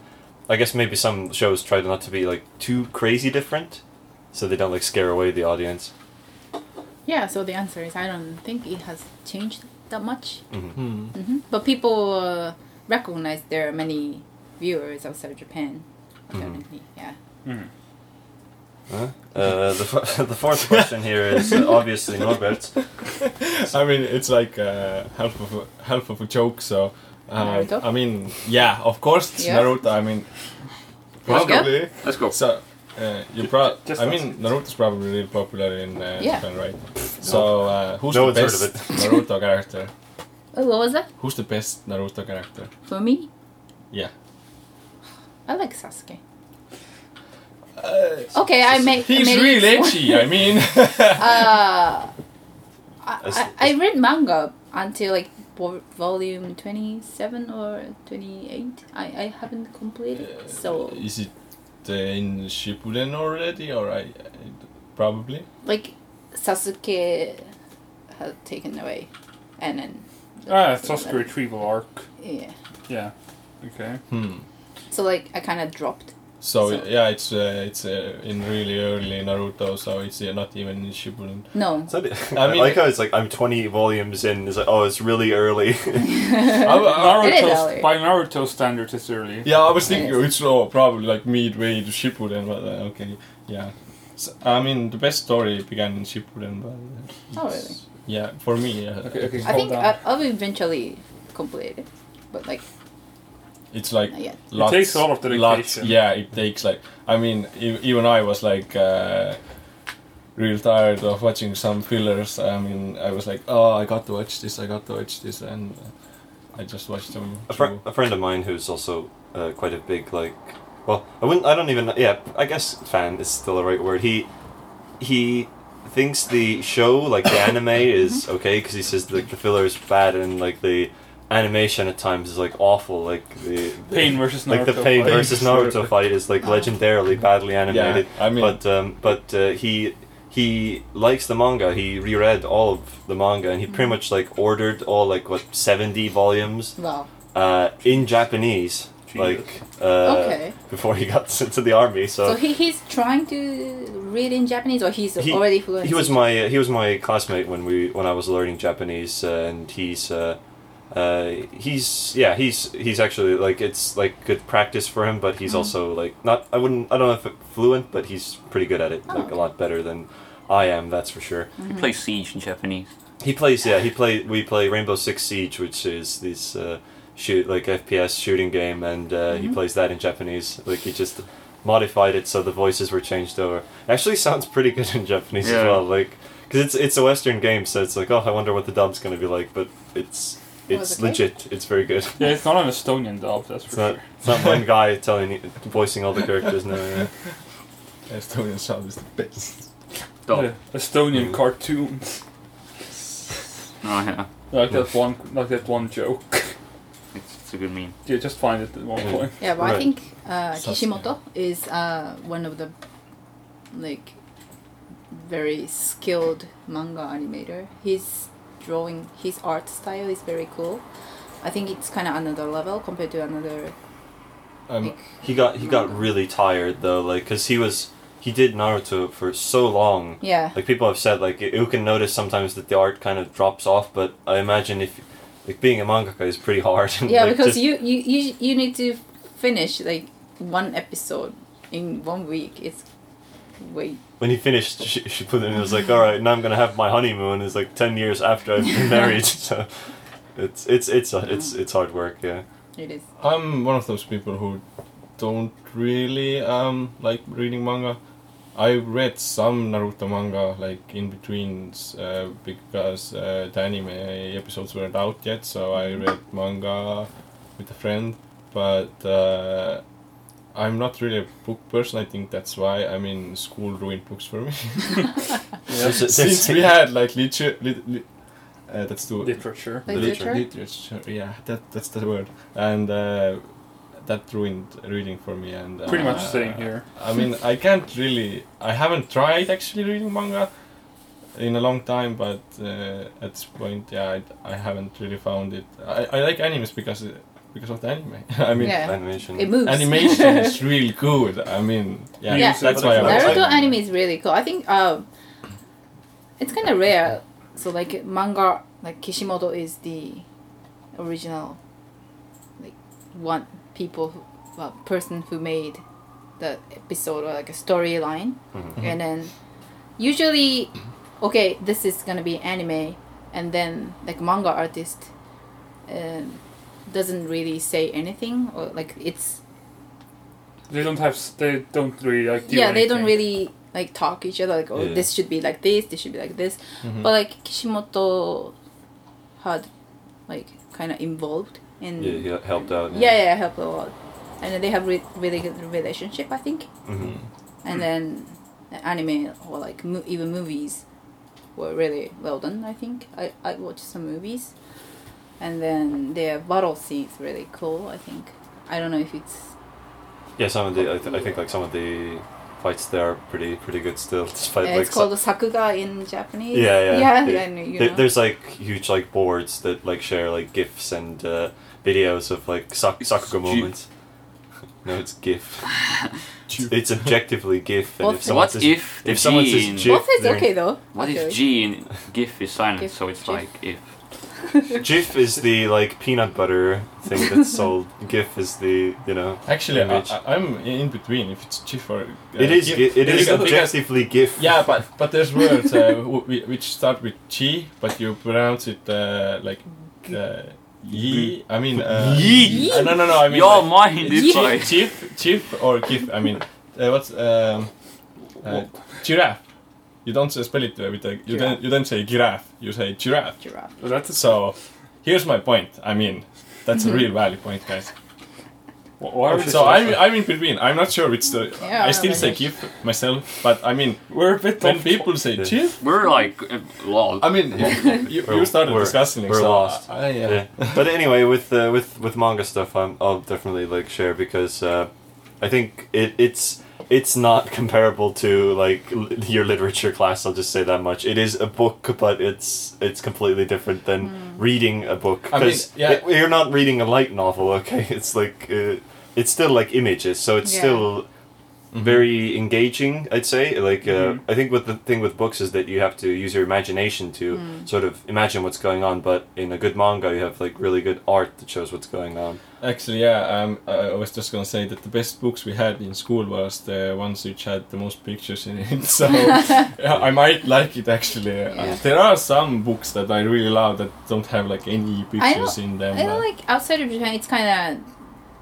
[SPEAKER 3] I guess maybe some shows try not to be like too crazy different, so they don't like scare away the audience.
[SPEAKER 5] Yeah, so the answer is I don't think it has changed that much.
[SPEAKER 2] Hmm.
[SPEAKER 5] hmm But people uh, recognize there are many viewers outside Japan. Apparently, yeah.
[SPEAKER 3] Uh, the, f- (laughs) the fourth question here is uh, obviously Norbert's.
[SPEAKER 2] I mean, it's like uh, help of a, help of a joke. So, um,
[SPEAKER 5] Naruto?
[SPEAKER 2] I mean, yeah, of course it's
[SPEAKER 5] Yeah.
[SPEAKER 2] Naruto. I mean,
[SPEAKER 5] Let's go.
[SPEAKER 2] probably.
[SPEAKER 4] Let's go.
[SPEAKER 2] So, uh, you pro-
[SPEAKER 6] Just
[SPEAKER 2] I
[SPEAKER 6] ask.
[SPEAKER 2] mean, Naruto's probably really popular in uh,
[SPEAKER 5] Yeah.
[SPEAKER 2] Japan, right? So, uh, who's
[SPEAKER 3] No
[SPEAKER 2] the
[SPEAKER 3] one's heard
[SPEAKER 2] best
[SPEAKER 3] of (laughs)
[SPEAKER 2] Naruto character?
[SPEAKER 5] Oh, what was that?
[SPEAKER 2] Who's the best Naruto character?
[SPEAKER 5] For me,
[SPEAKER 2] Yeah.
[SPEAKER 5] I like (laughs) Sasuke. okay, Uh, I made. I
[SPEAKER 2] He's
[SPEAKER 5] made
[SPEAKER 2] real
[SPEAKER 5] it-
[SPEAKER 2] edgy. I mean,
[SPEAKER 5] (laughs) Uh,
[SPEAKER 3] As-
[SPEAKER 5] I, I, I read manga until like vo- volume 27 or 28 I, I haven't completed so
[SPEAKER 2] is it uh, in Shippuden already, or I, I probably?
[SPEAKER 5] like Sasuke had taken away and then
[SPEAKER 6] Ah, it's Oscar retrieval arc.
[SPEAKER 5] yeah
[SPEAKER 6] Yeah. Okay.
[SPEAKER 2] Hmm.
[SPEAKER 5] so like I kind of dropped
[SPEAKER 2] So,
[SPEAKER 5] So-
[SPEAKER 2] yeah, it's uh, it's uh, in really early Naruto, so it's uh, not even in Shippuden.
[SPEAKER 3] (laughs)
[SPEAKER 5] no
[SPEAKER 3] So the-
[SPEAKER 2] I
[SPEAKER 3] I
[SPEAKER 2] mean-
[SPEAKER 3] like how it's like I'm 20 volumes in. It's like oh, it's really early.
[SPEAKER 5] (laughs)
[SPEAKER 3] (laughs)
[SPEAKER 5] It is
[SPEAKER 6] Naruto's,
[SPEAKER 5] early.
[SPEAKER 6] by Naruto standards, it's early.
[SPEAKER 2] Yeah, I was thinking
[SPEAKER 5] Yes.
[SPEAKER 2] it's oh, probably like midway to Shippuden, but uh, okay, yeah. S I I mean, the best story began in Shippuden, but uh,
[SPEAKER 5] Oh,
[SPEAKER 2] it's- yeah, for me, yeah,
[SPEAKER 6] Okay, okay.
[SPEAKER 5] I think
[SPEAKER 6] hold on.
[SPEAKER 5] I, I'll eventually complete it but like
[SPEAKER 2] it's like
[SPEAKER 5] not yet
[SPEAKER 2] lots,
[SPEAKER 6] takes a lot of
[SPEAKER 2] lots-
[SPEAKER 6] dedication.
[SPEAKER 2] yeah, it takes like I mean, e- even I was like uh, real tired of watching some fillers. I mean, I was like, oh, I got to watch this, I got to watch this, and uh, I just watched them.
[SPEAKER 3] a, fr-
[SPEAKER 2] through.
[SPEAKER 3] a friend of mine who's also uh, quite a big like well i wouldn't i don't even yeah i guess fan is still the right word he he thinks the show like the anime is okay because he says like the filler is bad and like the animation at times is like awful like the, the-
[SPEAKER 6] Pain versus Naruto.
[SPEAKER 3] like the pain
[SPEAKER 6] fight.
[SPEAKER 3] versus Naruto fight is
[SPEAKER 2] (laughs)
[SPEAKER 3] like legendarily badly animated.
[SPEAKER 2] Yeah, I mean-
[SPEAKER 3] but um, but uh, he he likes the manga. He reread all of the manga, and he
[SPEAKER 2] Mm-hmm.
[SPEAKER 3] pretty much like ordered all like what seventy volumes
[SPEAKER 5] wow
[SPEAKER 3] uh, in Japanese, like uh,
[SPEAKER 5] Okay.
[SPEAKER 3] before he got (laughs) sent to the army.
[SPEAKER 5] so
[SPEAKER 3] So,
[SPEAKER 5] he, he's trying to read in Japanese or he's
[SPEAKER 3] Uh, He-
[SPEAKER 5] already fluent
[SPEAKER 3] he was my he was my classmate when we when I was learning Japanese, uh, and he's. Uh, uh, he's yeah he's he's actually like it's like good practice for him but
[SPEAKER 5] Mm-hmm.
[SPEAKER 3] he's also like not i wouldn't i don't know if it fluent but he's pretty good at it
[SPEAKER 5] Oh,
[SPEAKER 3] like
[SPEAKER 5] okay.
[SPEAKER 3] a lot better than i am that's for sure
[SPEAKER 4] He plays Siege in Japanese.
[SPEAKER 3] He plays, yeah, he play. We play Rainbow Six Siege, which is this uh, shoot like FPS shooting game, and uh, he
[SPEAKER 5] Mm-hmm.
[SPEAKER 3] plays that in Japanese. Like he just modified it so the voices were changed over. It actually, sounds pretty good in Japanese as
[SPEAKER 4] Yeah.
[SPEAKER 3] well. Like because it's it's a Western game, so it's like oh, I wonder what the dub's gonna be like, but it's
[SPEAKER 5] Was
[SPEAKER 3] it's
[SPEAKER 5] Oh, it good?
[SPEAKER 3] legit. It's very good.
[SPEAKER 6] Yeah, it's not an Estonian dub, that's
[SPEAKER 3] It's
[SPEAKER 6] for
[SPEAKER 3] not,
[SPEAKER 6] sure.
[SPEAKER 3] it's not
[SPEAKER 5] (laughs)
[SPEAKER 3] one guy telling you, voicing all the characters now. Yeah.
[SPEAKER 2] Estonian sound is the best.
[SPEAKER 4] Dub.
[SPEAKER 6] Yeah, Estonian
[SPEAKER 3] Mm.
[SPEAKER 6] cartoons.
[SPEAKER 4] Oh, yeah.
[SPEAKER 6] Like that one, like that one joke.
[SPEAKER 4] It's, it's a good meme.
[SPEAKER 6] Yeah, just find it at one
[SPEAKER 3] Mm.
[SPEAKER 6] point.
[SPEAKER 5] Yeah, but
[SPEAKER 3] Right.
[SPEAKER 5] I think uh,
[SPEAKER 2] Sasuke.
[SPEAKER 5] Kishimoto is uh, one of the like very skilled manga animator. His drawing, his art style is very cool. I think it's kind of another level compared to another.
[SPEAKER 2] Um,
[SPEAKER 5] like,
[SPEAKER 3] He got he got really tired though, like because he was he did Naruto for so long. (laughs)
[SPEAKER 5] yeah,
[SPEAKER 3] like people have said like you you can notice sometimes that the art kind of drops off but i imagine if like being a mangaka is pretty hard (laughs) and,
[SPEAKER 5] yeah,
[SPEAKER 3] like,
[SPEAKER 5] because
[SPEAKER 3] just-
[SPEAKER 5] you, you you you need to finish like one episode in one week. It's way
[SPEAKER 3] when he finished (laughs) she, she put it in it was like all right now i'm gonna have my honeymoon it's like 10 years after i've
[SPEAKER 5] (laughs)
[SPEAKER 3] been married (laughs) so it's it's it's uh, it's it's hard work yeah
[SPEAKER 5] it is.
[SPEAKER 2] I'm one of those people who don't really um like reading manga. I read some Naruto manga like in between uh, because uh, the anime episodes weren't out yet, so I read manga with a friend. But uh, I'm not really a book person. I think that's why. I mean, school ruined books for me.
[SPEAKER 3] There's a- there's-
[SPEAKER 2] (laughs) Since we had like literature, lit- lit- uh, that's too
[SPEAKER 6] Literature.
[SPEAKER 5] Like
[SPEAKER 3] Literature.
[SPEAKER 5] literature.
[SPEAKER 2] literature yeah that that's the word and uh, that ruined reading for me and uh,
[SPEAKER 6] Pretty much
[SPEAKER 3] Ah.
[SPEAKER 6] same here.
[SPEAKER 2] i mean i can't really i haven't tried actually reading manga in a long time, but uh, at this point, yeah, I, I haven't really found it. I, I like animes because because of the anime. (laughs) I mean,
[SPEAKER 5] yeah,
[SPEAKER 3] Animation.
[SPEAKER 5] it moves. (laughs)
[SPEAKER 2] animation
[SPEAKER 6] (laughs)
[SPEAKER 2] is really good. I mean, yeah,
[SPEAKER 5] Yeah.
[SPEAKER 2] that's why I
[SPEAKER 3] Yeah.
[SPEAKER 2] was
[SPEAKER 5] Naruto
[SPEAKER 2] like- "Hmm."
[SPEAKER 5] anime is really cool. I think um, it's kind of rare. So like manga, like Kishimoto is the original, like one people, who, well, person who made the episode or like a storyline,
[SPEAKER 3] Mhm.
[SPEAKER 2] Mm-hmm.
[SPEAKER 5] and then usually, okay, this is gonna be anime, and then like manga artist, um, doesn't really say anything or like it's
[SPEAKER 1] They don't have. s- They don't really like. do
[SPEAKER 5] yeah they don't
[SPEAKER 1] anything.
[SPEAKER 5] really like talk each other like oh
[SPEAKER 3] Yeah. Mm-hmm.
[SPEAKER 5] this should be like this this should be like this
[SPEAKER 2] Mhm.
[SPEAKER 5] but like kishimoto had like kind of involved in
[SPEAKER 3] Yeah, he helped out.
[SPEAKER 5] yeah yeah, helped a lot and then they have re- really good relationship i think
[SPEAKER 3] Mhm.
[SPEAKER 5] and then the anime or like mo- even movies were really well done i think I, I watched some movies and then their battle scenes really cool i think i don't know if it's
[SPEAKER 3] Yeah, some of the I, th- I think like some of the fights there are pretty pretty good still, despite
[SPEAKER 5] Yeah,
[SPEAKER 3] like
[SPEAKER 5] uh, it's
[SPEAKER 3] so-
[SPEAKER 5] called sakuga in Japanese.
[SPEAKER 3] Yeah, yeah.
[SPEAKER 5] Yeah,
[SPEAKER 3] There-
[SPEAKER 5] and, you
[SPEAKER 3] there-
[SPEAKER 5] know.
[SPEAKER 3] there's like huge like boards that like share like gifs and uh, videos of like sak-
[SPEAKER 1] It's
[SPEAKER 3] Sakuga
[SPEAKER 1] G-
[SPEAKER 3] moments. No, it's GIF. it's objectively GIF. And
[SPEAKER 5] What-
[SPEAKER 3] if someone
[SPEAKER 4] what
[SPEAKER 3] says,
[SPEAKER 4] if the
[SPEAKER 3] if someone
[SPEAKER 4] G
[SPEAKER 3] says
[SPEAKER 4] in-
[SPEAKER 3] GIF,
[SPEAKER 5] Both is
[SPEAKER 3] then-
[SPEAKER 5] okay though.
[SPEAKER 4] What
[SPEAKER 5] okay.
[SPEAKER 4] if G in GIF is silent,
[SPEAKER 5] GIF,
[SPEAKER 4] so it's
[SPEAKER 5] GIF.
[SPEAKER 4] like if.
[SPEAKER 3] GIF is the like peanut butter thing that's sold. GIF is the you know.
[SPEAKER 2] Actually, I,
[SPEAKER 3] image.
[SPEAKER 2] I- I'm in between. If it's GIF or uh,
[SPEAKER 3] it is GIF. it is
[SPEAKER 2] because-
[SPEAKER 3] objectively GIF.
[SPEAKER 2] Yeah, but but there's words uh, (laughs) wh- whi- which start with chi, but you pronounce it uh, like uh, ye. I mean uh,
[SPEAKER 3] Ye.
[SPEAKER 2] Uh, no, no, no. I mean
[SPEAKER 4] Your
[SPEAKER 1] (laughs)
[SPEAKER 2] like,
[SPEAKER 4] mind is
[SPEAKER 5] Ye.
[SPEAKER 4] like.
[SPEAKER 2] chief, chief, chief or gif. I mean, uh, what's um, uh, giraffe? You don't say- spell it uh, with a you don't you don't say giraffe. You say giraffe.
[SPEAKER 5] Giraffe.
[SPEAKER 1] But that's
[SPEAKER 2] So here's my point. I mean, that's a real valid point, guys.
[SPEAKER 1] wh- why are we
[SPEAKER 2] So I'm I'm in between. I'm not sure which the.
[SPEAKER 5] Yeah,
[SPEAKER 2] I still
[SPEAKER 5] but
[SPEAKER 2] say
[SPEAKER 5] it's-
[SPEAKER 2] gif myself, but I mean,
[SPEAKER 1] We're a bit
[SPEAKER 2] when
[SPEAKER 1] on
[SPEAKER 2] people say
[SPEAKER 3] Yeah.
[SPEAKER 2] gif.
[SPEAKER 4] We're like. Uh, lol.
[SPEAKER 2] I mean, you,
[SPEAKER 3] We're-
[SPEAKER 2] you started
[SPEAKER 3] we're-
[SPEAKER 2] discussing.
[SPEAKER 3] we're
[SPEAKER 2] so
[SPEAKER 3] lost.
[SPEAKER 2] I, yeah.
[SPEAKER 3] yeah. but anyway, with uh, with with manga stuff, I'm, I'll definitely like share because uh, I think it it's it's not (laughs) comparable to like l- your literature class. I'll just say that much. It is a book, but it's it's completely different than reading a book
[SPEAKER 2] I mean,
[SPEAKER 3] because
[SPEAKER 2] yeah.
[SPEAKER 3] you're not reading a light novel. (laughs) Okay, it's like uh, it's still like images, so it's
[SPEAKER 5] Yeah.
[SPEAKER 3] still very engaging i'd say like uh,
[SPEAKER 1] Mhm.
[SPEAKER 3] i think what the thing with books is that you have to use your imagination to
[SPEAKER 5] Hmm.
[SPEAKER 3] sort of imagine what's going on but in a good manga you have like really good art that shows what's going on
[SPEAKER 2] (laughs)
[SPEAKER 3] (laughs)
[SPEAKER 2] Actually, yeah. Um, I I was just gonna say that the best books we had in school was the ones which had the most pictures in it. (laughs) So
[SPEAKER 5] (laughs)
[SPEAKER 2] yeah, I might like it actually. Uh,
[SPEAKER 5] Yeah.
[SPEAKER 2] There are some books that I really love that don't have like any pictures in them.
[SPEAKER 5] I
[SPEAKER 2] uh,
[SPEAKER 5] don't like outside of Japan. It's kind of,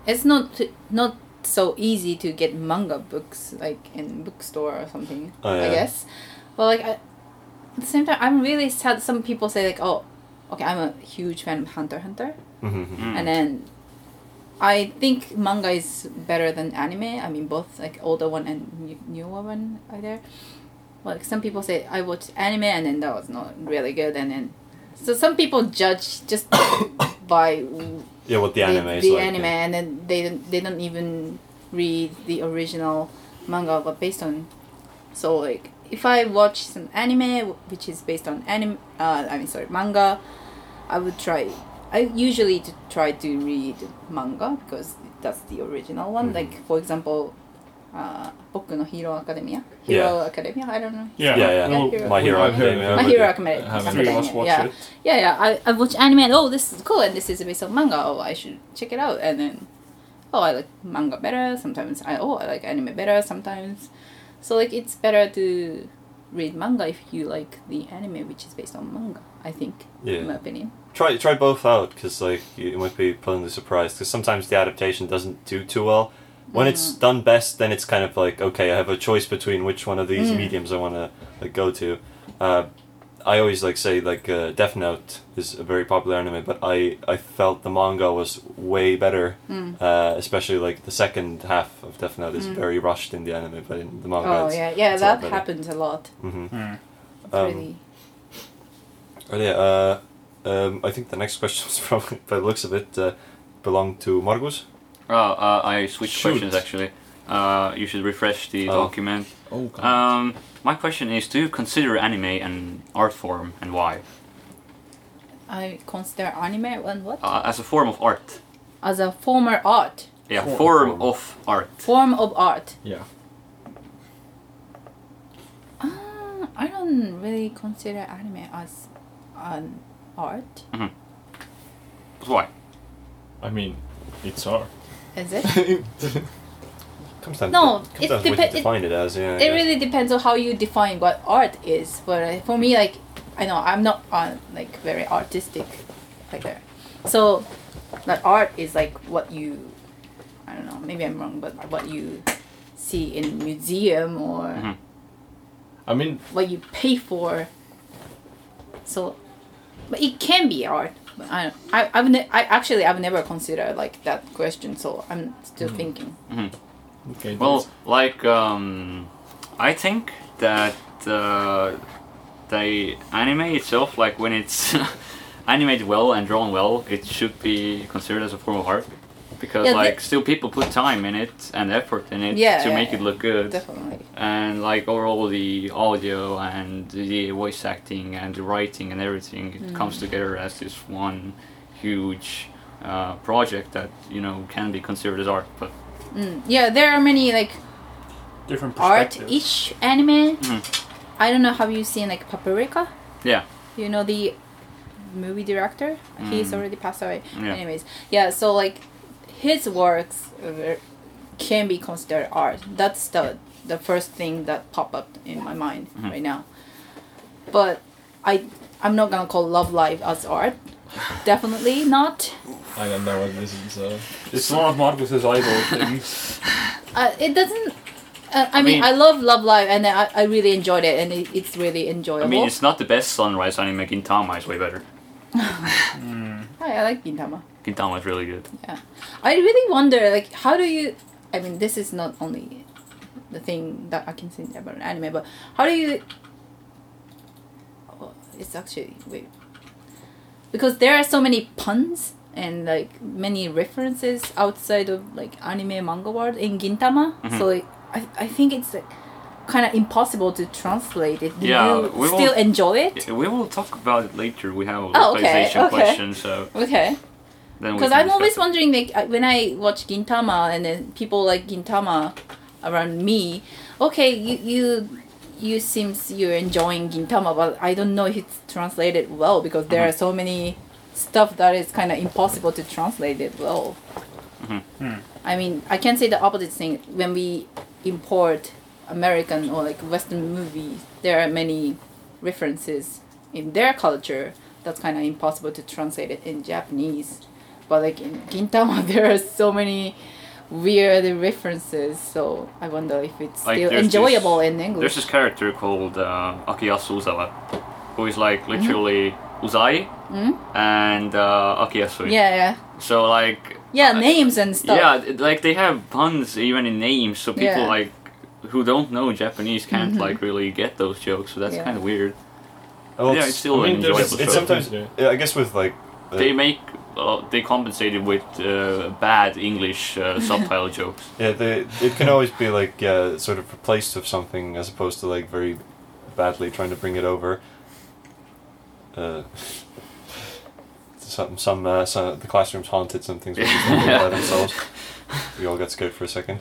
[SPEAKER 5] it's not not so easy to get manga books like in bookstore or something.
[SPEAKER 3] Oh,
[SPEAKER 5] I
[SPEAKER 3] yeah.
[SPEAKER 5] guess. But like I, at the same time, I'm really sad. Some people say like, oh, okay, I'm a huge fan of Hunter x Hunter.
[SPEAKER 3] Mhm.
[SPEAKER 4] Mm.
[SPEAKER 5] and then I think manga is better than anime. I mean, both like older one and new- newer one are there. Like some people say, I watched anime and then that was not really good, and then so some people judge just (coughs) by w-
[SPEAKER 3] yeah what the anime is
[SPEAKER 5] the
[SPEAKER 3] like
[SPEAKER 5] anime,
[SPEAKER 3] yeah.
[SPEAKER 5] and then they don't they don't even read the original manga, but based on so like if I watch some anime which is based on anime, uh, I mean sorry manga, I would try. I usually to try to read manga because that's the original one.
[SPEAKER 3] Mhm.
[SPEAKER 5] Like for example, uh, Boku no Hero Academia. Hero
[SPEAKER 3] Yeah.
[SPEAKER 5] Academia. I don't know.
[SPEAKER 1] yeah
[SPEAKER 3] Yeah, yeah.
[SPEAKER 1] Well,
[SPEAKER 5] Yeah,
[SPEAKER 3] my hero
[SPEAKER 2] I've heard
[SPEAKER 3] academia
[SPEAKER 2] of
[SPEAKER 5] My
[SPEAKER 2] but
[SPEAKER 5] Hero
[SPEAKER 2] I
[SPEAKER 5] Academia.
[SPEAKER 2] haven't.
[SPEAKER 1] three of us watch
[SPEAKER 5] yeah.
[SPEAKER 1] it.
[SPEAKER 5] Yeah, yeah. I, I watch anime and oh, this is cool and this is based on manga. Oh, I should check it out. And then, oh, I like manga better. Sometimes I oh, I like anime better. Sometimes, so like it's better to read manga if you like the anime which is based on manga. I think,
[SPEAKER 3] Yeah.
[SPEAKER 5] in my opinion.
[SPEAKER 3] try try both out because like you you might be pleasantly surprised because sometimes the adaptation doesn't do too well when it's
[SPEAKER 5] Mm-hmm.
[SPEAKER 3] done best then it's kind of like okay i have a choice between which one of these
[SPEAKER 5] Mm.
[SPEAKER 3] mediums i want to like go to uh, i always like say like uh, death note is a very popular anime but i i felt the manga was way better
[SPEAKER 5] Mm.
[SPEAKER 3] uh, especially like the second half of death note is
[SPEAKER 5] Mm.
[SPEAKER 3] very rushed in the anime but in the manga
[SPEAKER 5] Oh
[SPEAKER 3] it's,
[SPEAKER 5] yeah, yeah.
[SPEAKER 3] it's a lot
[SPEAKER 5] That
[SPEAKER 3] better.
[SPEAKER 5] happens a lot.
[SPEAKER 3] Mhm.
[SPEAKER 1] Mm.
[SPEAKER 5] It's
[SPEAKER 3] Um,
[SPEAKER 5] really.
[SPEAKER 3] Oh yeah, uh, um, I think the next question (laughs) is probably, by the looks of it, uh, belong to Margus.
[SPEAKER 4] Uh, uh, I switched
[SPEAKER 2] Shoot.
[SPEAKER 4] questions actually. Uh, you should refresh the
[SPEAKER 3] Oh.
[SPEAKER 4] document.
[SPEAKER 2] Oh god.
[SPEAKER 3] Uh.
[SPEAKER 4] Um, my question is: Do you consider anime an art form, and why?
[SPEAKER 5] I consider anime and what?
[SPEAKER 4] Uh, as a form of art.
[SPEAKER 5] As a former art.
[SPEAKER 4] Yeah,
[SPEAKER 2] Form.
[SPEAKER 4] form,
[SPEAKER 2] Form.
[SPEAKER 4] of art.
[SPEAKER 5] Form of art.
[SPEAKER 2] yeah.
[SPEAKER 5] Uh, I don't really consider anime as an art.
[SPEAKER 4] Mm-hmm. Why?
[SPEAKER 2] I mean, it's art.
[SPEAKER 5] Is it?
[SPEAKER 3] Comes down
[SPEAKER 5] No,
[SPEAKER 3] to,
[SPEAKER 5] it
[SPEAKER 3] comes down to what
[SPEAKER 5] depe-
[SPEAKER 3] you define it as. Yeah. I
[SPEAKER 5] it
[SPEAKER 3] guess.
[SPEAKER 5] really depends on how you define what art is but uh, for me like i know i'm not uh, like very artistic like that so like art is like what you i don't know maybe i'm wrong but what you see in museum or
[SPEAKER 3] Mm-hmm.
[SPEAKER 4] Mhm.
[SPEAKER 2] (laughs) I mean,
[SPEAKER 5] what you pay for so but it can be art but i don't- I, I've ne- I actually I've never considered like that question, so I'm still
[SPEAKER 3] Mm.
[SPEAKER 5] thinking.
[SPEAKER 2] okay.
[SPEAKER 4] Well,
[SPEAKER 2] that's-
[SPEAKER 4] like, um, I think that uh, the anime itself, like when it's (laughs) animated well and drawn well, it should be considered as a form of art because,
[SPEAKER 5] Yeah, the-
[SPEAKER 4] like, still people put time in it and effort in it
[SPEAKER 5] Yeah,
[SPEAKER 4] to
[SPEAKER 5] yeah,
[SPEAKER 4] make it
[SPEAKER 5] yeah.
[SPEAKER 4] look good.
[SPEAKER 5] Definitely.
[SPEAKER 4] And like overall, the audio and the voice acting and the writing and everything,
[SPEAKER 5] Mm.
[SPEAKER 4] it comes together as this one huge uh, project that you know can be considered as art, but
[SPEAKER 5] Mm. Yeah, there are many like
[SPEAKER 6] Different perspectives.
[SPEAKER 5] art-ish anime.
[SPEAKER 4] Mhm.
[SPEAKER 5] I don't know. Have you seen like Paprika?
[SPEAKER 4] yeah.
[SPEAKER 5] You know the movie director. He's
[SPEAKER 4] Mm.
[SPEAKER 5] already passed away.
[SPEAKER 4] Yeah.
[SPEAKER 5] Anyways, yeah. So like his works uh, can be considered art. That's the the first thing that pop up in my mind
[SPEAKER 4] Mhm.
[SPEAKER 5] right now. But I I'm not gonna call Love Live as
[SPEAKER 4] (laughs)
[SPEAKER 5] art. Definitely not.
[SPEAKER 2] I don't know what this is. So.
[SPEAKER 6] It's one of Marcus's idol
[SPEAKER 4] (laughs)
[SPEAKER 6] things.
[SPEAKER 5] Uh, it doesn't. Uh, I,
[SPEAKER 4] I
[SPEAKER 5] mean,
[SPEAKER 4] mean-
[SPEAKER 5] I love Love Live, and I, I really enjoyed it, and it, it's really enjoyable.
[SPEAKER 4] I mean, it's not the best sunrise anime. Gintama is way better.
[SPEAKER 5] Hi, I like Gintama.
[SPEAKER 4] Gintama is really good.
[SPEAKER 5] I really wonder, like, how do you? I mean, this is not only the thing that I can say about an anime, but how do you? Oh, it's actually wait, because there are so many puns and like many references outside of like anime manga world in Gintama.
[SPEAKER 4] Mhm.
[SPEAKER 5] So like, I I think it's like kind of impossible to translate it. Do
[SPEAKER 4] Yeah,
[SPEAKER 5] you
[SPEAKER 4] we
[SPEAKER 5] still
[SPEAKER 4] won't-
[SPEAKER 5] enjoy it?
[SPEAKER 4] Yeah, We will talk about it later. We have a
[SPEAKER 5] Oh, okay,
[SPEAKER 4] localization
[SPEAKER 5] okay.
[SPEAKER 4] question, so
[SPEAKER 5] Okay.
[SPEAKER 4] then we.
[SPEAKER 5] Because
[SPEAKER 4] can
[SPEAKER 5] I'm
[SPEAKER 4] discuss
[SPEAKER 5] always
[SPEAKER 4] it.
[SPEAKER 5] wondering, like, I- when I watch Gintama and then people like Gintama around me, okay, you you you seems you're enjoying Gintama, but I don't know if it's translated well because there
[SPEAKER 4] Uh-huh.
[SPEAKER 5] are so many stuff that is kind of impossible to translate it well.
[SPEAKER 4] Mhm.
[SPEAKER 5] I mean, I can say the opposite thing when we import American or like Western movies. There are many references in their culture that's kind of impossible to translate it in Japanese. But like in Gintama, (laughs) there are so many weird references. So I wonder if it's
[SPEAKER 4] Like,
[SPEAKER 5] still
[SPEAKER 4] there's
[SPEAKER 5] enjoyable
[SPEAKER 4] this-
[SPEAKER 5] in
[SPEAKER 4] There's
[SPEAKER 5] English.
[SPEAKER 4] this character called uh, Akiyasu Uzawa, who is
[SPEAKER 5] Mm-hmm.
[SPEAKER 4] like literally Uzai
[SPEAKER 5] Mhm.
[SPEAKER 4] and uh, Akiyasu.
[SPEAKER 5] yeah, yeah,
[SPEAKER 4] So like.
[SPEAKER 5] yeah.
[SPEAKER 4] I-
[SPEAKER 5] names and stuff. (laughs)
[SPEAKER 4] Yeah, it- like they have puns even in names, so people
[SPEAKER 5] Yeah. Mm-hmm.
[SPEAKER 4] like who don't know Japanese can't like really get those jokes. So that's
[SPEAKER 5] Yeah.
[SPEAKER 4] kind of weird.
[SPEAKER 3] Well,
[SPEAKER 4] yeah,
[SPEAKER 3] it's-
[SPEAKER 4] it's still
[SPEAKER 2] I mean,
[SPEAKER 4] an
[SPEAKER 2] there's-
[SPEAKER 4] enjoyable.
[SPEAKER 3] it's,
[SPEAKER 4] show.
[SPEAKER 3] it's sometimes.
[SPEAKER 2] (laughs) Yeah.
[SPEAKER 3] Yeah, I guess with like. uh,
[SPEAKER 4] they make uh, they compensated with uh, bad English
[SPEAKER 5] (laughs)
[SPEAKER 4] uh, subtitle jokes.
[SPEAKER 3] Yeah, they, it can always be like yeah, sort of replaced with something as opposed to like very badly trying to bring it over. Uh, (laughs) some some, uh, some the classroom's haunted. Some things were just all by themselves. We all got scared for a second.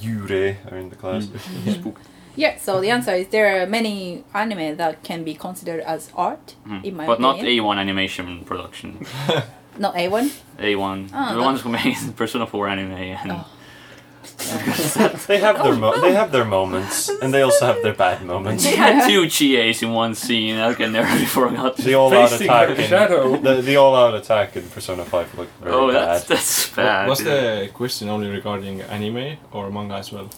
[SPEAKER 3] Yure are in the class.
[SPEAKER 5] Mm. Yeah, so the answer is there are many anime that can be considered as art,
[SPEAKER 4] Mm.
[SPEAKER 5] in my
[SPEAKER 4] but not
[SPEAKER 5] opinion.
[SPEAKER 4] A1 animation
[SPEAKER 5] (laughs)
[SPEAKER 4] production.
[SPEAKER 5] Not A1.
[SPEAKER 4] A1,
[SPEAKER 5] Oh,
[SPEAKER 4] the
[SPEAKER 5] that-
[SPEAKER 4] ones who made (laughs) Persona 4 anime, and (laughs)
[SPEAKER 5] Oh.
[SPEAKER 3] They have their mo- they have their moments, and they also have their bad
[SPEAKER 5] (laughs)
[SPEAKER 3] moments.
[SPEAKER 4] they had two GAs in one scene. I can never be forgot.
[SPEAKER 3] The all out
[SPEAKER 6] Facing her
[SPEAKER 3] attack in,
[SPEAKER 6] shadow.
[SPEAKER 3] the, the all out attack in Persona Five looked very
[SPEAKER 4] Oh,
[SPEAKER 3] bad.
[SPEAKER 4] that's that's
[SPEAKER 2] Wa-
[SPEAKER 4] bad.
[SPEAKER 2] Was the question only regarding anime or manga as well?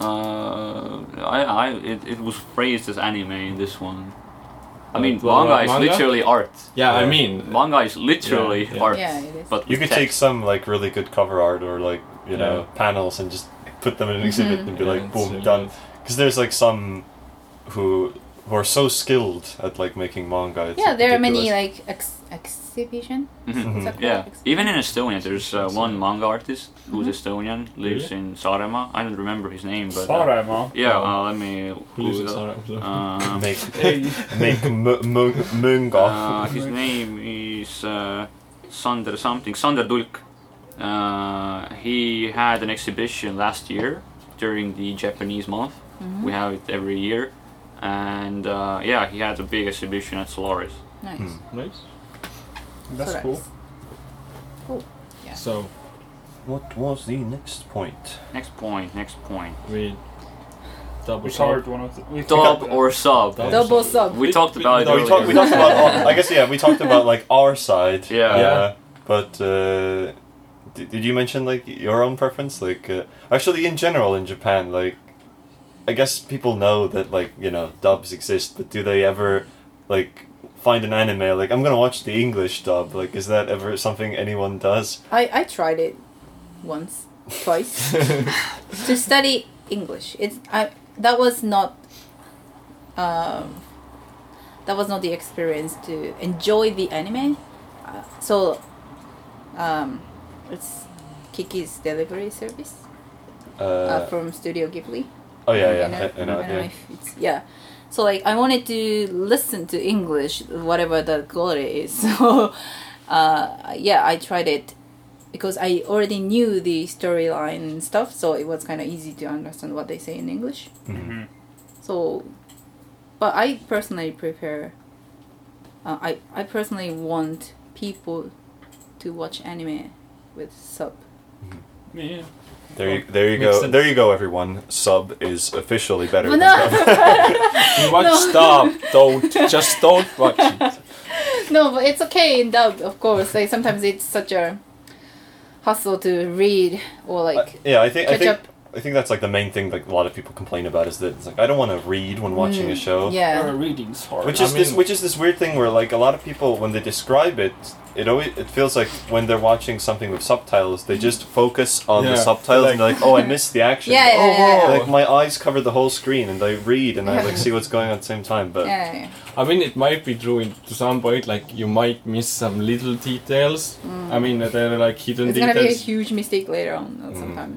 [SPEAKER 4] Uh, I, I, it, it was phrased as anime in this one. I
[SPEAKER 2] Uh,
[SPEAKER 4] mean,
[SPEAKER 2] well,
[SPEAKER 4] manga is
[SPEAKER 2] manga?
[SPEAKER 4] literally art.
[SPEAKER 2] Yeah, I
[SPEAKER 3] Yeah.
[SPEAKER 2] mean,
[SPEAKER 4] Manga is literally
[SPEAKER 2] Yeah, yeah.
[SPEAKER 4] art.
[SPEAKER 5] Yeah, it is.
[SPEAKER 4] But
[SPEAKER 3] You
[SPEAKER 4] with
[SPEAKER 3] could take
[SPEAKER 4] text.
[SPEAKER 3] some like really good cover art or like you know panels
[SPEAKER 5] Mm-hmm.
[SPEAKER 3] and just put them in an exhibit and be
[SPEAKER 2] Yeah,
[SPEAKER 3] like
[SPEAKER 2] it's uh,
[SPEAKER 3] boom
[SPEAKER 2] really
[SPEAKER 3] done.
[SPEAKER 2] good.
[SPEAKER 3] Because there's like some who who are so skilled at like making manga. It's
[SPEAKER 5] yeah, there are many
[SPEAKER 3] ridiculous.
[SPEAKER 5] like ex- exhibition.
[SPEAKER 4] Mhm.
[SPEAKER 5] Is that
[SPEAKER 4] Yeah,
[SPEAKER 5] correct?
[SPEAKER 4] even in Estonia, there's uh, one manga artist who's
[SPEAKER 5] Mhm.
[SPEAKER 4] Estonian, lives
[SPEAKER 2] Really?
[SPEAKER 4] in Saaremaa. I don't remember his name, but uh,
[SPEAKER 1] Saaremaa.
[SPEAKER 4] yeah, uh, let me
[SPEAKER 2] Who lives in
[SPEAKER 4] Google.
[SPEAKER 2] Saaremaa?
[SPEAKER 4] Um,
[SPEAKER 3] (laughs) make
[SPEAKER 1] Hey,
[SPEAKER 3] make m- m- manga.
[SPEAKER 4] Uh, his name is uh, Sander something, Sander Dulk. Uh, he had an exhibition last year during the Japanese month. We have it every year. And uh, yeah, he had a big exhibition at Solaris.
[SPEAKER 5] Nice.
[SPEAKER 3] Hmm.
[SPEAKER 4] Mm.
[SPEAKER 2] Nice.
[SPEAKER 1] that's
[SPEAKER 5] So
[SPEAKER 1] cool.
[SPEAKER 5] Yeah.
[SPEAKER 2] So
[SPEAKER 3] What was the next point?
[SPEAKER 4] Next point, next point.
[SPEAKER 2] we double
[SPEAKER 1] We covered one of the. We
[SPEAKER 4] Dub
[SPEAKER 1] covered-
[SPEAKER 4] or sub?
[SPEAKER 2] Dub.
[SPEAKER 5] Double sub.
[SPEAKER 4] We talked about it
[SPEAKER 3] No, we
[SPEAKER 4] earlier.
[SPEAKER 3] talked. We talked about. All, I guess yeah, we talked about like our side.
[SPEAKER 4] Yeah.
[SPEAKER 3] Uh,
[SPEAKER 2] Yeah.
[SPEAKER 3] But uh, did, did you mention like your own preference? Like uh, actually, in general, in Japan, like I guess people know that like you know dubs exist, but do they ever like find an anime like I'm gonna watch the English dub? Like, is that ever something anyone does?
[SPEAKER 5] I, I tried it once,
[SPEAKER 4] (laughs)
[SPEAKER 5] twice to study English. It's I that was not um, that was not the experience to enjoy the anime. Uh, so um, it's Kiki's delivery service
[SPEAKER 3] Uh,
[SPEAKER 5] uh, from Studio Ghibli.
[SPEAKER 3] oh yeah,
[SPEAKER 5] You
[SPEAKER 3] yeah, I, I know.
[SPEAKER 5] I don't know
[SPEAKER 3] Yeah.
[SPEAKER 5] if it's, yeah. So like I wanted to listen to English, whatever the quality is. (laughs) So uh, yeah, I tried it because I already knew the storyline and stuff, so it was kind of easy to understand what they say in English.
[SPEAKER 3] Mhm.
[SPEAKER 1] Mm-hmm.
[SPEAKER 5] So, but I personally prefer. Uh, I I personally want people to watch anime with sub.
[SPEAKER 1] Yeah.
[SPEAKER 3] Mm-hmm. There you, there you
[SPEAKER 2] Makes
[SPEAKER 3] go,
[SPEAKER 2] sense.
[SPEAKER 3] there you go, everyone. Sub is officially better.
[SPEAKER 5] Well,
[SPEAKER 3] than
[SPEAKER 5] no. (laughs)
[SPEAKER 3] dub.
[SPEAKER 2] You watch
[SPEAKER 5] No.
[SPEAKER 2] dub.
[SPEAKER 5] (laughs)
[SPEAKER 2] Don't just don't watch it.
[SPEAKER 5] No, but it's okay in dub, of course. Like sometimes it's such a hustle to read or like
[SPEAKER 3] I- yeah, I think I
[SPEAKER 5] catch
[SPEAKER 3] think
[SPEAKER 5] up.
[SPEAKER 3] I think that's like the main thing like a lot of people complain about is that it's like I don't want to read when watching a show.
[SPEAKER 1] Our
[SPEAKER 5] mm, yeah.
[SPEAKER 1] reading's hard.
[SPEAKER 3] Which
[SPEAKER 2] I
[SPEAKER 3] is this
[SPEAKER 2] mean-
[SPEAKER 3] which is this weird thing where like a lot of people when they describe it, it always it feels like when they're watching something with subtitles, they just focus on the
[SPEAKER 2] Yeah,
[SPEAKER 3] subtitles and they're
[SPEAKER 2] like-
[SPEAKER 3] like, Oh
[SPEAKER 5] (laughs)
[SPEAKER 3] I missed the action.
[SPEAKER 5] Yeah, yeah,
[SPEAKER 3] oh,
[SPEAKER 5] yeah,
[SPEAKER 3] whoa.
[SPEAKER 2] yeah.
[SPEAKER 3] Like my eyes cover the whole screen and I read and I
[SPEAKER 5] Yeah.
[SPEAKER 3] like see what's going on at the same time. But
[SPEAKER 5] Yeah, yeah.
[SPEAKER 2] I mean, it might be true in, to some point. Like you might miss some little details. I mean, there are like hidden
[SPEAKER 5] It's gonna be a
[SPEAKER 2] details.
[SPEAKER 5] huge mistake later on uh, sometime.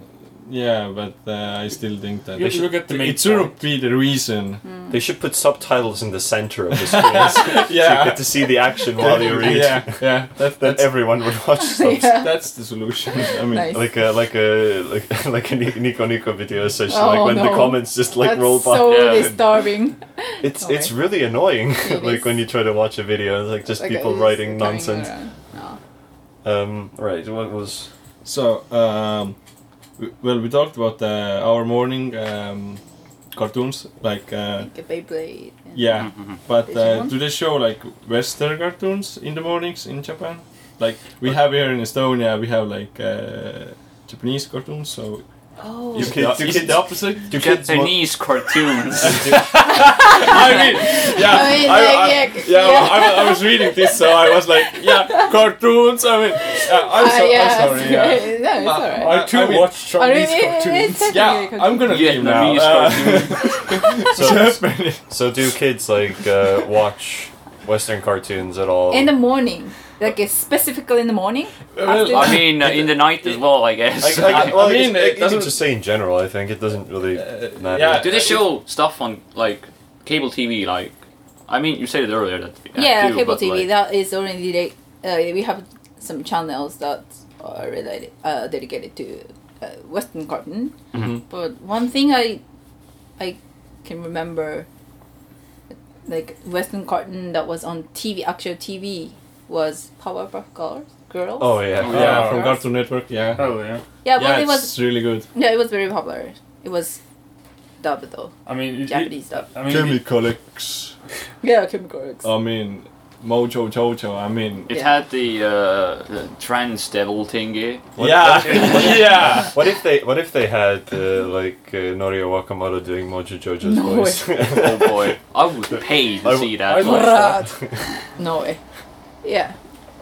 [SPEAKER 2] yeah, but uh, I still think that
[SPEAKER 1] You
[SPEAKER 2] they
[SPEAKER 1] have to look at the main
[SPEAKER 2] it should
[SPEAKER 1] point.
[SPEAKER 2] be the reason.
[SPEAKER 3] they should put subtitles in the center of the screen so you
[SPEAKER 2] (laughs) yeah.
[SPEAKER 3] get to see the action while you read.
[SPEAKER 2] Yeah, yeah. That,
[SPEAKER 3] Then
[SPEAKER 2] that's
[SPEAKER 3] everyone would watch subs.
[SPEAKER 5] (laughs) Yeah.
[SPEAKER 2] that's the solution. (laughs) I mean,
[SPEAKER 5] Nice.
[SPEAKER 3] like a like a like (laughs) like a Ni- Nico Nico video session. like
[SPEAKER 5] Oh,
[SPEAKER 3] when the
[SPEAKER 5] no.
[SPEAKER 3] comments just like
[SPEAKER 5] That's
[SPEAKER 3] roll by.
[SPEAKER 5] so
[SPEAKER 4] Yeah.
[SPEAKER 5] (laughs) disturbing.
[SPEAKER 3] it's
[SPEAKER 5] Okay.
[SPEAKER 3] it's really annoying. (laughs)
[SPEAKER 5] It
[SPEAKER 3] like
[SPEAKER 5] is.
[SPEAKER 3] when you try to watch a video, it's like just
[SPEAKER 5] Like,
[SPEAKER 3] people
[SPEAKER 5] it's
[SPEAKER 3] writing
[SPEAKER 5] coming
[SPEAKER 3] nonsense.
[SPEAKER 5] around. No.
[SPEAKER 3] Um, right. What was
[SPEAKER 2] So, um, w- well, we talked about uh, our morning um, cartoons, like uh,
[SPEAKER 5] Like a Beyblade. and-
[SPEAKER 2] yeah.
[SPEAKER 3] Mm-hmm,
[SPEAKER 4] Mhm.
[SPEAKER 2] But uh,
[SPEAKER 5] Digimon?
[SPEAKER 2] do they show like Western cartoons in the mornings in Japan? Like we have here in Estonia, we have like uh, Japanese cartoons. So
[SPEAKER 5] Oh.
[SPEAKER 2] is,
[SPEAKER 3] You
[SPEAKER 2] it
[SPEAKER 3] kids-
[SPEAKER 2] the,
[SPEAKER 3] you
[SPEAKER 2] is it
[SPEAKER 3] kids-
[SPEAKER 2] the opposite? (laughs)
[SPEAKER 3] do kids wa-
[SPEAKER 4] Japanese cartoons.
[SPEAKER 5] (laughs)
[SPEAKER 2] I mean, yeah,
[SPEAKER 5] I mean,
[SPEAKER 2] I,
[SPEAKER 5] like,
[SPEAKER 2] I-
[SPEAKER 5] yeah, c-
[SPEAKER 2] yeah,
[SPEAKER 5] yeah.
[SPEAKER 2] I, wa- I was reading this, so I was like, yeah, cartoons. I mean, uh, I'm,
[SPEAKER 5] Ah,
[SPEAKER 2] so,
[SPEAKER 5] yeah,
[SPEAKER 2] I'm sorry.
[SPEAKER 5] it's
[SPEAKER 2] Yeah.
[SPEAKER 5] good. (laughs) No, it's
[SPEAKER 2] Uh,
[SPEAKER 5] alright.
[SPEAKER 1] I too
[SPEAKER 2] I mean-
[SPEAKER 1] watch
[SPEAKER 5] I mean,
[SPEAKER 1] Chinese
[SPEAKER 5] it- it's
[SPEAKER 1] cartoons.
[SPEAKER 5] technically a
[SPEAKER 2] Yeah,
[SPEAKER 5] cartoon.
[SPEAKER 2] I'm gonna leave now.
[SPEAKER 4] Vietnamese (laughs)
[SPEAKER 2] Uh, (laughs)
[SPEAKER 3] so,
[SPEAKER 2] Japanese.
[SPEAKER 3] so do kids like
[SPEAKER 5] (laughs)
[SPEAKER 3] uh, watch Western cartoons at all?
[SPEAKER 5] in the morning, like uh, specifically in the morning.
[SPEAKER 2] Well,
[SPEAKER 4] I mean, uh, in the night as well, (laughs) I
[SPEAKER 3] I,
[SPEAKER 4] guess.
[SPEAKER 3] I,
[SPEAKER 2] I-
[SPEAKER 3] well,
[SPEAKER 2] I
[SPEAKER 3] guess-
[SPEAKER 2] mean,
[SPEAKER 3] I-
[SPEAKER 2] it
[SPEAKER 3] you can
[SPEAKER 2] doesn't-
[SPEAKER 3] just say in general. I think it doesn't really
[SPEAKER 2] Uh,
[SPEAKER 3] matter.
[SPEAKER 2] yeah.
[SPEAKER 4] Do they show stuff on like cable TV? Like, I mean, you said it earlier that uh,
[SPEAKER 5] yeah,
[SPEAKER 4] too,
[SPEAKER 5] cable
[SPEAKER 4] but,
[SPEAKER 5] TV.
[SPEAKER 4] like-
[SPEAKER 5] that is already de- uh, we have some channels that are related uh, dedicated to uh, Western cartoon.
[SPEAKER 4] Mhm.
[SPEAKER 5] But one thing I I can remember, like Western cartoon that was on TV, actual TV, was Powerpuff Girls. Girls.
[SPEAKER 3] Oh yeah.
[SPEAKER 1] Oh,
[SPEAKER 2] Yeah,
[SPEAKER 1] Yeah.
[SPEAKER 2] from Cartoon Network. Yeah,
[SPEAKER 1] Hell yeah.
[SPEAKER 5] Yeah,
[SPEAKER 2] yeah,
[SPEAKER 5] but it
[SPEAKER 2] it's
[SPEAKER 5] was
[SPEAKER 2] really good.
[SPEAKER 5] yeah, it was very popular. It was dubbed though,
[SPEAKER 1] I mean, it, it,
[SPEAKER 5] Japanese dub.
[SPEAKER 1] I mean, it-
[SPEAKER 2] Collects.
[SPEAKER 5] Yeah, Chemical X.
[SPEAKER 2] I mean, Mojo Jojo. I mean,
[SPEAKER 4] It
[SPEAKER 5] Yeah.
[SPEAKER 4] had the, uh, the trans devil thingy.
[SPEAKER 3] What-
[SPEAKER 2] yeah,
[SPEAKER 4] (laughs)
[SPEAKER 3] what-
[SPEAKER 2] yeah.
[SPEAKER 3] What if they What if they had uh, like uh, Norio Wakamoto doing Mojo Jojo's
[SPEAKER 5] (laughs) No
[SPEAKER 3] voice?
[SPEAKER 4] Oh boy, I would pay to
[SPEAKER 3] I-
[SPEAKER 4] see
[SPEAKER 1] I
[SPEAKER 4] that.
[SPEAKER 1] would-
[SPEAKER 4] one. (laughs)
[SPEAKER 5] no way. Yeah.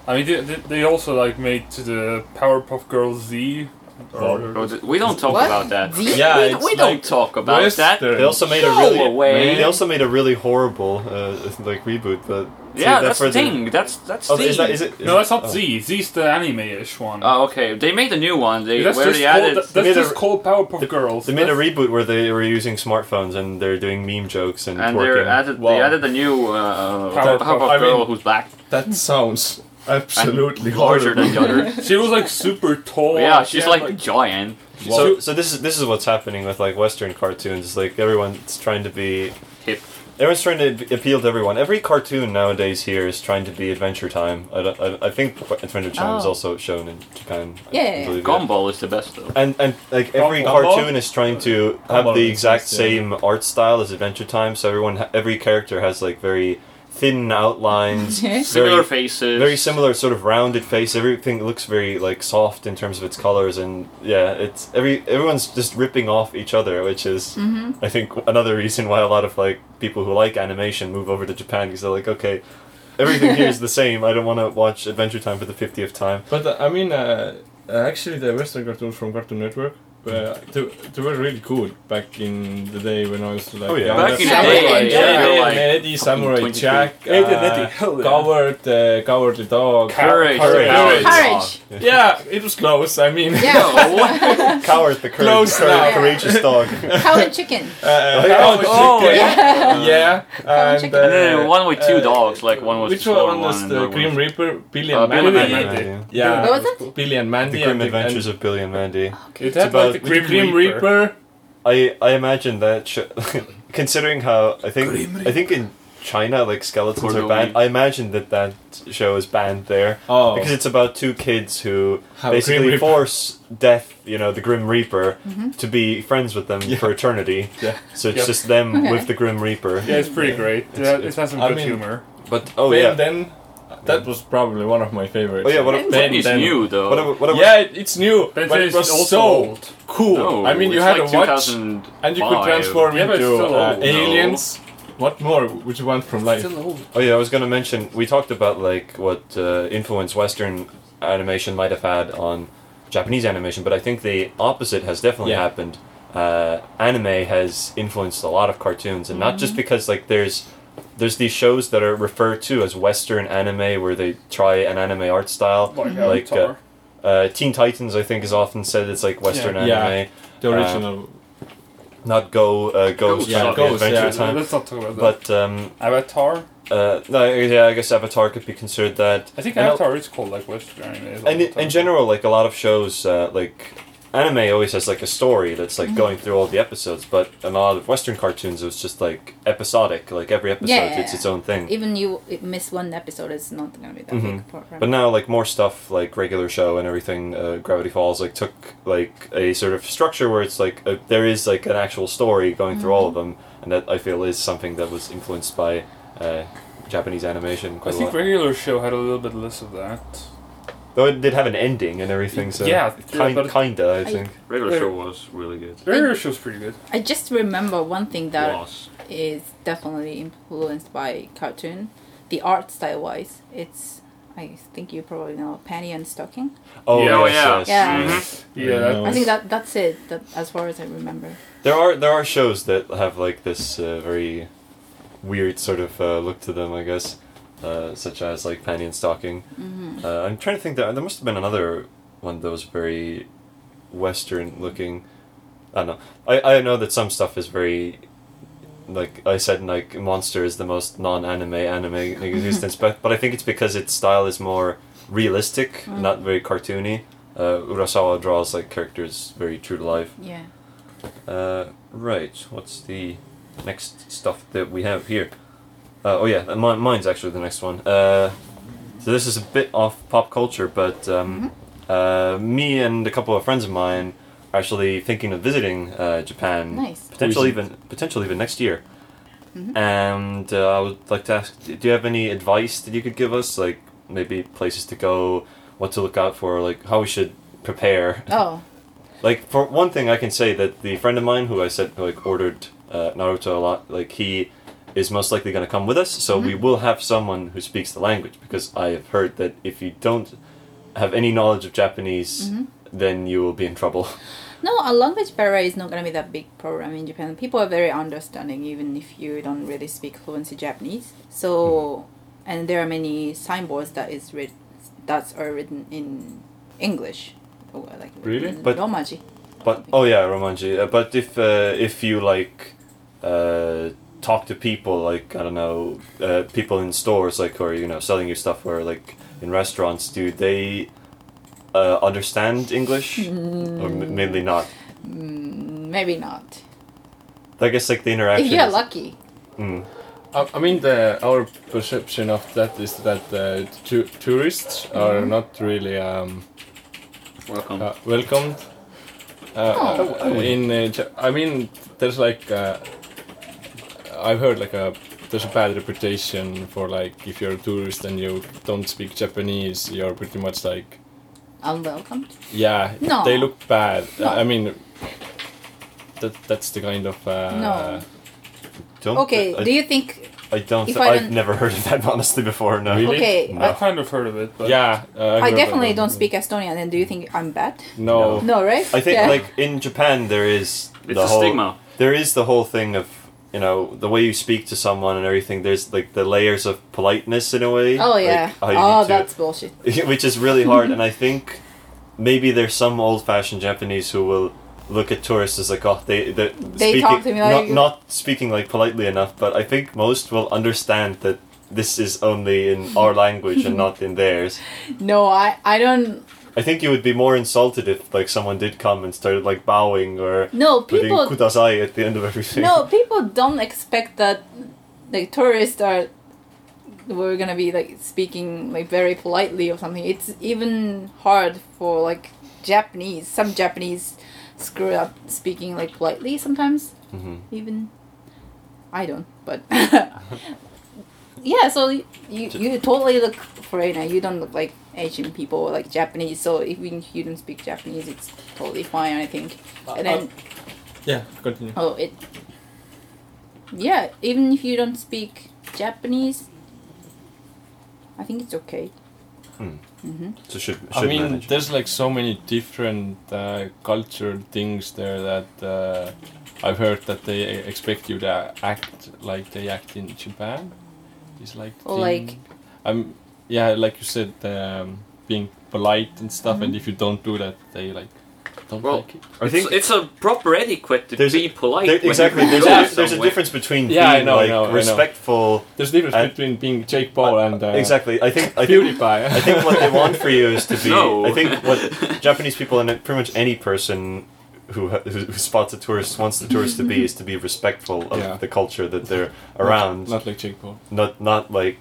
[SPEAKER 1] I mean, they, they- they also like made to the Powerpuff Girls Z Or-
[SPEAKER 4] Oh, th- We don't talk
[SPEAKER 5] What?
[SPEAKER 4] about that.
[SPEAKER 5] The-
[SPEAKER 2] Yeah,
[SPEAKER 4] we,
[SPEAKER 2] it's
[SPEAKER 4] we don't
[SPEAKER 2] like
[SPEAKER 4] talk about that.
[SPEAKER 2] Western.
[SPEAKER 3] They also made
[SPEAKER 4] Go
[SPEAKER 3] a really
[SPEAKER 4] away.
[SPEAKER 3] they also made a really horrible uh, like reboot, but
[SPEAKER 4] Yeah,
[SPEAKER 3] save that
[SPEAKER 4] that's
[SPEAKER 3] for
[SPEAKER 4] the thing. That's that's
[SPEAKER 3] Oh,
[SPEAKER 4] thing.
[SPEAKER 3] is that is it? is
[SPEAKER 1] No,
[SPEAKER 3] it-
[SPEAKER 1] that's not
[SPEAKER 3] oh.
[SPEAKER 1] Z. Z's the anime-ish one.
[SPEAKER 4] Oh, okay. They made a new one. They
[SPEAKER 1] that's
[SPEAKER 4] where
[SPEAKER 1] just
[SPEAKER 4] they
[SPEAKER 1] called,
[SPEAKER 4] added.
[SPEAKER 1] that-
[SPEAKER 3] They made
[SPEAKER 1] that's
[SPEAKER 3] a-
[SPEAKER 1] just called Powerpuff Girls.
[SPEAKER 3] They made a
[SPEAKER 1] That's-
[SPEAKER 3] reboot where they were using smartphones and they're doing meme jokes and,
[SPEAKER 4] and
[SPEAKER 3] twerking.
[SPEAKER 4] they added
[SPEAKER 2] Wow.
[SPEAKER 4] they added a new uh,
[SPEAKER 1] Powerpuff.
[SPEAKER 4] Powerpuff
[SPEAKER 2] I
[SPEAKER 4] girl
[SPEAKER 2] mean-
[SPEAKER 4] who's black,
[SPEAKER 2] That sounds
[SPEAKER 4] and (laughs)
[SPEAKER 2] absolutely
[SPEAKER 4] larger than the
[SPEAKER 2] horrible.
[SPEAKER 4] other.
[SPEAKER 1] (laughs)
[SPEAKER 2] (laughs)
[SPEAKER 1] she was like super tall.
[SPEAKER 4] yeah,
[SPEAKER 1] she
[SPEAKER 4] she's
[SPEAKER 1] had,
[SPEAKER 4] like, giant.
[SPEAKER 3] So, so this is this is what's happening with like Western cartoons. It's like everyone's trying to be
[SPEAKER 4] Hip.
[SPEAKER 3] everyone's trying to appeal to everyone. Every cartoon nowadays here is trying to be Adventure Time. I, don't- I, I think Adventure Time is
[SPEAKER 5] Oh.
[SPEAKER 3] also shown in Japan. I
[SPEAKER 5] Yeah, yeah, yeah.
[SPEAKER 3] believe,
[SPEAKER 4] Gumball is the best though.
[SPEAKER 3] And and like every
[SPEAKER 2] Gumball?
[SPEAKER 3] cartoon is trying to have
[SPEAKER 2] Gumball
[SPEAKER 3] the
[SPEAKER 2] makes
[SPEAKER 3] exact
[SPEAKER 2] sense, yeah.
[SPEAKER 3] same art style as Adventure Time, so everyone ha- every character has like very thin outlines,
[SPEAKER 4] Similar
[SPEAKER 3] very
[SPEAKER 4] faces.
[SPEAKER 3] very similar sort of rounded face. Everything looks very like soft in terms of its colors, and yeah, it's every everyone's just ripping off each other, which is I think another reason why a lot of like people who like animation move over to Japan because they're like, okay, everything here is the same. I don't want to watch Adventure Time for the fiftieth time.
[SPEAKER 2] But uh, I mean, uh, uh, actually, the Western cartoons from Cartoon Network, uh, they, they were really cool back in the day when I was like.
[SPEAKER 3] Oh, yeah.
[SPEAKER 2] young.
[SPEAKER 4] Back in the day,
[SPEAKER 5] Samurai Jack.
[SPEAKER 4] like, yeah, they were
[SPEAKER 2] Samurai
[SPEAKER 4] like
[SPEAKER 2] Eddie, Samurai
[SPEAKER 4] 23.
[SPEAKER 2] Jack, uh,
[SPEAKER 1] Eddie, Eddie, hell yeah.
[SPEAKER 2] Coward, uh, Cowardly Dog.
[SPEAKER 4] courage,
[SPEAKER 3] Courage.
[SPEAKER 4] courage.
[SPEAKER 5] Courage.
[SPEAKER 2] yeah, it was close. I mean,
[SPEAKER 5] Yeah.
[SPEAKER 4] No, what?
[SPEAKER 5] (laughs)
[SPEAKER 3] Coward, the courage,
[SPEAKER 2] Close
[SPEAKER 3] courage-
[SPEAKER 2] now.
[SPEAKER 3] courageous dog.
[SPEAKER 5] Coward chicken.
[SPEAKER 2] (laughs) uh,
[SPEAKER 3] yeah.
[SPEAKER 2] Coward
[SPEAKER 4] Oh,
[SPEAKER 2] Chicken,
[SPEAKER 5] yeah.
[SPEAKER 2] yeah,
[SPEAKER 5] Chicken.
[SPEAKER 2] and, uh,
[SPEAKER 4] And then one with two
[SPEAKER 2] uh,
[SPEAKER 4] dogs, like one was
[SPEAKER 2] which
[SPEAKER 4] the
[SPEAKER 2] one
[SPEAKER 4] one
[SPEAKER 2] was
[SPEAKER 4] and
[SPEAKER 2] the
[SPEAKER 4] another
[SPEAKER 2] Grim
[SPEAKER 4] one-
[SPEAKER 2] Reaper, Billy
[SPEAKER 4] Uh,
[SPEAKER 2] and
[SPEAKER 4] Billy
[SPEAKER 2] Mandy,
[SPEAKER 4] and Mandy.
[SPEAKER 2] yeah,
[SPEAKER 5] What was it?
[SPEAKER 2] Billy and Mandy,
[SPEAKER 3] The Grim
[SPEAKER 2] and the-
[SPEAKER 3] Adventures
[SPEAKER 2] and-
[SPEAKER 3] of Billy and Mandy.
[SPEAKER 1] It had
[SPEAKER 3] about-
[SPEAKER 1] like the
[SPEAKER 2] with the
[SPEAKER 1] Grim, Reaper.
[SPEAKER 3] I I imagine that sh- (laughs) considering how I think I think in China like skeletons are
[SPEAKER 4] Cordon
[SPEAKER 3] banned.
[SPEAKER 4] bleu.
[SPEAKER 3] I imagine that that show is banned there
[SPEAKER 2] Oh,
[SPEAKER 3] because it's about two kids who
[SPEAKER 2] Have a Grim
[SPEAKER 3] basically
[SPEAKER 2] Reaper.
[SPEAKER 3] force Death, you know, the Grim Reaper, to be friends with them for eternity.
[SPEAKER 2] Yeah.
[SPEAKER 3] So it's
[SPEAKER 1] Yep.
[SPEAKER 3] just them
[SPEAKER 5] Okay.
[SPEAKER 3] with the Grim Reaper.
[SPEAKER 1] Yeah, it's pretty great. Yeah, it
[SPEAKER 3] it's-
[SPEAKER 1] has some
[SPEAKER 2] I
[SPEAKER 1] good
[SPEAKER 2] mean-
[SPEAKER 1] humor.
[SPEAKER 3] But oh
[SPEAKER 2] Ben
[SPEAKER 3] yeah,
[SPEAKER 2] then, that was probably one of my favorites.
[SPEAKER 3] oh yeah. What? A,
[SPEAKER 4] Ben
[SPEAKER 2] Ben
[SPEAKER 4] is
[SPEAKER 2] 10.
[SPEAKER 4] new though.
[SPEAKER 3] what? A, what? A,
[SPEAKER 2] yeah, it, it's new,
[SPEAKER 1] Ben
[SPEAKER 2] but
[SPEAKER 1] 10
[SPEAKER 2] it
[SPEAKER 1] is
[SPEAKER 2] was
[SPEAKER 1] also
[SPEAKER 2] so
[SPEAKER 1] old.
[SPEAKER 2] cool.
[SPEAKER 4] No,
[SPEAKER 2] I mean, you
[SPEAKER 4] it's
[SPEAKER 2] had
[SPEAKER 4] like
[SPEAKER 2] a watch,
[SPEAKER 4] 2005.
[SPEAKER 2] and you could transform
[SPEAKER 1] Yeah, but it's
[SPEAKER 2] into
[SPEAKER 1] still
[SPEAKER 2] uh,
[SPEAKER 1] old.
[SPEAKER 2] aliens. What more would you want from life?
[SPEAKER 3] Oh yeah, I was gonna mention we talked about like what uh, influence Western animation might have had on Japanese animation, but I think the opposite has definitely
[SPEAKER 2] Yeah.
[SPEAKER 3] happened. Uh, anime has influenced a lot of cartoons, and not just because like there's there's these shows that are referred to as Western anime where they try an anime art style,
[SPEAKER 1] Like
[SPEAKER 3] like uh,
[SPEAKER 1] Oh Avatar.
[SPEAKER 3] uh, Teen Titans. I think is often said it's like Western
[SPEAKER 2] Yeah. Yeah.
[SPEAKER 3] anime,
[SPEAKER 2] The original.
[SPEAKER 3] not Go uh, Ghost,
[SPEAKER 4] Ghost, yeah,
[SPEAKER 3] not
[SPEAKER 2] Ghost,
[SPEAKER 3] the Adventure
[SPEAKER 2] yeah.
[SPEAKER 1] No,
[SPEAKER 3] Time,
[SPEAKER 1] let's not talk about that.
[SPEAKER 3] but um,
[SPEAKER 1] Avatar.
[SPEAKER 3] uh, no, yeah, I guess Avatar could be considered that.
[SPEAKER 1] I think
[SPEAKER 3] And I'll-
[SPEAKER 1] Avatar is called like Western anime. is
[SPEAKER 3] and in,
[SPEAKER 1] Avatar.
[SPEAKER 3] in general, like a lot of shows, uh, like anime always has like a story that's
[SPEAKER 5] Mm-hmm.
[SPEAKER 3] like going through all the episodes. But in a lot of Western cartoons, it was just like episodic. Like every episode,
[SPEAKER 5] Yeah.
[SPEAKER 3] it's its own thing.
[SPEAKER 5] (laughs) Even you miss one episode, it's not gonna be that big problem.
[SPEAKER 3] but now, like more stuff, like regular show and everything, uh, Gravity Falls, like took like a sort of structure where it's like a, there is like an actual story going through all of
[SPEAKER 5] Mm-hmm.
[SPEAKER 3] them, and that I feel is something that was influenced by uh, Japanese animation
[SPEAKER 1] I
[SPEAKER 3] quite a
[SPEAKER 1] think
[SPEAKER 3] lot.
[SPEAKER 1] regular show had a little bit less of that.
[SPEAKER 3] Though it did have an ending and everything, so
[SPEAKER 1] Yeah, yeah,
[SPEAKER 3] kind,
[SPEAKER 1] but-
[SPEAKER 3] kinda, I
[SPEAKER 5] I-
[SPEAKER 3] think.
[SPEAKER 4] Regular
[SPEAKER 1] Wait.
[SPEAKER 4] show was really good.
[SPEAKER 1] Regular show's pretty good.
[SPEAKER 5] I just remember one thing that
[SPEAKER 4] Was.
[SPEAKER 5] is definitely influenced by cartoon. The art style wise, it's I think you probably know panty and stocking.
[SPEAKER 3] Oh
[SPEAKER 1] Yeah. Oh,
[SPEAKER 3] yes,
[SPEAKER 4] yeah.
[SPEAKER 3] yes, Mm-hmm.
[SPEAKER 5] Yeah.
[SPEAKER 3] yes.
[SPEAKER 1] Yeah, that,
[SPEAKER 5] I think that that's it. That as far as I remember.
[SPEAKER 3] There are there are shows that have like this uh, very weird sort of uh, look to them, I guess, uh, such as like Panty and Stocking. Uh, I'm trying to think that there must have been another one that was very Western looking. I don't know. I, I know that some stuff is very like I said, like Monster is the most non-anime anime in existence, but but I think it's because its style is more realistic, not very cartoony. Uh, Urasawa draws like characters very true to life.
[SPEAKER 5] Yeah.
[SPEAKER 3] Uh, right. What's the next stuff that we have here? Uh, oh yeah, uh, mi- mine's actually the next one. Uh, so this is a bit off pop culture, but um, uh, me and a couple of friends of mine are actually thinking of visiting uh, Japan.
[SPEAKER 5] Nice.
[SPEAKER 3] Potentially
[SPEAKER 2] Who's
[SPEAKER 3] even potentially even next year. And uh, I would like to ask, d- do you have any advice that you could give us, like maybe places to go, what to look out for, like how we should prepare?
[SPEAKER 5] Oh.
[SPEAKER 3] Like for one thing, I can say that the friend of mine who I said who, like ordered uh, Naruto a lot, like he is most likely going to come with us. So we will have someone who
[SPEAKER 5] Mm-hmm.
[SPEAKER 3] speaks the language because I have heard that if you don't have any knowledge of Japanese, then you will be in trouble. (laughs)
[SPEAKER 5] No, a language barrier is not going to be that big problem in Japan. People are very understanding, even if you don't really speak fluency Japanese. So,
[SPEAKER 3] Hmm.
[SPEAKER 5] and there are many signboards that is read, that are written in English, or like
[SPEAKER 1] Really?
[SPEAKER 5] in
[SPEAKER 3] But-
[SPEAKER 5] Romaji.
[SPEAKER 3] But
[SPEAKER 5] Mm,
[SPEAKER 3] oh yeah, Romanji. Uh, but if uh, if you like uh, talk to people, like I don't know, uh, people in stores, like who are you know selling you stuff, or like in restaurants, do they uh, understand English, or m- mainly not?
[SPEAKER 5] Mm, maybe not.
[SPEAKER 3] I guess like the interaction.
[SPEAKER 5] If (laughs) you're
[SPEAKER 3] is-
[SPEAKER 5] lucky,
[SPEAKER 3] Mm.
[SPEAKER 2] Uh, I, I mean, the, our perception of that is that uh, tu- tourists
[SPEAKER 1] Mm-hmm.
[SPEAKER 2] are not really um,
[SPEAKER 4] Welcome.
[SPEAKER 2] uh, welcomed. Uh,
[SPEAKER 3] Oh.
[SPEAKER 2] in uh, Ja- I mean, there's like uh, I've heard like a there's a bad reputation for like if you're a tourist and you don't speak Japanese, you're pretty much like
[SPEAKER 5] unwelcomed.
[SPEAKER 2] yeah,
[SPEAKER 5] No.
[SPEAKER 2] they look bad.
[SPEAKER 5] No.
[SPEAKER 2] I mean, that that's the kind of uh,
[SPEAKER 5] No.
[SPEAKER 3] Don't,
[SPEAKER 5] Okay,
[SPEAKER 3] I,
[SPEAKER 5] do you think?
[SPEAKER 3] I don't.
[SPEAKER 5] if
[SPEAKER 3] Th-
[SPEAKER 5] I
[SPEAKER 3] I've
[SPEAKER 5] don't-
[SPEAKER 3] never (laughs) heard of that honestly before. No.
[SPEAKER 2] Really?
[SPEAKER 5] Okay,
[SPEAKER 3] No.
[SPEAKER 1] I kind of heard of it, but
[SPEAKER 2] Yeah, uh,
[SPEAKER 5] I
[SPEAKER 2] heard
[SPEAKER 5] definitely
[SPEAKER 2] about
[SPEAKER 5] don't
[SPEAKER 2] that.
[SPEAKER 5] speak Estonian, and do you think I'm bad?
[SPEAKER 2] No,
[SPEAKER 5] No, right?
[SPEAKER 3] I think
[SPEAKER 5] Yeah.
[SPEAKER 3] like in Japan there is
[SPEAKER 4] it's
[SPEAKER 3] the
[SPEAKER 4] a
[SPEAKER 3] whole
[SPEAKER 4] stigma.
[SPEAKER 3] there is the whole thing of you know the way you speak to someone and everything. There's like the layers of politeness in a way.
[SPEAKER 5] Oh
[SPEAKER 3] like,
[SPEAKER 5] yeah.
[SPEAKER 3] how you
[SPEAKER 5] oh,
[SPEAKER 3] need to-
[SPEAKER 5] that's bullshit.
[SPEAKER 3] (laughs) which is really
[SPEAKER 5] (laughs)
[SPEAKER 3] hard. and I think maybe there's some old-fashioned Japanese who will look at tourists as like oh they they
[SPEAKER 5] They talk to me
[SPEAKER 3] not,
[SPEAKER 5] like-
[SPEAKER 3] not speaking like politely enough. But I think most will understand that this is only in our language
[SPEAKER 5] (laughs)
[SPEAKER 3] and not in theirs.
[SPEAKER 5] No, I, I don't.
[SPEAKER 3] I think you would be more insulted if like someone did come and started like bowing or
[SPEAKER 5] No,
[SPEAKER 3] putting
[SPEAKER 5] people
[SPEAKER 3] kudasai at the end of everything. (laughs)
[SPEAKER 5] No, people don't expect that like tourists are we're gonna be like speaking like very politely or something. It's even hard for like Japanese. Some Japanese screw up speaking like politely sometimes.
[SPEAKER 3] Mhm.
[SPEAKER 5] Even I don't, but (laughs) yeah. So you you totally look foreigner. You don't look like Asian people or like Japanese. So if you you don't speak Japanese, it's totally fine. I think. And then
[SPEAKER 2] yeah, continue.
[SPEAKER 5] Oh, it. Yeah, even if you don't speak Japanese, I think it's okay.
[SPEAKER 3] Hmm.
[SPEAKER 5] Mm-hmm.
[SPEAKER 3] So should, should
[SPEAKER 2] I mean,
[SPEAKER 3] manage.
[SPEAKER 2] there's like so many different uh, culture things there that uh, I've heard that they expect you to act like they act in Japan. It's like
[SPEAKER 5] Or like-
[SPEAKER 2] I'm yeah, like you said, um, being polite and stuff.
[SPEAKER 5] Mm-hmm.
[SPEAKER 2] And if you don't do that, they like don't
[SPEAKER 4] Well,
[SPEAKER 2] like it.
[SPEAKER 3] I think
[SPEAKER 4] it's, it's a proper etiquette to
[SPEAKER 3] There's a-
[SPEAKER 4] be polite.
[SPEAKER 3] there,
[SPEAKER 4] when you
[SPEAKER 3] exactly.
[SPEAKER 4] go
[SPEAKER 3] There's, a, there's a
[SPEAKER 4] somewhere.
[SPEAKER 3] difference between
[SPEAKER 2] Yeah, I
[SPEAKER 3] being
[SPEAKER 2] know, I
[SPEAKER 3] like
[SPEAKER 2] know, I know.
[SPEAKER 3] respectful.
[SPEAKER 2] There's difference
[SPEAKER 3] and-
[SPEAKER 2] between being Jake Paul and uh,
[SPEAKER 3] exactly. I think. I think.
[SPEAKER 2] PewDiePie.
[SPEAKER 3] I
[SPEAKER 2] (laughs)
[SPEAKER 3] think what they want for you is to be.
[SPEAKER 4] No.
[SPEAKER 3] I think what Japanese people and pretty much any person who, ha- who who spots a tourist wants the tourist to be is to be respectful of
[SPEAKER 2] Yeah.
[SPEAKER 3] the culture that they're
[SPEAKER 2] Not-
[SPEAKER 3] around,
[SPEAKER 2] Not, like Jake Paul.
[SPEAKER 3] not not like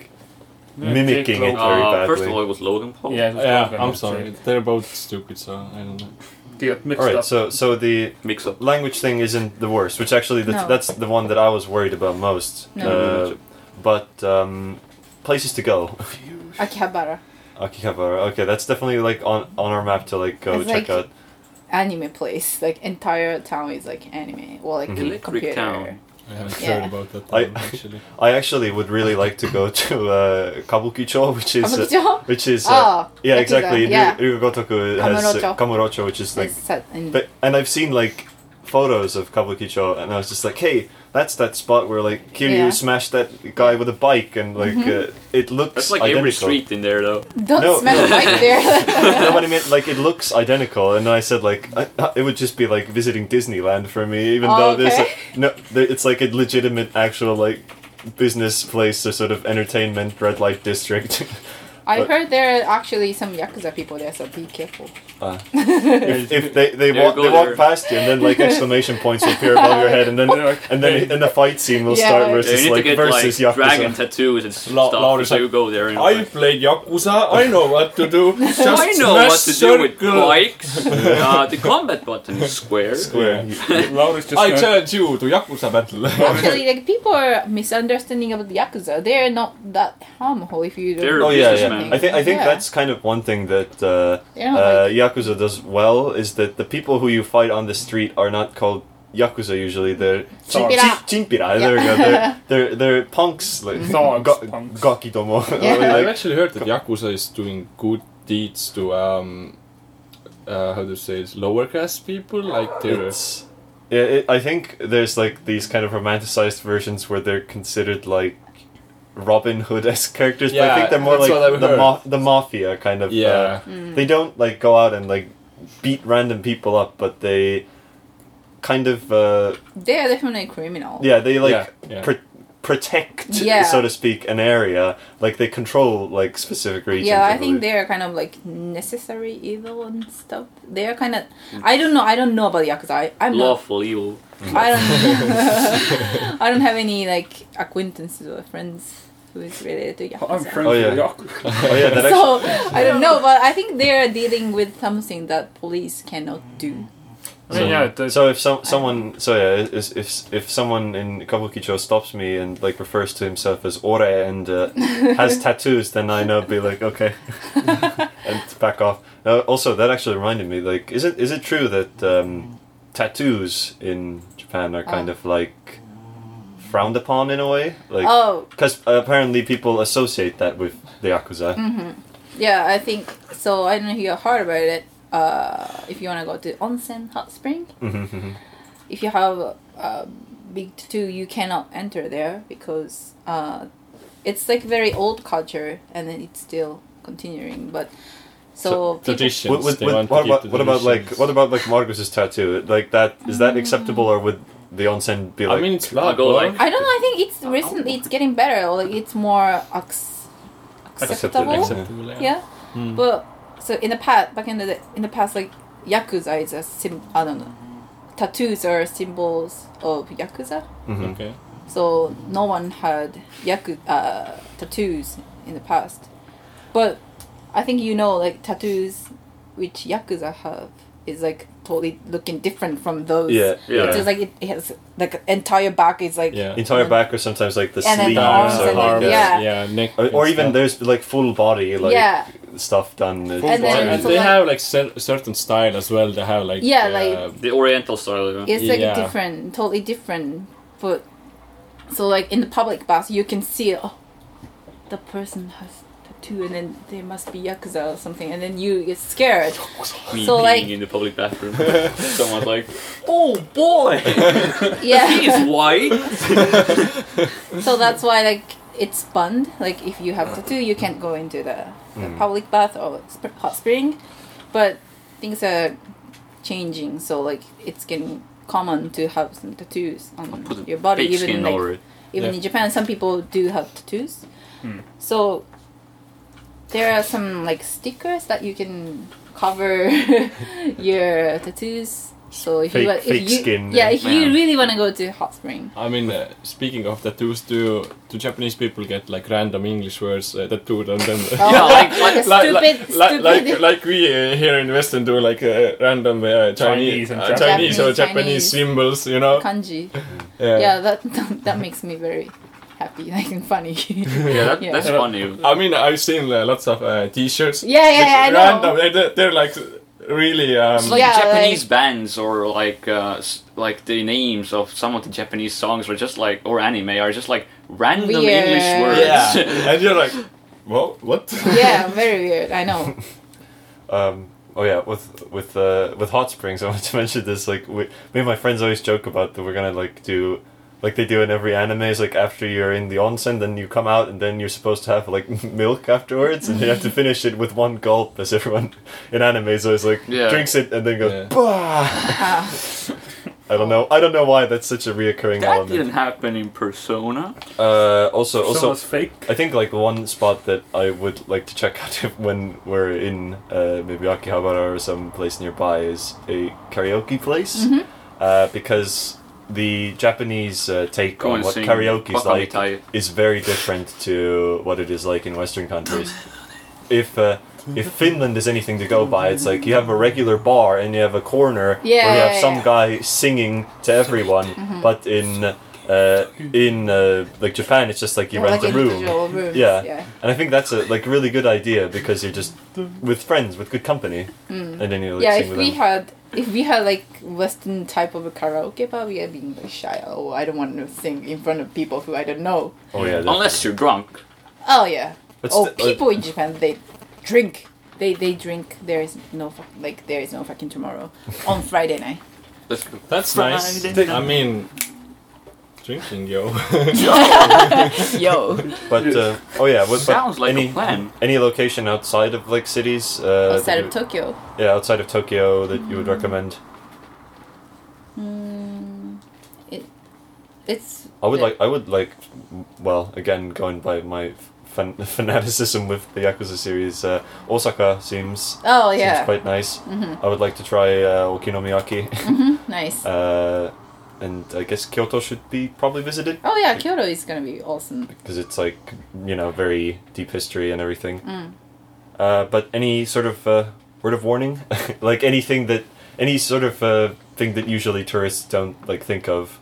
[SPEAKER 1] Yeah,
[SPEAKER 3] mimicking
[SPEAKER 1] Jake
[SPEAKER 3] it
[SPEAKER 1] Paul.
[SPEAKER 3] very badly.
[SPEAKER 2] Ah,
[SPEAKER 4] Uh, first of all, it was Logan Paul.
[SPEAKER 1] yeah, that's what
[SPEAKER 2] Yeah,
[SPEAKER 1] gonna
[SPEAKER 2] I'm
[SPEAKER 1] say.
[SPEAKER 2] sorry. They're both stupid, so I don't know.
[SPEAKER 1] They got mixed
[SPEAKER 3] All right,
[SPEAKER 1] up. (laughs)
[SPEAKER 3] so so the
[SPEAKER 4] Mix up.
[SPEAKER 3] language thing isn't the worst, which actually that's,
[SPEAKER 5] No.
[SPEAKER 3] that's the one that I was worried about most.
[SPEAKER 5] No.
[SPEAKER 3] Uh, but um, places to go, (laughs)
[SPEAKER 5] Akihabara,
[SPEAKER 3] Akihabara. Okay, that's definitely like on on our map to like go
[SPEAKER 5] It's
[SPEAKER 3] check
[SPEAKER 5] like-
[SPEAKER 3] out.
[SPEAKER 5] anime place. Like entire town is like anime or like
[SPEAKER 3] Mhm.
[SPEAKER 5] computer.
[SPEAKER 4] Electric town.
[SPEAKER 2] I haven't
[SPEAKER 5] Yeah.
[SPEAKER 2] heard about that
[SPEAKER 3] I-
[SPEAKER 2] one,
[SPEAKER 3] (laughs)
[SPEAKER 2] actually.
[SPEAKER 3] I actually would really like to go (laughs) to uh, Kabukicho, which
[SPEAKER 5] Oh,
[SPEAKER 3] is uh,
[SPEAKER 5] Kabukicho?
[SPEAKER 3] which is uh,
[SPEAKER 5] Oh,
[SPEAKER 3] yeah
[SPEAKER 5] Yakuza,
[SPEAKER 3] exactly.
[SPEAKER 5] Yeah,
[SPEAKER 3] Ryu- Ryugotoku has uh,
[SPEAKER 5] Kamurocho.
[SPEAKER 3] Kamurocho, which is like
[SPEAKER 5] It's set in-
[SPEAKER 3] But and I've seen like photos of Kabukicho, and I was just like, hey, that's that spot where like Kiryu
[SPEAKER 5] Yeah. Mm-hmm.
[SPEAKER 3] smashed that guy with a bike, and like uh, it looks
[SPEAKER 4] That's like
[SPEAKER 3] identical.
[SPEAKER 4] every street in there, though.
[SPEAKER 5] don't
[SPEAKER 3] no,
[SPEAKER 5] smell
[SPEAKER 3] no.
[SPEAKER 5] it right there.
[SPEAKER 3] no, (laughs) but I mean, like it looks identical, and I said like I, I- it would just be like visiting Disneyland for me, even
[SPEAKER 5] Oh,
[SPEAKER 3] though there's
[SPEAKER 5] okay.
[SPEAKER 3] a, no, there, it's like a legitimate actual like business place or sort of entertainment red light district.
[SPEAKER 5] (laughs)
[SPEAKER 3] (laughs)
[SPEAKER 5] I
[SPEAKER 3] But-
[SPEAKER 5] heard there are actually some yakuza people there, so be
[SPEAKER 3] (laughs)
[SPEAKER 5] careful.
[SPEAKER 4] Ah.
[SPEAKER 3] Uh,
[SPEAKER 4] (laughs)
[SPEAKER 3] if, if they they
[SPEAKER 4] Yeah,
[SPEAKER 3] walk
[SPEAKER 4] go
[SPEAKER 3] they walk
[SPEAKER 4] there.
[SPEAKER 3] past you and then like exclamation points will appear above your head and
[SPEAKER 4] (laughs)
[SPEAKER 3] then
[SPEAKER 1] They're like,
[SPEAKER 3] and then
[SPEAKER 1] "Hey."
[SPEAKER 3] and the fight scene will
[SPEAKER 5] Yeah,
[SPEAKER 3] start where
[SPEAKER 5] like-
[SPEAKER 3] it's
[SPEAKER 4] Yeah, you
[SPEAKER 3] just
[SPEAKER 4] need
[SPEAKER 3] like
[SPEAKER 4] to get
[SPEAKER 3] versus
[SPEAKER 4] like dragon
[SPEAKER 3] Yakuza.
[SPEAKER 4] tattoos and stuff.
[SPEAKER 2] Lo- Lord is
[SPEAKER 4] so
[SPEAKER 2] like,
[SPEAKER 4] you go there and
[SPEAKER 2] I
[SPEAKER 4] like,
[SPEAKER 2] played Yakuza. I know what to do. Just
[SPEAKER 4] (laughs) I know what to
[SPEAKER 2] smash
[SPEAKER 4] do with
[SPEAKER 2] circle.
[SPEAKER 3] (laughs)
[SPEAKER 4] bikes. uh, the combat button is square.
[SPEAKER 3] Square.
[SPEAKER 1] Laura's just
[SPEAKER 2] I
[SPEAKER 1] gonna-
[SPEAKER 2] challenge you to Yakuza (laughs)
[SPEAKER 3] Oh,
[SPEAKER 2] battle.
[SPEAKER 4] (laughs)
[SPEAKER 5] Actually, like people are misunderstanding about yakuza. They're not that harmful if you don't.
[SPEAKER 4] They're
[SPEAKER 3] Oh yeah, yeah.
[SPEAKER 4] businessman.
[SPEAKER 3] I think I think
[SPEAKER 5] Yeah.
[SPEAKER 3] that's kind of one thing that uh,
[SPEAKER 5] They don't
[SPEAKER 3] uh,
[SPEAKER 5] like-
[SPEAKER 3] Yakuza does well is that the people who you fight on the street are not called Yakuza usually. They're chin-
[SPEAKER 5] Chinpira.
[SPEAKER 3] chin- Chinpira. There we go.
[SPEAKER 5] (laughs)
[SPEAKER 3] They're they're, they're punks. Like,
[SPEAKER 1] Thugs,
[SPEAKER 3] Ga-
[SPEAKER 1] punks.
[SPEAKER 3] (laughs) Gakidomo.
[SPEAKER 5] Yeah.
[SPEAKER 2] I've
[SPEAKER 3] Like,
[SPEAKER 2] actually heard that Yakuza is doing good deeds to um, uh, how to say it, lower class people. Like they're
[SPEAKER 3] It's, yeah, it, I think there's like these kind of romanticized versions where they're considered like Robin Hood esque characters, but I
[SPEAKER 2] Yeah,
[SPEAKER 3] think they're more
[SPEAKER 2] that's what
[SPEAKER 3] like
[SPEAKER 2] I've
[SPEAKER 3] the,
[SPEAKER 2] heard.
[SPEAKER 3] ma- the mafia kind of. uh,
[SPEAKER 2] yeah,
[SPEAKER 5] Mm.
[SPEAKER 3] They don't like go out and like beat random people up, but they kind of uh,
[SPEAKER 5] They are definitely criminal.
[SPEAKER 3] yeah they like
[SPEAKER 2] yeah, yeah.
[SPEAKER 3] Pre- protect,
[SPEAKER 5] Yeah.
[SPEAKER 3] so to speak, an area. Like they control like specific regions.
[SPEAKER 5] Yeah, I
[SPEAKER 3] believe.
[SPEAKER 5] think they are kind of like necessary evil and stuff. They are kind of.
[SPEAKER 3] Mm.
[SPEAKER 5] I don't know. I don't know about yakuza. I, I'm not
[SPEAKER 4] Lawful evil.
[SPEAKER 5] I
[SPEAKER 3] (laughs)
[SPEAKER 5] don't. (laughs) I don't have any like acquaintances or friends who is related to
[SPEAKER 1] I'm
[SPEAKER 5] Yakuza.
[SPEAKER 1] friends
[SPEAKER 3] Oh,
[SPEAKER 1] with
[SPEAKER 3] yeah.
[SPEAKER 1] (laughs) Yakuza.
[SPEAKER 3] oh yeah,
[SPEAKER 5] (laughs)
[SPEAKER 3] that actually,
[SPEAKER 5] so I don't know, but I think they are dealing with something that police cannot do.
[SPEAKER 1] I mean, yeah, the,
[SPEAKER 3] So if some someone so yeah if if, if someone in Kabukicho stops me and like refers to himself as Ore and uh,
[SPEAKER 5] (laughs)
[SPEAKER 3] has tattoos, then I know be like okay, and back off. Uh, also, that actually reminded me like is it is it true that um, tattoos in Japan are kind
[SPEAKER 5] Oh.
[SPEAKER 3] of like frowned upon in a way like.
[SPEAKER 5] oh
[SPEAKER 3] Because apparently people associate that with the Yakuza.
[SPEAKER 5] yeah, I think so. I don't know if you heard about it. Uh, if you wanna go to onsen hot spring,
[SPEAKER 2] Mm-hmm.
[SPEAKER 3] Mhm,
[SPEAKER 5] if you have a big tattoo, you cannot enter there because uh, it's like very old culture and then it's still continuing. But so, people-
[SPEAKER 2] traditions.
[SPEAKER 3] With- with-
[SPEAKER 2] they
[SPEAKER 3] with-
[SPEAKER 2] want
[SPEAKER 3] what
[SPEAKER 2] to keep
[SPEAKER 3] about
[SPEAKER 2] the
[SPEAKER 3] what about like
[SPEAKER 2] traditions.
[SPEAKER 3] what about like Marcus's tattoo? Like that is that acceptable or would the onsen be like?
[SPEAKER 2] I mean, it's blood.
[SPEAKER 4] go
[SPEAKER 2] bro.
[SPEAKER 4] like-
[SPEAKER 5] I don't know. I think it's recently it's getting better. Like it's more acc- acceptable.
[SPEAKER 2] Acceptable, yeah.
[SPEAKER 5] Yeah, Hmm.
[SPEAKER 2] Mm.
[SPEAKER 5] but so in the past, back in the in the past, like yakuza is a sim. I don't know. Tattoos are symbols of yakuza,
[SPEAKER 3] Mhm.
[SPEAKER 2] Okay.
[SPEAKER 5] so no one had yaku uh, tattoos in the past. But I think you know, like tattoos which yakuza have is like totally looking different from those.
[SPEAKER 3] Yeah,
[SPEAKER 4] Yeah.
[SPEAKER 5] It's just like it, it has like entire back is like
[SPEAKER 2] Yeah.
[SPEAKER 3] Entire back or sometimes like the
[SPEAKER 5] And then
[SPEAKER 3] sleeves
[SPEAKER 5] arms
[SPEAKER 3] or
[SPEAKER 5] and
[SPEAKER 3] like
[SPEAKER 5] legs,
[SPEAKER 3] uh,
[SPEAKER 5] yeah.
[SPEAKER 2] yeah, neck,
[SPEAKER 3] or, or
[SPEAKER 2] and
[SPEAKER 3] even
[SPEAKER 2] stuff.
[SPEAKER 3] there's like full body like uh,
[SPEAKER 5] yeah.
[SPEAKER 3] stuff done. It's-
[SPEAKER 5] And then
[SPEAKER 2] and
[SPEAKER 5] so
[SPEAKER 2] they
[SPEAKER 5] like-
[SPEAKER 2] have like cer- certain style as well. They have like
[SPEAKER 5] Yeah,
[SPEAKER 2] uh,
[SPEAKER 5] like-
[SPEAKER 4] The Oriental style. Yeah.
[SPEAKER 5] It's like
[SPEAKER 2] Yeah.
[SPEAKER 5] different, totally different. But so like in the public bus, you can see oh, the person has tattoo, and then they must be yakuza or something, and then you get scared.
[SPEAKER 4] Me
[SPEAKER 5] So,
[SPEAKER 4] peeing
[SPEAKER 5] like-
[SPEAKER 4] in the public bathroom. (laughs) Someone's like,
[SPEAKER 5] Oh boy!
[SPEAKER 4] (laughs) he's
[SPEAKER 5] yeah.
[SPEAKER 4] white.
[SPEAKER 5] so that's why like it's banned. Like if you have tattoo, you can't go into the, the public bath or sp- hot spring. But things are changing, so like it's getting common to have some tattoos on
[SPEAKER 4] Put a
[SPEAKER 5] your body,
[SPEAKER 4] big
[SPEAKER 5] even
[SPEAKER 4] skin
[SPEAKER 5] like
[SPEAKER 4] over it.
[SPEAKER 5] even
[SPEAKER 2] Yeah.
[SPEAKER 5] in Japan, some people do have tattoos.
[SPEAKER 3] Hmm.
[SPEAKER 5] So there are some like stickers that you can cover (laughs) your tattoos. So if you
[SPEAKER 3] Fake-
[SPEAKER 5] wa- if
[SPEAKER 3] fake
[SPEAKER 5] you,
[SPEAKER 3] skin,
[SPEAKER 5] yeah,
[SPEAKER 3] yeah.
[SPEAKER 5] if you
[SPEAKER 4] Yeah.
[SPEAKER 5] really want to go to hot spring,
[SPEAKER 2] (laughs) I mean, uh, speaking of tattoos, do do Japanese people get like random English words uh, tattooed on them? (laughs)
[SPEAKER 5] oh,
[SPEAKER 4] Yeah, like-
[SPEAKER 5] (laughs) like, a
[SPEAKER 2] like,
[SPEAKER 5] stupid,
[SPEAKER 2] like, like,
[SPEAKER 5] stupid. (laughs)
[SPEAKER 2] like, like we uh, here in Western do like uh, random uh, Chinese,
[SPEAKER 1] Chinese and
[SPEAKER 2] uh,
[SPEAKER 1] Japanese.
[SPEAKER 2] Chinese or
[SPEAKER 5] Japanese,
[SPEAKER 2] Japanese
[SPEAKER 5] Chinese.
[SPEAKER 2] symbols, you know?
[SPEAKER 5] kanji.
[SPEAKER 2] Yeah.
[SPEAKER 5] Yeah, that that makes me very happy, (laughs) like and funny.
[SPEAKER 4] Yeah, that,
[SPEAKER 5] Yeah.
[SPEAKER 4] that's funny.
[SPEAKER 2] I mean, I've seen uh, lots of uh, T-shirts.
[SPEAKER 5] Yeah, yeah,
[SPEAKER 2] with
[SPEAKER 5] yeah, I know.
[SPEAKER 2] Random, they're, they're like really. Um,
[SPEAKER 4] It's like
[SPEAKER 5] Yeah,
[SPEAKER 4] Japanese
[SPEAKER 5] like-
[SPEAKER 4] bands or like uh, s- like the names of some of the Japanese songs are just like or anime are just like random
[SPEAKER 5] Weird.
[SPEAKER 4] English words. (laughs)
[SPEAKER 2] yeah, and you're like, well, what? (laughs)
[SPEAKER 5] yeah, very weird. I (laughs) know.
[SPEAKER 3] Um, oh yeah, with with uh, with hot springs, (laughs) I wanted to mention this. Like we, me and my friends always joke about that we're gonna like do. Like they do in every anime, is like after you're in the onsen, then you come out, and then you're supposed to have like (laughs) milk afterwards, and you have to finish it with one gulp, as everyone in anime is always like
[SPEAKER 4] Yeah.
[SPEAKER 3] drinks it and then goes
[SPEAKER 2] Yeah.
[SPEAKER 3] bah.
[SPEAKER 5] Ah.
[SPEAKER 3] I don't know. I don't know why that's such a reoccurring
[SPEAKER 4] That
[SPEAKER 3] element.
[SPEAKER 4] didn't happen in Persona.
[SPEAKER 3] Uh, also, also,
[SPEAKER 1] someone's fake.
[SPEAKER 3] I think like one spot that I would like to check (laughs) out if, when we're in uh, maybe Akihabara or some place nearby is a karaoke place
[SPEAKER 5] Mm-hmm.
[SPEAKER 3] uh, because the Japanese uh, take
[SPEAKER 4] Go
[SPEAKER 3] on
[SPEAKER 4] and
[SPEAKER 3] what
[SPEAKER 4] sing
[SPEAKER 3] karaoke is like
[SPEAKER 4] Wakamitai.
[SPEAKER 3] is very different to what it is like in Western
[SPEAKER 5] (laughs)
[SPEAKER 3] countries. if uh, if Finland is anything to go by, it's like you have a regular bar and you have a corner where you
[SPEAKER 5] Yeah,
[SPEAKER 3] have
[SPEAKER 5] yeah,
[SPEAKER 3] some
[SPEAKER 5] yeah. Mm-hmm.
[SPEAKER 3] guy singing to everyone. But in uh, in uh, like Japan, it's just like you
[SPEAKER 5] Or
[SPEAKER 3] rent
[SPEAKER 5] like
[SPEAKER 3] a room.
[SPEAKER 5] individual rooms.
[SPEAKER 3] Yeah.
[SPEAKER 5] yeah.
[SPEAKER 3] And I think that's a like really good idea because you're just with friends, with good company, and then you like
[SPEAKER 5] Hmm. yeah,
[SPEAKER 3] sing
[SPEAKER 5] if
[SPEAKER 3] with
[SPEAKER 5] we
[SPEAKER 3] them.
[SPEAKER 5] had if we had like Western type of a karaoke bar, we would be like shy. Oh, I don't want to sing in front of people who I don't know.
[SPEAKER 3] oh yeah,
[SPEAKER 4] Unless you're drunk.
[SPEAKER 5] Oh yeah.
[SPEAKER 3] But uh,
[SPEAKER 5] oh,
[SPEAKER 3] sti-
[SPEAKER 5] people in Japan they drink. They they drink. There is no fuck- like there is no fucking tomorrow on Friday
[SPEAKER 3] (laughs)
[SPEAKER 5] night.
[SPEAKER 4] That's
[SPEAKER 2] That's
[SPEAKER 4] Friday
[SPEAKER 2] nice.
[SPEAKER 4] night.
[SPEAKER 2] I mean, drinking, yo. (laughs)
[SPEAKER 5] Yo,
[SPEAKER 3] But uh, oh yeah, what,
[SPEAKER 4] sounds
[SPEAKER 3] but
[SPEAKER 4] like
[SPEAKER 3] any
[SPEAKER 4] a plan.
[SPEAKER 3] any location outside of like cities? Uh, that
[SPEAKER 5] outside
[SPEAKER 3] you-
[SPEAKER 5] of Hmm. Tokyo.
[SPEAKER 3] yeah, outside of Tokyo that you would recommend.
[SPEAKER 5] Mm, it it's.
[SPEAKER 3] I would
[SPEAKER 5] the-
[SPEAKER 3] like. I would like. Well, again, going by my fan- (laughs) fanaticism with the Yakuza series, uh, Osaka seems
[SPEAKER 5] Oh
[SPEAKER 3] seems
[SPEAKER 5] yeah.
[SPEAKER 3] quite nice.
[SPEAKER 5] Mhm.
[SPEAKER 3] I would like to try uh, Okinomiyaki, (laughs)
[SPEAKER 5] Mhm. Nice.
[SPEAKER 3] uh, and I guess Kyoto should be probably visited
[SPEAKER 5] Oh yeah, Kyoto is gonna be awesome.
[SPEAKER 3] because it's like you know very deep history and everything.
[SPEAKER 5] Mm.
[SPEAKER 3] Uh, but any sort of uh, word of warning, (laughs) like anything that any sort of uh, thing that usually tourists don't like think of.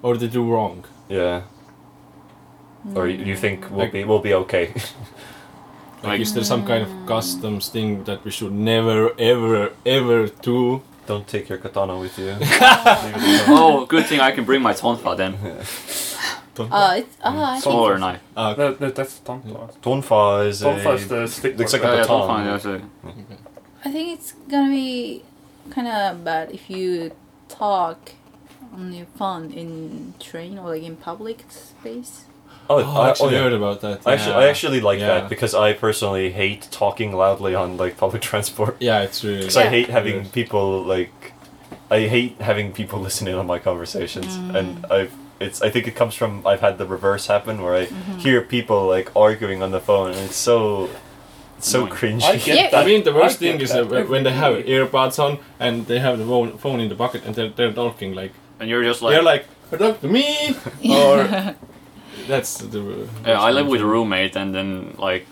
[SPEAKER 2] or they do wrong.
[SPEAKER 3] Yeah, or you, you
[SPEAKER 1] Hmm.
[SPEAKER 3] think will
[SPEAKER 2] Like-
[SPEAKER 3] be will be okay. (laughs)
[SPEAKER 2] Like,
[SPEAKER 4] Like-
[SPEAKER 2] is there some kind of customs thing that we should never, ever, ever do?
[SPEAKER 3] Don't take your katana with you.
[SPEAKER 4] oh, good thing I can bring my tonfa
[SPEAKER 3] (laughs)
[SPEAKER 4] then.
[SPEAKER 2] Don't
[SPEAKER 5] Uh, it's ah, I think
[SPEAKER 4] Smaller knife.
[SPEAKER 2] Ah, okay.
[SPEAKER 1] No, no, that's Tonfa.
[SPEAKER 3] Tonfa is
[SPEAKER 1] Tonfa
[SPEAKER 3] a
[SPEAKER 1] is the stick.
[SPEAKER 3] looks
[SPEAKER 1] part.
[SPEAKER 3] like a
[SPEAKER 4] Oh, yeah,
[SPEAKER 3] baton.
[SPEAKER 4] tonfa, that's a-
[SPEAKER 5] I think it's gonna be kind of bad if you talk on your phone in train or like in public space.
[SPEAKER 3] oh,
[SPEAKER 2] Oh, I
[SPEAKER 3] I, oh
[SPEAKER 2] actually
[SPEAKER 3] yeah.
[SPEAKER 2] heard about that.
[SPEAKER 3] I actually, I
[SPEAKER 2] yeah.
[SPEAKER 3] actually like
[SPEAKER 2] Yeah.
[SPEAKER 3] that because I personally hate talking loudly on like public (laughs) transport.
[SPEAKER 2] Yeah, it's really.
[SPEAKER 3] Because
[SPEAKER 5] Yeah.
[SPEAKER 3] I hate having
[SPEAKER 2] Yes.
[SPEAKER 3] people like, I hate having people (laughs) listen in on my conversations,
[SPEAKER 5] Mm.
[SPEAKER 3] and I've it's I think it comes from I've had the reverse happen where I
[SPEAKER 5] Mm-hmm.
[SPEAKER 3] hear people like arguing on the phone, and it's so, it's
[SPEAKER 4] Oh
[SPEAKER 3] so
[SPEAKER 1] Annoying.
[SPEAKER 3] cringy.
[SPEAKER 1] I get
[SPEAKER 5] Yeah.
[SPEAKER 1] that.
[SPEAKER 2] I mean, the worst
[SPEAKER 1] I get
[SPEAKER 2] thing is
[SPEAKER 1] that
[SPEAKER 2] that when they have
[SPEAKER 1] every day.
[SPEAKER 2] earbuds on and they have the phone phone in the pocket and they're, they're talking like,
[SPEAKER 4] And you're just like,
[SPEAKER 2] they're like, talk to
[SPEAKER 5] (laughs)
[SPEAKER 2] me or that's the.
[SPEAKER 4] yeah, I live with a roommate, and then like,